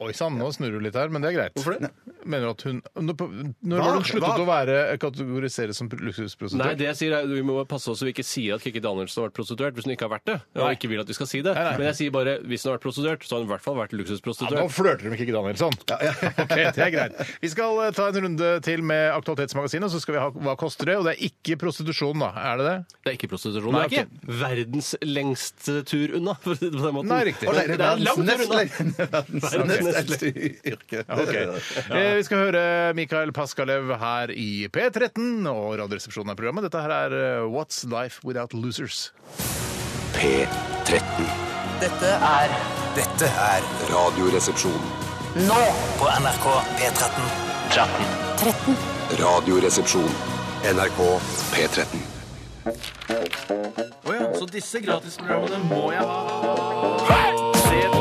G: Oi sann, nå snurrer du litt her, men det er greit.
H: Hvorfor det?
G: Mener du at hun Når, på- når
I: Hva?
G: var det hun sluttet
I: Hva?
G: å være eh, kategoriseres som luksusprostituert?
H: Nei, det jeg sier er vi må passe oss så vi ikke sier at Kikki Danielsen har vært prostituert hvis hun ikke har vært det. Og
G: Nei.
H: ikke vil at vi skal si det.
G: Nei, nei.
H: Men jeg sier bare hvis hun har vært prostituert, så har hun i hvert fall vært
G: Ja, nå
H: luksusprostituert.
G: flørter du med Kikki Danielsson. <laughs> Ok, det er greit. Vi skal eh, ta en runde til med Aktualitetsmagasinet, så skal vi ha Hva koster det? Og det er ikke prostitusjon, da. Er det det?
H: Det er ikke prostitusjon.
G: Nei,
H: det er ikke verdens lengste tur unna, for å si det på den måten.
G: Nei, riktig.
I: Å, nei,
H: Det
I: det
H: er
I: er
H: langt
I: verdens
H: unna.
I: nest- verdens neste yrke.
G: <laughs> Eh, Vi skal høre Mikael Paskalev her i P13 og Radioresepsjonen er programmet. Dette her er eh, What's Life Without Losers.
A: P13.
C: Dette er
A: Radioresepsjon.
C: Nå på NRK P13.
A: Radioresepsjon. NRK P13.
B: Så disse gratisprogrammene må jeg ha. Se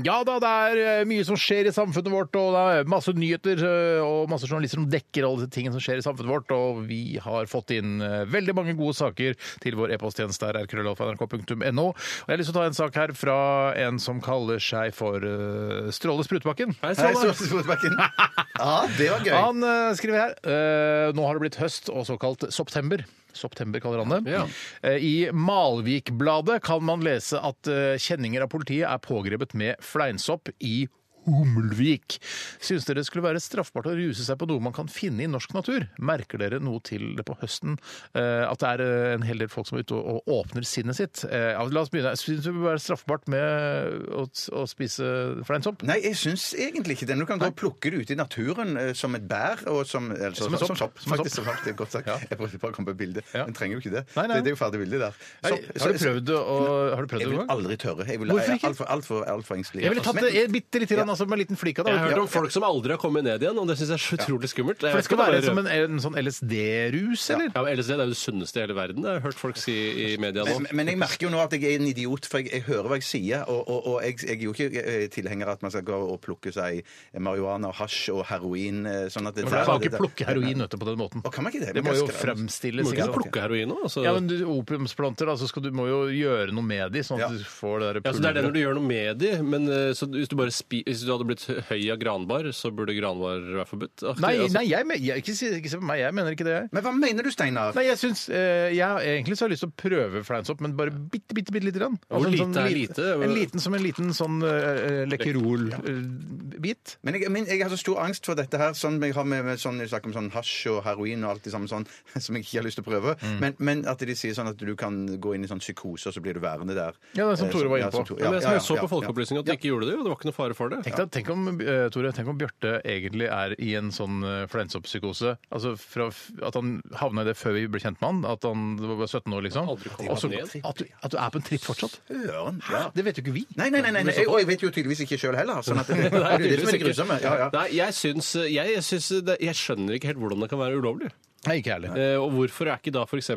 G: Ja da, det er eh, mye som skjer i samfunnet vårt, og det er masse nyheter eh, og masse journalister som dekker alle de tingene som skjer i samfunnet vårt, og vi har fått inn eh, veldig mange gode saker til vår e-posttjeneste her, rkrøllalfa.nrk.no. Og jeg har lyst til å ta en sak her fra en som kaller seg for eh, Stråle Sprutbakken.
H: Hei,
I: Hei,
H: Ståle.
I: Ståle Solbakken. Ja, det var gøy.
G: Han eh, skriver her eh, Nå har det blitt høst og såkalt september. September kaller han det.
H: Ja.
G: Eh, I Malvikbladet kan man lese at eh, kjenninger av politiet er pågrepet med fleinsopp i Hummelvik. Syns dere det skulle være straffbart å ruse seg på noe man kan finne i norsk natur? Merker dere noe til det på høsten? eh, At det er eh, en hel del folk som er ute og og åpner sinnet sitt? Eh, ja, La oss begynne. Syns du det bør være straffbart med å, å spise fleinsopp?
I: Nei, jeg syns egentlig ikke det. Du kan gå og plukke det ute i naturen eh, som et bær. Og som, eller,
G: Som en sopp. Som en sopp.
I: Faktisk, som sopp. Det er godt sagt.
G: Ja.
I: Jeg prøvde bare å komme på bildet.
G: Ja.
I: Men trenger jo ikke det.
G: Nei, nei.
I: Det, det er jo ferdig bilde der.
G: Nei,
I: Sopp-
G: Har du
I: så-
G: prøvd det, og- har du prøvd det
I: Jeg
G: noen
I: vil
G: gang?
I: aldri tørre. Jeg vil,
G: Hvorfor
I: jeg
G: ikke?
I: er altfor alt for, alt for engstelig.
G: Jeg ville tatt det
I: Men-
G: bitte lite grann, altså, med en liten flik av det.
H: Jeg har hørt om folk som aldri har kommet ned igjen, og det syns jeg er så utrolig skummelt. Jeg
G: For det
H: vet
G: skal
H: ikke om
G: være
H: det er-
G: som en, en sånn LSD-rus, eller?
H: ja, men LSD det er jo det sunneste i hele verden, det har jeg hørt folk si i media nå.
I: Men, men jeg merker jo nå at jeg er en idiot, for jeg, jeg hører hva jeg sier. Og, og, og jeg, jeg er jo ikke eh, tilhenger av at man skal gå og plukke seg marihuana, og hasj og heroin. eh, Sånn at det,
G: Man kan ikke plukke heroin vet du, på den måten.
I: Å, kan man ikke det?
G: Det må
I: Men
G: jo
I: ganske-
H: Du
G: fremstilles.
H: må
G: ikke
H: ikke
G: sant?
H: plukke heroin nå. Altså.
G: Ja, men du, opiumsplanter, da, så skal du må jo gjøre noe med de, sånn
I: Ja.
G: at du får det der
H: Ja, så Det er det når
G: pulveret.
H: du gjør noe med de, men eh, så hvis du, bare spi, hvis du hadde blitt høy av granbar, så burde granbar være forbudt? aktig,
G: Nei,
H: altså.
G: nei jeg, men- jeg, ikke, si- ikke se på meg, jeg mener ikke det, jeg.
I: Men hva mener du, Steinar?
G: Nei, jeg syns eh, Jeg har egentlig så har jeg lyst til å prøve fleinsopp, men bare bitte, bitte, bitte lite grann. Altså,
H: Hvor
G: en
H: lite er
G: li-
H: lite?
G: En liten som en liten sånn uh, lekkerol-bit.
I: Men jeg, men jeg har så stor angst for dette her, sånn jeg har med, med sånn, jeg snakker om sånn hasj og heroin og alt det samme sånn, <laughs> som jeg ikke har lyst til å prøve. Men, men at de sier sånn at du kan gå inn i sånn psykose, og så blir du værende der.
G: Ja, det er som
I: Eh,
G: Tore var
I: ja,
G: inne på.
I: som Tore-
H: Ja, men jeg,
I: ja, ja,
H: så
I: ja,
H: på
I: ja.
H: Folkeopplysningen at de ikke gjorde det, og det var ikke noe fare for det.
G: Tenk, deg, tenk, om, eh, Tore, tenk om Bjarte egentlig er i en sånn eh, fleinsoppsykose. Altså fra, f- at han havna i det før vi ble kjent med han. At han det var bare 17 år, liksom.
H: Aldri kom
G: Og så-
H: han ned.
G: at, du, at du er på en tripp fortsatt.
I: Øren, ja.
G: Det vet jo ikke vi.
I: Nei, nei, nei, nei, nei. Og jeg vet jo tydeligvis ikke sjøl heller. Sånn at det, det er jo det som er det grusomme. Ja, ja.
H: Nei, jeg, syns, jeg, jeg, syns det, jeg skjønner ikke helt hvordan det kan være ulovlig.
G: Nei, ikke heller.
H: Eh, og hvorfor er ikke da f.eks.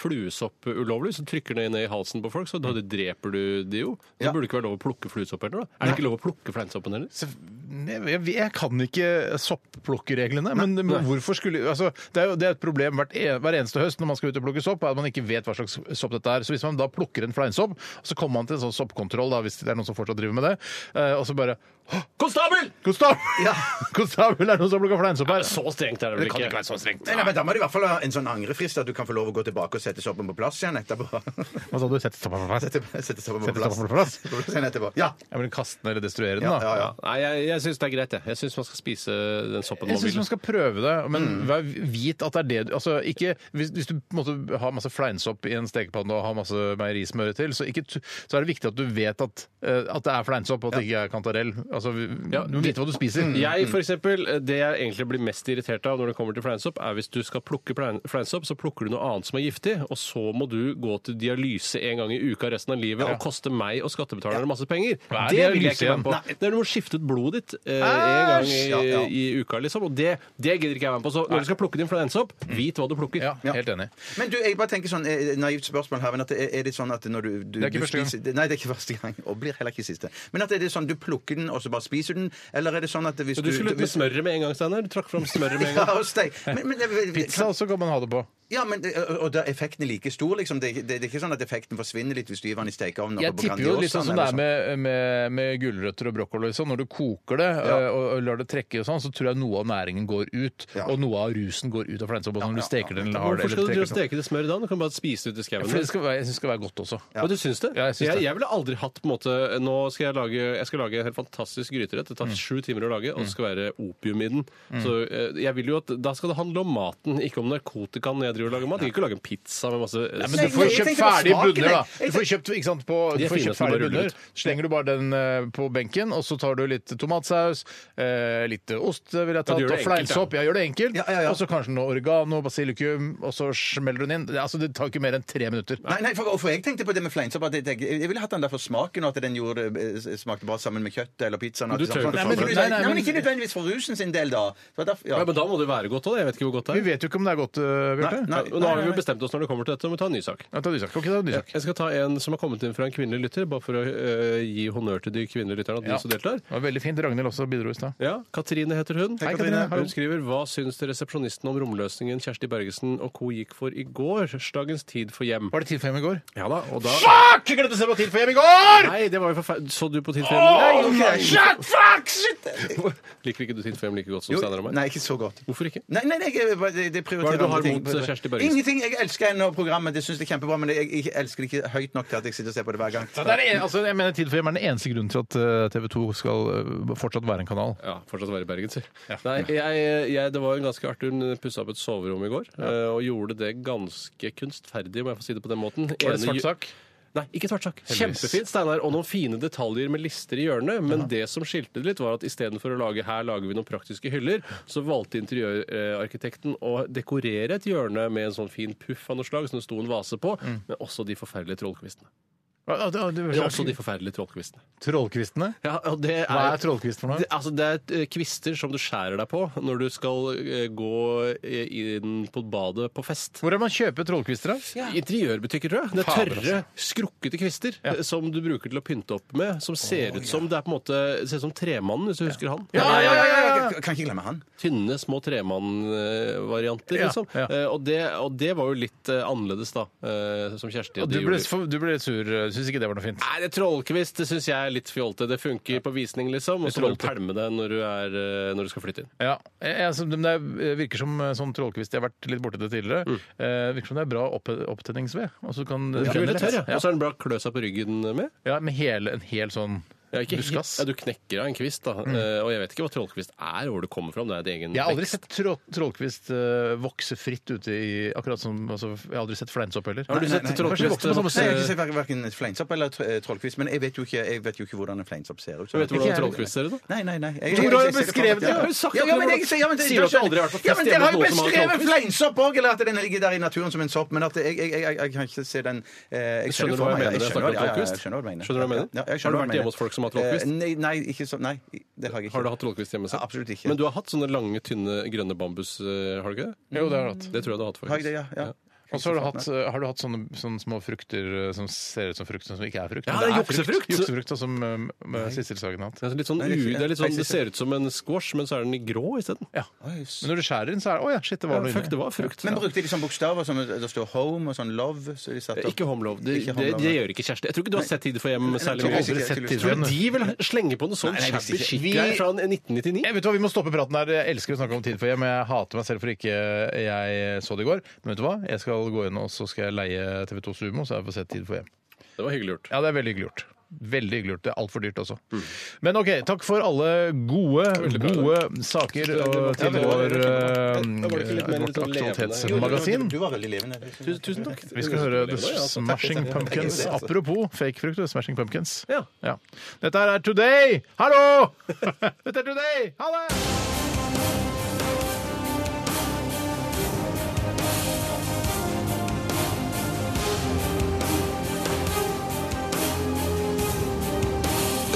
H: fluesopp ulovlig? Hvis du trykker det ned i halsen på folk, så da dreper du de jo. Det
I: Ja.
H: burde ikke være lov å plukke fluesopp heller. da. Er det ikke lov å plukke fleinsoppen heller?
G: Så jeg, jeg, jeg kan ikke soppplukkerreglene. Men det- hvorfor skulle altså, det, er jo, det er et problem hvert, en- hver eneste høst når man skal ut og plukke sopp, er at man ikke vet hva slags sopp dette er. Så hvis man da plukker en fleinsopp, så kommer man til en sånn soppkontroll, da, hvis det er noen som fortsatt driver med det, eh, og så bare «Hå,
H: Konstabel!
G: Konstabel! <laughs> Konstabel er det noen som plukker fleinsopp her!
H: Så strengt er det
G: sånn,
H: vel
G: Det kan
H: ikke.
G: ikke være så strengt.
I: Nei, nei, men Da må du i hvert fall ha en sånn angrefrist, at du kan få lov å gå tilbake og sette soppen på plass igjen etterpå. <laughs>
G: Hva sa du? Sett stoppa på plass?
I: Sette, sette soppen på
G: Sette
I: plass.
G: soppen på plass?
I: Sette på plass igjen etterpå. Ja.
G: Jeg vil kaste den eller destruere den,
I: Ja,
G: da.
I: ja, ja.
H: Nei, jeg, jeg syns det er greit, jeg. Jeg syns man skal spise den soppen
G: Jeg
H: man
G: syns
H: vil.
G: man skal prøve det, men vær vit at det er det du altså, ikke, hvis, hvis du på en måte har masse fleinsopp i en stekepanne og har masse meierismør til, så, ikke, t- så er det viktig at du vet at, eh, at det er fleinsopp, og at det ikke er kantarell. Altså, vi-
H: Ja, Mm.
G: du må vite hva du spiser.
H: Jeg, for eksempel, eh, det jeg egentlig blir mest irritert av når det kommer til fleinsopp, er hvis du skal plukke plein- fleinsopp, så plukker du noe annet som er giftig, og så må du gå til dialyse en gang i uka resten av livet og koste meg og skattebetalerne masse penger.
G: Hva er
H: Det vil jeg
G: dialyse
H: ikke være med på.
G: igjen?
H: Det er du må skifte ut blodet ditt eh, en gang i,
I: Ja, ja.
H: i uka, liksom, og det, det gidder ikke jeg være med på. Så når du skal plukke din fleinsopp, vit hva du plukker.
G: Ja, helt enig.
I: Men du, jeg bare tenker sånn eh, naivt spørsmål her, men at det er, er det sånn at når du, du
G: Det er ikke
I: du
G: første gang.
I: spiser- Nei, det er ikke <laughs> første gang. Og blir heller ikke siste. Men at er det sånn du plukker den, og så bare spiser den? Eller er det sånn at hvis
H: Du skulle ut med
I: hvis-
H: smøret med en gang, Steinar. Du trakk fram smøret med en
I: <laughs> Ja,
H: gang.
G: <laughs>
I: og steik. Men, men,
G: Pizza også kan man ha det på.
I: ja, men det- og da er effekten like stor, liksom. Det, det, det er ikke sånn at effekten forsvinner litt hvis du gir den i stekeovnen. og
G: Jeg
I: på
G: tipper jo litt sånn
I: Grandiosaen
G: som det
I: eller
G: er med,
H: liksom.
G: med, med gulrøtter og brokkoli. og Sånn. Når du koker det eh, og, og lar det trekke, og sånn, så tror jeg noe av næringen går ut.
I: Ja.
G: Og noe av rusen går ut av fleinsopp. og Når du steker den eller har det eller
H: Hvorfor skal du drive og
G: trekker sånn.
H: steke det smøret da? Du kan bare spise det ut i skauen.
G: For det skal være- Jeg syns det skal være godt også.
H: Ja. du syns det?
G: Ja, jeg syns det.
H: jeg, ville aldri hatt på en måte Nå skal jeg lage, jeg skal lage en helt fantastisk gryterett. Det tar
G: Mm.
H: sju timer å lage, og det skal være opium i den. Så eh, jeg vil jo at Da skal det handle om maten, ikke om narkotikaen når jeg driver og lager mat. Jeg kan ikke lage en pizza med masse
G: Ja, men
I: Nei,
G: du får
I: jeg
G: kjøpt
I: tenkte på
G: ferdige
I: smaken,
G: bunner, da.
I: jeg. Jeg
G: Du får kjøpt, ikke sant, på, du
H: De er
G: får
H: fine
G: kjøpt
H: som bare
G: ferdige
H: ruller
G: bunner. Slenger du bare den eh, på benken, og så tar du litt tomatsaus, eh, litt ost eh, vil jeg ta,
H: du gjør
G: og
H: det enkelt,
G: fleinsopp. Ja, gjør det enkelt.
I: Ja, ja, ja.
G: Og så kanskje noe oregano, basilikum, og så smeller du den inn. Det- Altså, det tar ikke mer enn tre minutter.
I: Nei, nei for, for jeg tenkte på det med fleinsopp. at Jeg, jeg, jeg ville hatt den der for smaken, og at den gjorde, eh, smakte bra sammen med kjøttet eller pizzaen. og
H: Men du
I: alt
H: tør jo
I: sånt.
H: ikke
I: nei, men,
H: for
G: det.
I: nei,
G: Nei,
I: nei,
G: nei,
I: men
G: men-
I: ikke nødvendigvis for rusen sin del, da. Det var derfor- ja.
H: ja, Men da må det være godt òg. Jeg vet ikke hvor godt det
G: Vi
H: er.
G: vet jo ikke om det er godt, eh, Bjarte.
I: Nei,
H: Og Nå har vi jo bestemt oss når det kommer til dette, må vi ta en ny sak.
G: Ja, Ta en ny sak. Ok, ta en ny sak.
H: Jeg skal ta en som har kommet inn fra en kvinnelig lytter, bare for å eh, gi honnør til de kvinnelige lytterne at de
G: Ja.
H: også deltar.
G: Det var veldig fint. Ragnhild også bidro i stad.
H: Ja, Katrine heter hun.
G: Hei, Katrine. Hallo.
H: Hun skriver Hva syns resepsjonisten om romløsningen Kjersti Bergesen og co. gikk for i går? Dagens tid for hjem.
G: Var det tid for hjem i går?
H: Ja da, og da
G: Fuck! Jeg glemte Ah, å se på Tid for hjem i går!
H: Nei, det var jo forferdelig. Så du på Tid for hjem?
G: Shit, fuck, shit!
H: Liker ikke du Tid for hjem like godt som
I: Jo,
H: Steinar og meg?
I: Nei, ikke så godt.
H: Hvorfor ikke?
I: Nei, nei, nei, jeg, bare- det, det
H: Hva
I: prioriterer
H: er det du har
I: andre ting.
H: mot, eh, Kjersti Børgesen?
I: Ingenting. Jeg elsker henne og programmet. Det synes jeg er kjempebra, men jeg, jeg elsker det ikke høyt nok til at jeg sitter og ser på det hver gang.
G: Det er det en, altså, jeg mener Tid for hjem er den eneste grunnen til at TV 2 skal eh, fortsatt være en kanal.
H: Ja, fortsatt være bergenser. Nei, jeg, jeg, det var en ganske artig Hun pussa opp et soverom i går, eh, og gjorde det ganske kunstferdig, om jeg får si det på den måten.
G: Var det
H: Ene-
G: svart sak?
H: Nei, ikke svart sjakk.
G: Heldigvis.
H: Kjempefint, Steinar, og noen fine detaljer med lister i hjørnet, men det som skilte det litt, var at istedenfor å lage her lager vi noen praktiske hyller, så valgte interiørarkitekten å dekorere et hjørne med en sånn fin puff av noe slag som det sto en vase på, men også de forferdelige trollkvistene.
G: Ja, det- Mm. det-
H: Men også de forferdelige trollkvistene.
G: Trollkvistene?
H: Ja, og det er,
G: Hva er trollkvist for noe?
H: Det, altså, det er eh, kvister som du skjærer deg på når du skal eh, gå eh, inn på badet på fest.
G: Hvor er det man kjøper trollkvister, da?
H: Interiørbutikker, tror jeg. Det er
G: Fader, altså.
H: tørre, skrukkete kvister eh, som du bruker til å pynte opp med. Som ser ut som det er på en måte, ser ut som Tremannen, hvis du husker han.
I: Jeg Kan ikke glemme han.
H: Tynne, små Tremann-varianter,
G: Ja,
H: liksom.
G: ja.
H: Eh, Og, det, og det var jo litt eh, annerledes, da, eh, som Kjersti
G: Og
H: og
G: du
H: de
G: ble,
H: gjorde.
G: for, du ble sur. Syns ikke det var noe fint.
H: Nei, det er Trollkvist det syns jeg er litt fjolte. Det funker på visning, liksom. Og så må du
G: Litt fjolte.
H: pælme det når du, er, eh, når du skal flytte inn.
G: Ja, jeg, jeg- som- men Det virker som eh, sånn trollkvist. Jeg har vært litt borti det tidligere. Eh, virker som det er bra opp, opptenningsved. Og så kan
H: Ja, den Mm. er tørr, ja.
G: ja.
H: Og så er den bra klø seg på ryggen med.
G: ja, Med hele, en hel sånn
H: Ja, ikke,
G: buskas.
H: Ja, du knekker av en kvist, da. Eh, og jeg vet ikke hva trollkvist er, hvor det kommer fra. om Det er et egen
G: Mm. Jeg har aldri
H: vekst.
G: sett trå, trollkvist eh, vokse fritt ute i Akkurat som altså, Jeg har aldri sett fleinsopp heller.
H: Har du
I: Nei,
H: sett
G: Kanskje
H: eh,
I: nei, nei.
G: de
H: trollkvist
G: vokser på samme
I: Nei, jeg har
H: vokse-
I: ikke sett hver- hverken Fleinsopp eller tr- eh, Trollkvist, men jeg vet jo ikke, jeg vet jo ikke hvordan en Fleinsopp ser ut.
H: Du vet
G: Ikke
H: hvordan
G: jeg.
H: trollkvist ser ut, da?
I: Nei, nei, nei. Jeg,
G: Tore har jo beskrevet det,
I: Ja,
G: har jo sagt
I: ja,
G: at
I: ja,
G: det
I: men
G: var-
I: jeg, ja, men, det-
H: Sier du at du aldri har vært på
I: ja, men
H: fest
I: Dere har jo
H: hjemme hos noen som har
I: beskrevet fleinsopp òg, eller at den ligger der i naturen som en sopp. Men at jeg, jeg, jeg, jeg kan ikke se den eh, jeg
H: Skjønner du
I: jo
H: hva jeg
I: for meg,
H: mener
I: ja,
H: når jeg
I: skjønner
H: snakker om
I: hva- ja, ja,
H: trollkvist?
I: jeg Skjønner hva du mener.
H: Skjønner du hva jeg mener?
I: Ja, jeg
H: Har du
I: skjønner
H: vært
I: hva jeg
H: hjemme hos
I: mener.
H: folk som har trollkvist?
I: Eh, Nei, nei, ikke så, nei, det har jeg ikke.
H: Har du hatt trollkvist hjemme? selv?
I: Ja, absolutt ikke.
H: Men du har hatt sånne lange, tynne grønne bambus, eh, har du ikke det?
G: Jo, det har jeg hatt.
H: Det tror jeg du har hatt,
I: Har
H: faktisk.
I: jeg det, ja, ja.
G: Og så har du hatt, har du hatt sånne, sånne små frukter eh, som ser ut som frukt, men som ikke er frukt.
H: Ja,
G: men
H: det er juksefrukt.
G: Juksefrukt, sånn som eh, med Sissel Sagen har hatt.
H: Det er litt sånn, u, det, er litt sånn, det ser ut som en squash, men så er den i grå isteden.
G: Ja. Men når du skjærer den, så er det Å ja, shit, det var noe
H: Fuck, det var frukt.
I: Men brukte de sånn bokstaver som det står home og sånn love? Så de satte opp-
H: Ikke Home Love. Det, det,
I: Ikke Home Love,
H: det
I: nei.
H: gjør ikke Kjersti. Jeg tror ikke du har sett Tid for hjem særlig
G: Jeg har
H: mye.
G: aldri sett Tid for
H: Tror du
G: hjem.
H: de vil slenge på noe sånn
I: Nei, nei,
H: shabby
I: hvis ikke.
H: chic
G: Vi-
H: greier fra en- en 1999?
G: Jeg vet du hva, Vi må stoppe praten her. Jeg elsker å snakke om tid for hjem. men Jeg hater meg selv for ikke eh, jeg så det i går. Men vet du hva? Jeg skal gå inn og så skal jeg leie TV2 Sumo, så jeg får sett Tid for hjem.
H: Det var hyggelig gjort.
G: Ja, det er veldig hyggelig gjort. Veldig hyggelig gjort. Det er altfor dyrt også.
H: Mm.
G: Men OK, takk for alle gode, gode saker og til vår eh,
H: var det ikke litt mer
G: vårt
H: sånn levende?
G: aktualitetsmagasin.
I: Du var veldig levende.
H: Tu- Tusen takk.
G: Vi skal høre The Smashing Pumpkins. Apropos fakefrukt og Smashing Pumpkins.
H: Ja.
G: Ja. Dette her er Today! Hallo! <laughs> Dette er Today! Ha det!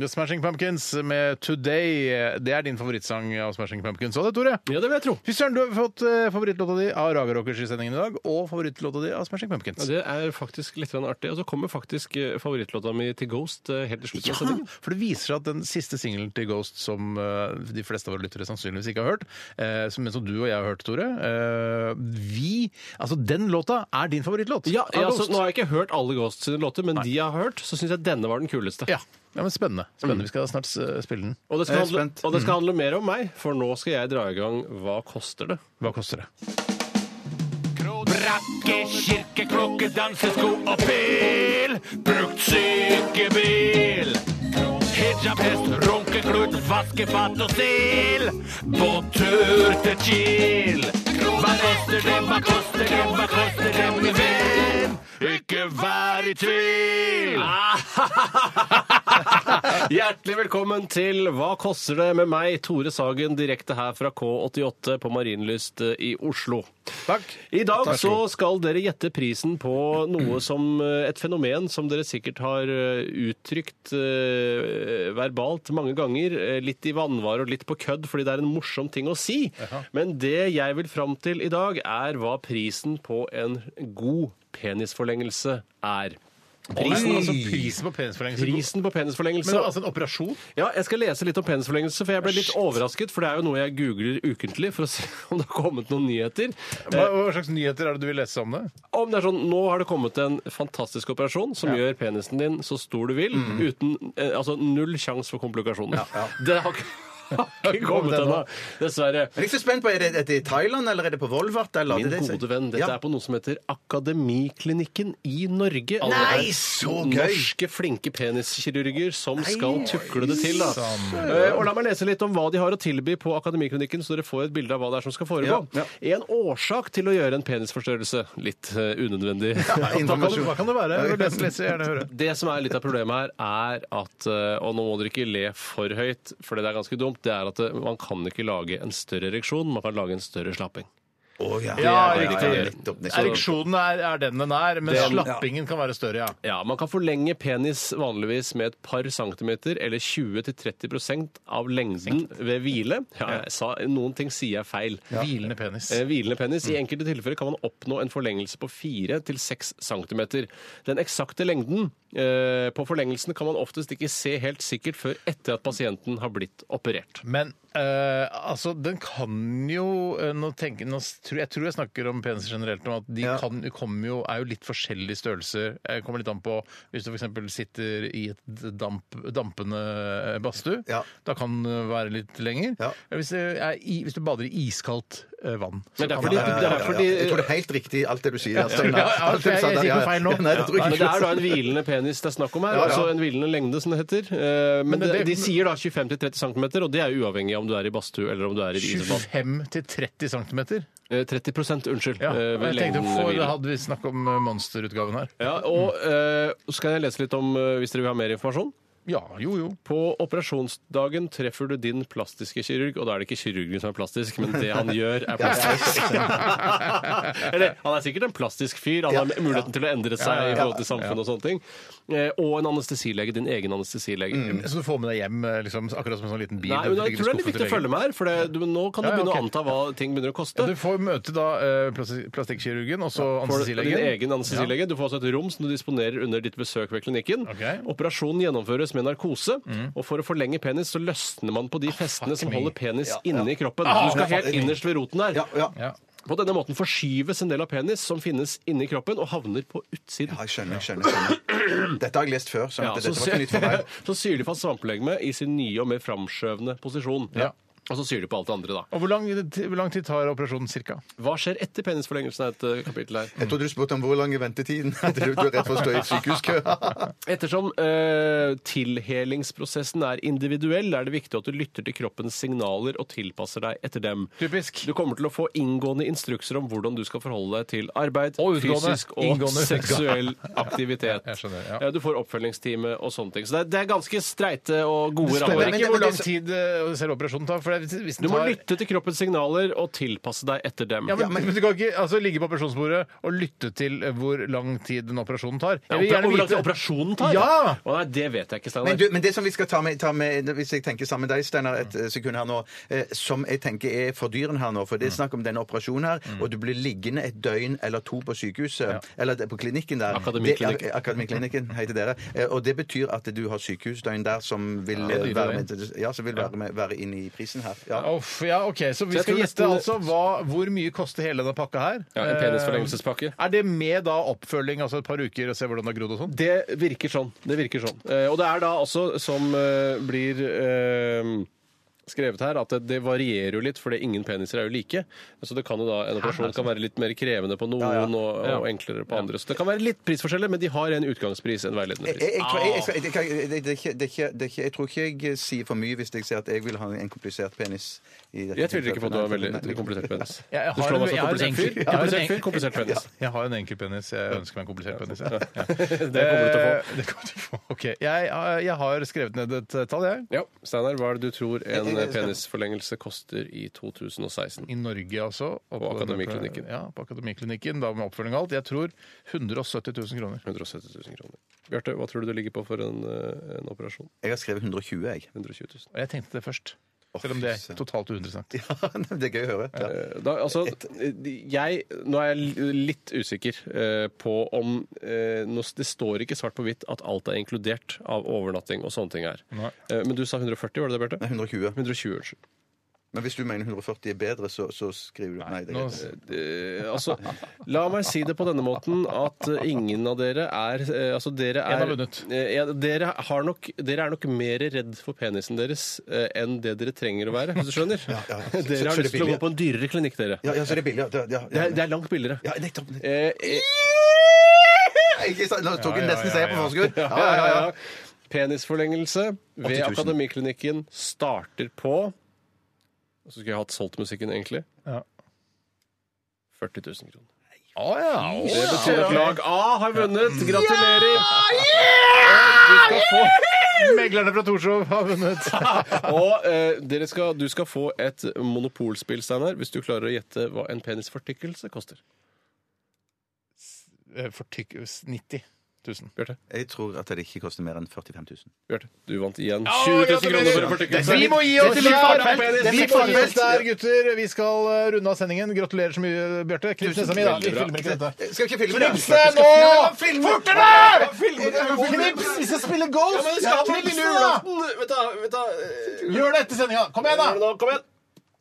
G: The Smashing Pumpkins med Today. Det er din favorittsang av Smashing Pumpkins. Og det, Tore?
H: Ja, det vil jeg tro.
G: Fy søren, du har fått eh, favorittlåta di av Raga Rockers i sendingen i dag, og favorittlåta di av Smashing
H: Ja,
G: Pumpkins.
H: det er faktisk litt grann artig. Og så kommer faktisk eh, favorittlåta mi til Ghost eh, helt til slutten.
G: Ja,
H: av sendingen.
G: for det viser seg at den siste singelen til Ghost som eh, de fleste av våre lyttere sannsynligvis ikke har hørt, eh, som, men som du og jeg har hørt, Tore eh, Vi Altså, den låta er din favorittlåt.
H: Ja,
G: av
H: ja,
G: Ghost.
H: så nå har jeg ikke hørt alle Ghosts sine låter, men de jeg har hørt, så syns jeg denne var den kuleste.
G: ja. ja, men spennende.
H: Mm.
G: Spennende. Vi skal snart eh, spille den.
H: Og, det skal
I: Jeg er
H: handle,
I: spent.
H: og det
G: Mm.
H: skal handle mer om meg, for nå skal jeg dra i gang Hva koster det?
G: Hva koster det?
B: Brakke, kirke, klokke, dansesko og pil. Brukt sykebil. Hijab, hest, runkeklut, vaskefat og stil. Båttur til Kiel. Hva koster det, hva koster det, hva koster det, min venn? Ikke vær i tvil!
H: Hjertelig velkommen til Hva koster det med meg, Tore Sagen, direkte her fra K88 på Marienlyst eh, i Oslo.
G: Takk.
H: I dag så skal dere gjette prisen på noe som eh, et fenomen som dere sikkert har eh, uttrykt eh, verbalt mange ganger, eh, litt i vanvare og litt på kødd, fordi det er en morsom ting å si. Men det jeg vil fram til i dag, er hva prisen på en god penisforlengelse er.
G: Prisen,
H: Prisen,
G: altså prisen på penisforlengelse.
H: prisen på penisforlengelse
G: Men altså en operasjon?
H: ja, jeg skal lese litt om penisforlengelse, for jeg ble litt overrasket. For det er jo noe jeg googler ukentlig for å se <laughs> om det har kommet noen nyheter. Eh,
G: Hva, hva slags nyheter er det du vil lese om det?
H: Om det er sånn, Nå har det kommet en fantastisk operasjon som gjør penisen din så stor du vil, uten eh, altså null sjanse for komplikasjoner. Det har ikke, <laughs> har ikke kommet ennå, dessverre.
I: Jeg er ikke så spent på, Er det, er det i Thailand, eller er det på Volvat? Eller?
H: Min
I: Det er det-
H: gode venn, dette
I: Ja.
H: er på noe som heter Akademiklinikken i Norge. Alle
I: Nei,
H: er
I: så gøy!
H: Norske flinke peniskirurger som skal tukle det til. Da.
G: sann.
H: Eh, Og la meg lese litt om hva de har å tilby på Akademiklinikken, så dere får et bilde av hva det er som skal foregå.
I: Ja,
H: En årsak til å gjøre en penisforstørrelse. Litt eh,
I: <laughs>
H: unødvendig.
G: Hva kan, hva kan det være? Les, les, gjerne høre.
H: Det som er litt av problemet her, er at eh, Og nå må dere ikke le for høyt, for det er ganske dumt. Det er at eh, man kan ikke lage en større ereksjon, man kan lage en større slapping.
I: Å, ja.
G: Ja,
H: det er
G: riktig.
H: <laughs> det.
I: Nettopp, nettopp.
G: Ereksjonen er, er den den er, men slappingen kan være større, ja.
H: Ja, Man kan forlenge penis vanligvis med et par centimeter eller 20-30 av lengden ved hvile. Ja, jeg sa, noen ting sier jeg feil.
G: Hvilende penis.
H: Eh, Hvilende penis. I enkelte tilfeller kan man oppnå en forlengelse på 4-6 cm. Den eksakte lengden eh, på forlengelsen kan man oftest ikke se helt sikkert før etter at pasienten har blitt operert.
G: Men eh, altså, den kan jo eh, nå tenke, nå, s- tror- Jeg tror jeg snakker om peniser generelt nå, at de kan, kommer jo, er jo litt forskjellige størrelser. Eh, kommer litt an på hvis du f.eks. sitter i et damp, dampende eh, badstue.
I: Ja.
G: Da kan det være litt lenger. Eh,
I: Ja.
G: Hvis, du er i, hvis du bader i iskaldt eh, vann. så
H: Men det er
G: kan
H: fordi-
G: være-
H: det er fordi-
I: Jeg tror det er helt riktig, alt det du sier. altså.
G: Ja, ja,
I: Alt det du sa
G: jeg
I: der,
G: sier
I: ja,
G: ikke
I: ja.
G: feil nå.
I: Nei, det tror
H: Men
I: jeg
H: det er da
I: ikke.
H: en hvilende penis det er snakk om her.
I: Ja, ja.
H: Altså en hvilende lengde, som det heter. Eh, Men,
G: Men det-
H: det, de sier da 25-30 cm, og det er jo uavhengig av om du er i badstue eller om du er i isbad.
G: 25 til 30 cm.
H: Eh, 30 unnskyld.
G: Ja.
H: eh, ved
G: Jeg tenkte,
H: lengden
G: for,
H: hvile.
G: da hadde vi snakk om eh, monsterutgaven her.
H: Ja, og eh, så kan jeg lese litt om eh, hvis dere vil ha mer informasjon.
G: Ja, jo, jo.
H: På operasjonsdagen treffer du din plastiske kirurg, og da er det ikke kirurgen som er plastisk, men det han gjør, er plastisk. Eller, han er sikkert en plastisk fyr, han har muligheten til å endre seg i forhold til samfunnet og sånne ting. Eh, Og en anestesilege, din egen anestesilege.
G: Så du får med deg hjem eh, liksom, akkurat som en sånn liten bil?
H: Nei, men jeg
G: du
H: tror det er
G: skuffer
H: litt
G: til
H: viktig å
G: legen.
H: følge med her, for det, du, nå kan du
G: Ja, ja,
H: begynne
G: ok.
H: å anta hva ting begynner å
G: Ja,
H: koste.
G: Du får møte da eh, plasti- plastikkirurgen og så
H: Får du din
G: anestesilegen.
H: egen anestesilege. Du får også et rom som du disponerer under ditt besøk ved klinikken.
G: Ok.
H: Operasjonen gjennomføres med narkose, og for å forlenge penis så løsner man på de festene som
G: me.
H: holder penis inne i kroppen. Du skal helt innerst ved roten der.
I: Ja, ja.
G: Ja.
H: På denne måten forskyves en del av penis som finnes inni kroppen, og havner på utsiden.
I: Ja, jeg skjønner, jeg skjønner, jeg skjønner. Dette har jeg lest før, så
H: Ja,
I: dette
H: så,
I: var ikke nytt for meg.
H: <laughs> så syr de fast svampelegeme i sin nye og mer framskjøvende posisjon.
G: Ja.
H: Og så syr de på alt det andre, da.
G: Og hvor lang, hvor lang tid tar operasjonen cirka?
H: Hva skjer etter penisforlengelsen? er et eh, kapittel her.
I: Jeg trodde du spurte om hvor lang er ventetiden etter at du er rett for å stå i sykehuskø. <laughs>
H: Ettersom eh, tilhelingsprosessen er individuell, er det viktig at du lytter til kroppens signaler og tilpasser deg etter dem.
G: Typisk.
H: Du kommer til å få inngående instrukser om hvordan du skal forholde deg til arbeid,
G: Og utgående.
H: fysisk og
G: Inngående.
H: <laughs> seksuell aktivitet.
G: jeg skjønner, ja.
H: Eh, Du får oppfølgingstime og sånne ting. Så det er, det er ganske streite og gode
G: Men,
H: rammer.
G: men, ikke hvor lang tid eh, selve operasjonen tar. For det, er- hvis den
H: Du må
G: tar,
H: lytte til kroppens signaler og tilpasse deg etter dem.
G: Ja, men, men du kan ikke altså, ligge på operasjonsbordet og lytte til eh, hvor lang tid den operasjonen tar.
H: Ja,
G: Jeg vil
H: opera-
G: gjerne
H: hvor lang tid
G: vite
H: operasjonen tar?
G: Ja!
H: Å, nei, det vet jeg ikke, Steinar.
I: Men, du, men det som vi skal ta med, ta med hvis jeg tenker sammen med deg, Steinar, et eh, sekund her nå, eh, som jeg tenker er for dyren her nå, for
H: Mm.
I: det er snakk om denne operasjonen her, og du blir liggende et døgn eller to på sykehuset, eller det- på klinikken der.
H: Akademiklinikken.
I: Det- ak- Akademiklinikken heter dere. Eh, Og det betyr at du har sykehusdøgn der som vil
G: det er
I: eh,
G: dyre
I: være med, ja, som vil være, med, være inne i prisen her. Ja.
G: Uff, ja, ok, Så vi
H: jeg
G: skal
H: tror
G: gjette
H: nesten-
G: altså hva, hvor mye koster hele denne pakka her?
H: Ja, en penisforlengelsespakke.
G: Eh, Er det med da oppfølging, altså et par uker, og se hvordan det har grodd og sånn?
H: Det virker sånn. Det virker sånn. Eh, og det er da også, som eh, blir eh, skrevet her, at det, det varierer jo litt, fordi ingen peniser er jo like. Så det kan jo da, en operasjon kan være litt mer krevende på noen Og, og enklere på andre. Så det kan være litt prisforskjeller, men de har en utgangspris, en veiledende
I: Jeg,
H: pris.
I: jeg, jeg, tror- jeg, jeg, skal- jeg, jeg, jeg, det er ikke- det er ikke- det er ikke- jeg tror ikke jeg sier for mye hvis jeg sier at jeg vil ha en komplisert penis. i dette
H: Jeg tviler ikke på at du har
I: tilfellet. Nei,
H: veldig
I: nei.
H: komplisert penis.
G: Jeg har
H: Du slår meg
G: en-
H: som
G: jeg har en
H: komplisert fyr.
G: enkel- jeg har en
H: Komplisert fyr,
G: enkel-
H: komplisert penis.
G: Jeg har en enkel penis. Jeg ønsker meg en komplisert penis. Ja. Ja. Eh,
H: <laughs> Det kommer du til å få.
G: Det kommer du til å få. Ok. Jeg, eh, jeg har skrevet ned et eh, tall, jeg.
H: Ja, Steinar, hva er det du tror en
I: Jeg- jeg- jeg-
H: penisforlengelse koster i 2016?
G: I Norge altså. Og
H: På Akademiklinikken.
G: Ja, på Akademiklinikken, da med oppfølging og alt. Jeg tror 170 000 kroner.
H: 170 000 kroner. Bjarte, hva tror du det ligger på for en, eh, en operasjon?
I: Jeg har skrevet 120, jeg. <laughs>
H: 120 000.
G: Og jeg tenkte det først. Selv om det
I: fy
G: er
I: søren.
G: totalt uinteressant.
I: Ja, det er gøy å høre. Ja.
H: Da, altså, jeg, nå er jeg litt usikker eh, på om eh, nå, Det står ikke svart på hvitt at alt er inkludert av overnatting og sånne ting her. Eh, men du sa 140, var det det, Bjarte?
I: Nei, 120.
H: 120, unnskyld.
I: Men hvis du mener 140 er bedre, så, så skriver du Nei, det er
G: Nå-
I: greit.
H: Eh, altså, la meg si det på denne måten at eh, ingen av dere er eh, Altså, dere
G: En
H: er
G: har vunnet.
H: Eh, ja, dere, har nok, dere er nok mer redd for penisen deres eh, enn det dere trenger å være, hvis du skjønner?
I: ja. Så-
H: Dere
I: så
H: har
I: det
H: lyst til å
I: blir-
H: gå på en dyrere klinikk, dere.
I: Ja, ja, så det er billig. Ja, ja,
H: Det
I: ja.
H: er, det er langt billigere.
I: ja nettopp. nettopp.
H: Eh, eh,
I: Ikke sant? Nå tok
G: Ja,
I: jeg
G: ja,
I: nesten
G: ja,
I: seier på
G: ja.
I: forskudd. Ja,
H: ja,
I: ja,
H: ja, ja.
I: ja.
H: Penisforlengelse ved
I: 80 000.
H: Akademiklinikken starter på Og Så skulle jeg hatt solgt musikken, egentlig.
G: Ja.
H: 40 000 kroner.
G: Å Ah, ja!
H: Det betyr at lag A har vunnet. Gratulerer! Og du skal få
G: Meglerne fra Torshov har vunnet.
H: <laughs> Og eh, dere skal, du skal få et monopolspill, Steinar, hvis du klarer å gjette hva en penisfortykkelse koster.
G: Eh, For tykk 90 000.
H: Bjarte,
I: Jeg tror at det ikke koster mer enn 45 000.
H: Bjarte, du vant igjen 20 000 kroner for en fortykkelse.
G: Vi må gi oss
H: Dette blir
G: der!
H: fartfelt. Dette
G: Vi må
H: blir
G: gi oss
H: fartfelt.
G: der, gutter. Vi skal eh, runde av sendingen. Gratulerer så mye, Bjarte. Knips nesa mi, da. Vi
H: Veldig bra.
G: filmer ikke dette.
I: Skal ikke filme
G: Knips det nå! Fortere! Knips! Vi skal spille golf!
H: Men det
G: Ja,
H: skal på
G: knips
H: lille
G: nå, da!
H: julaften! Vet du, vet du,
G: Gjør det etter sendinga. Kom igjen, da!
H: Nå, Kom igjen!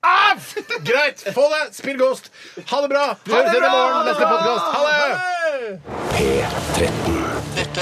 G: Av! Greit. Få det. Spill Ghost. Ha det bra. Vi høres igjen i morgen. Neste podkast. Ha det!
C: Dette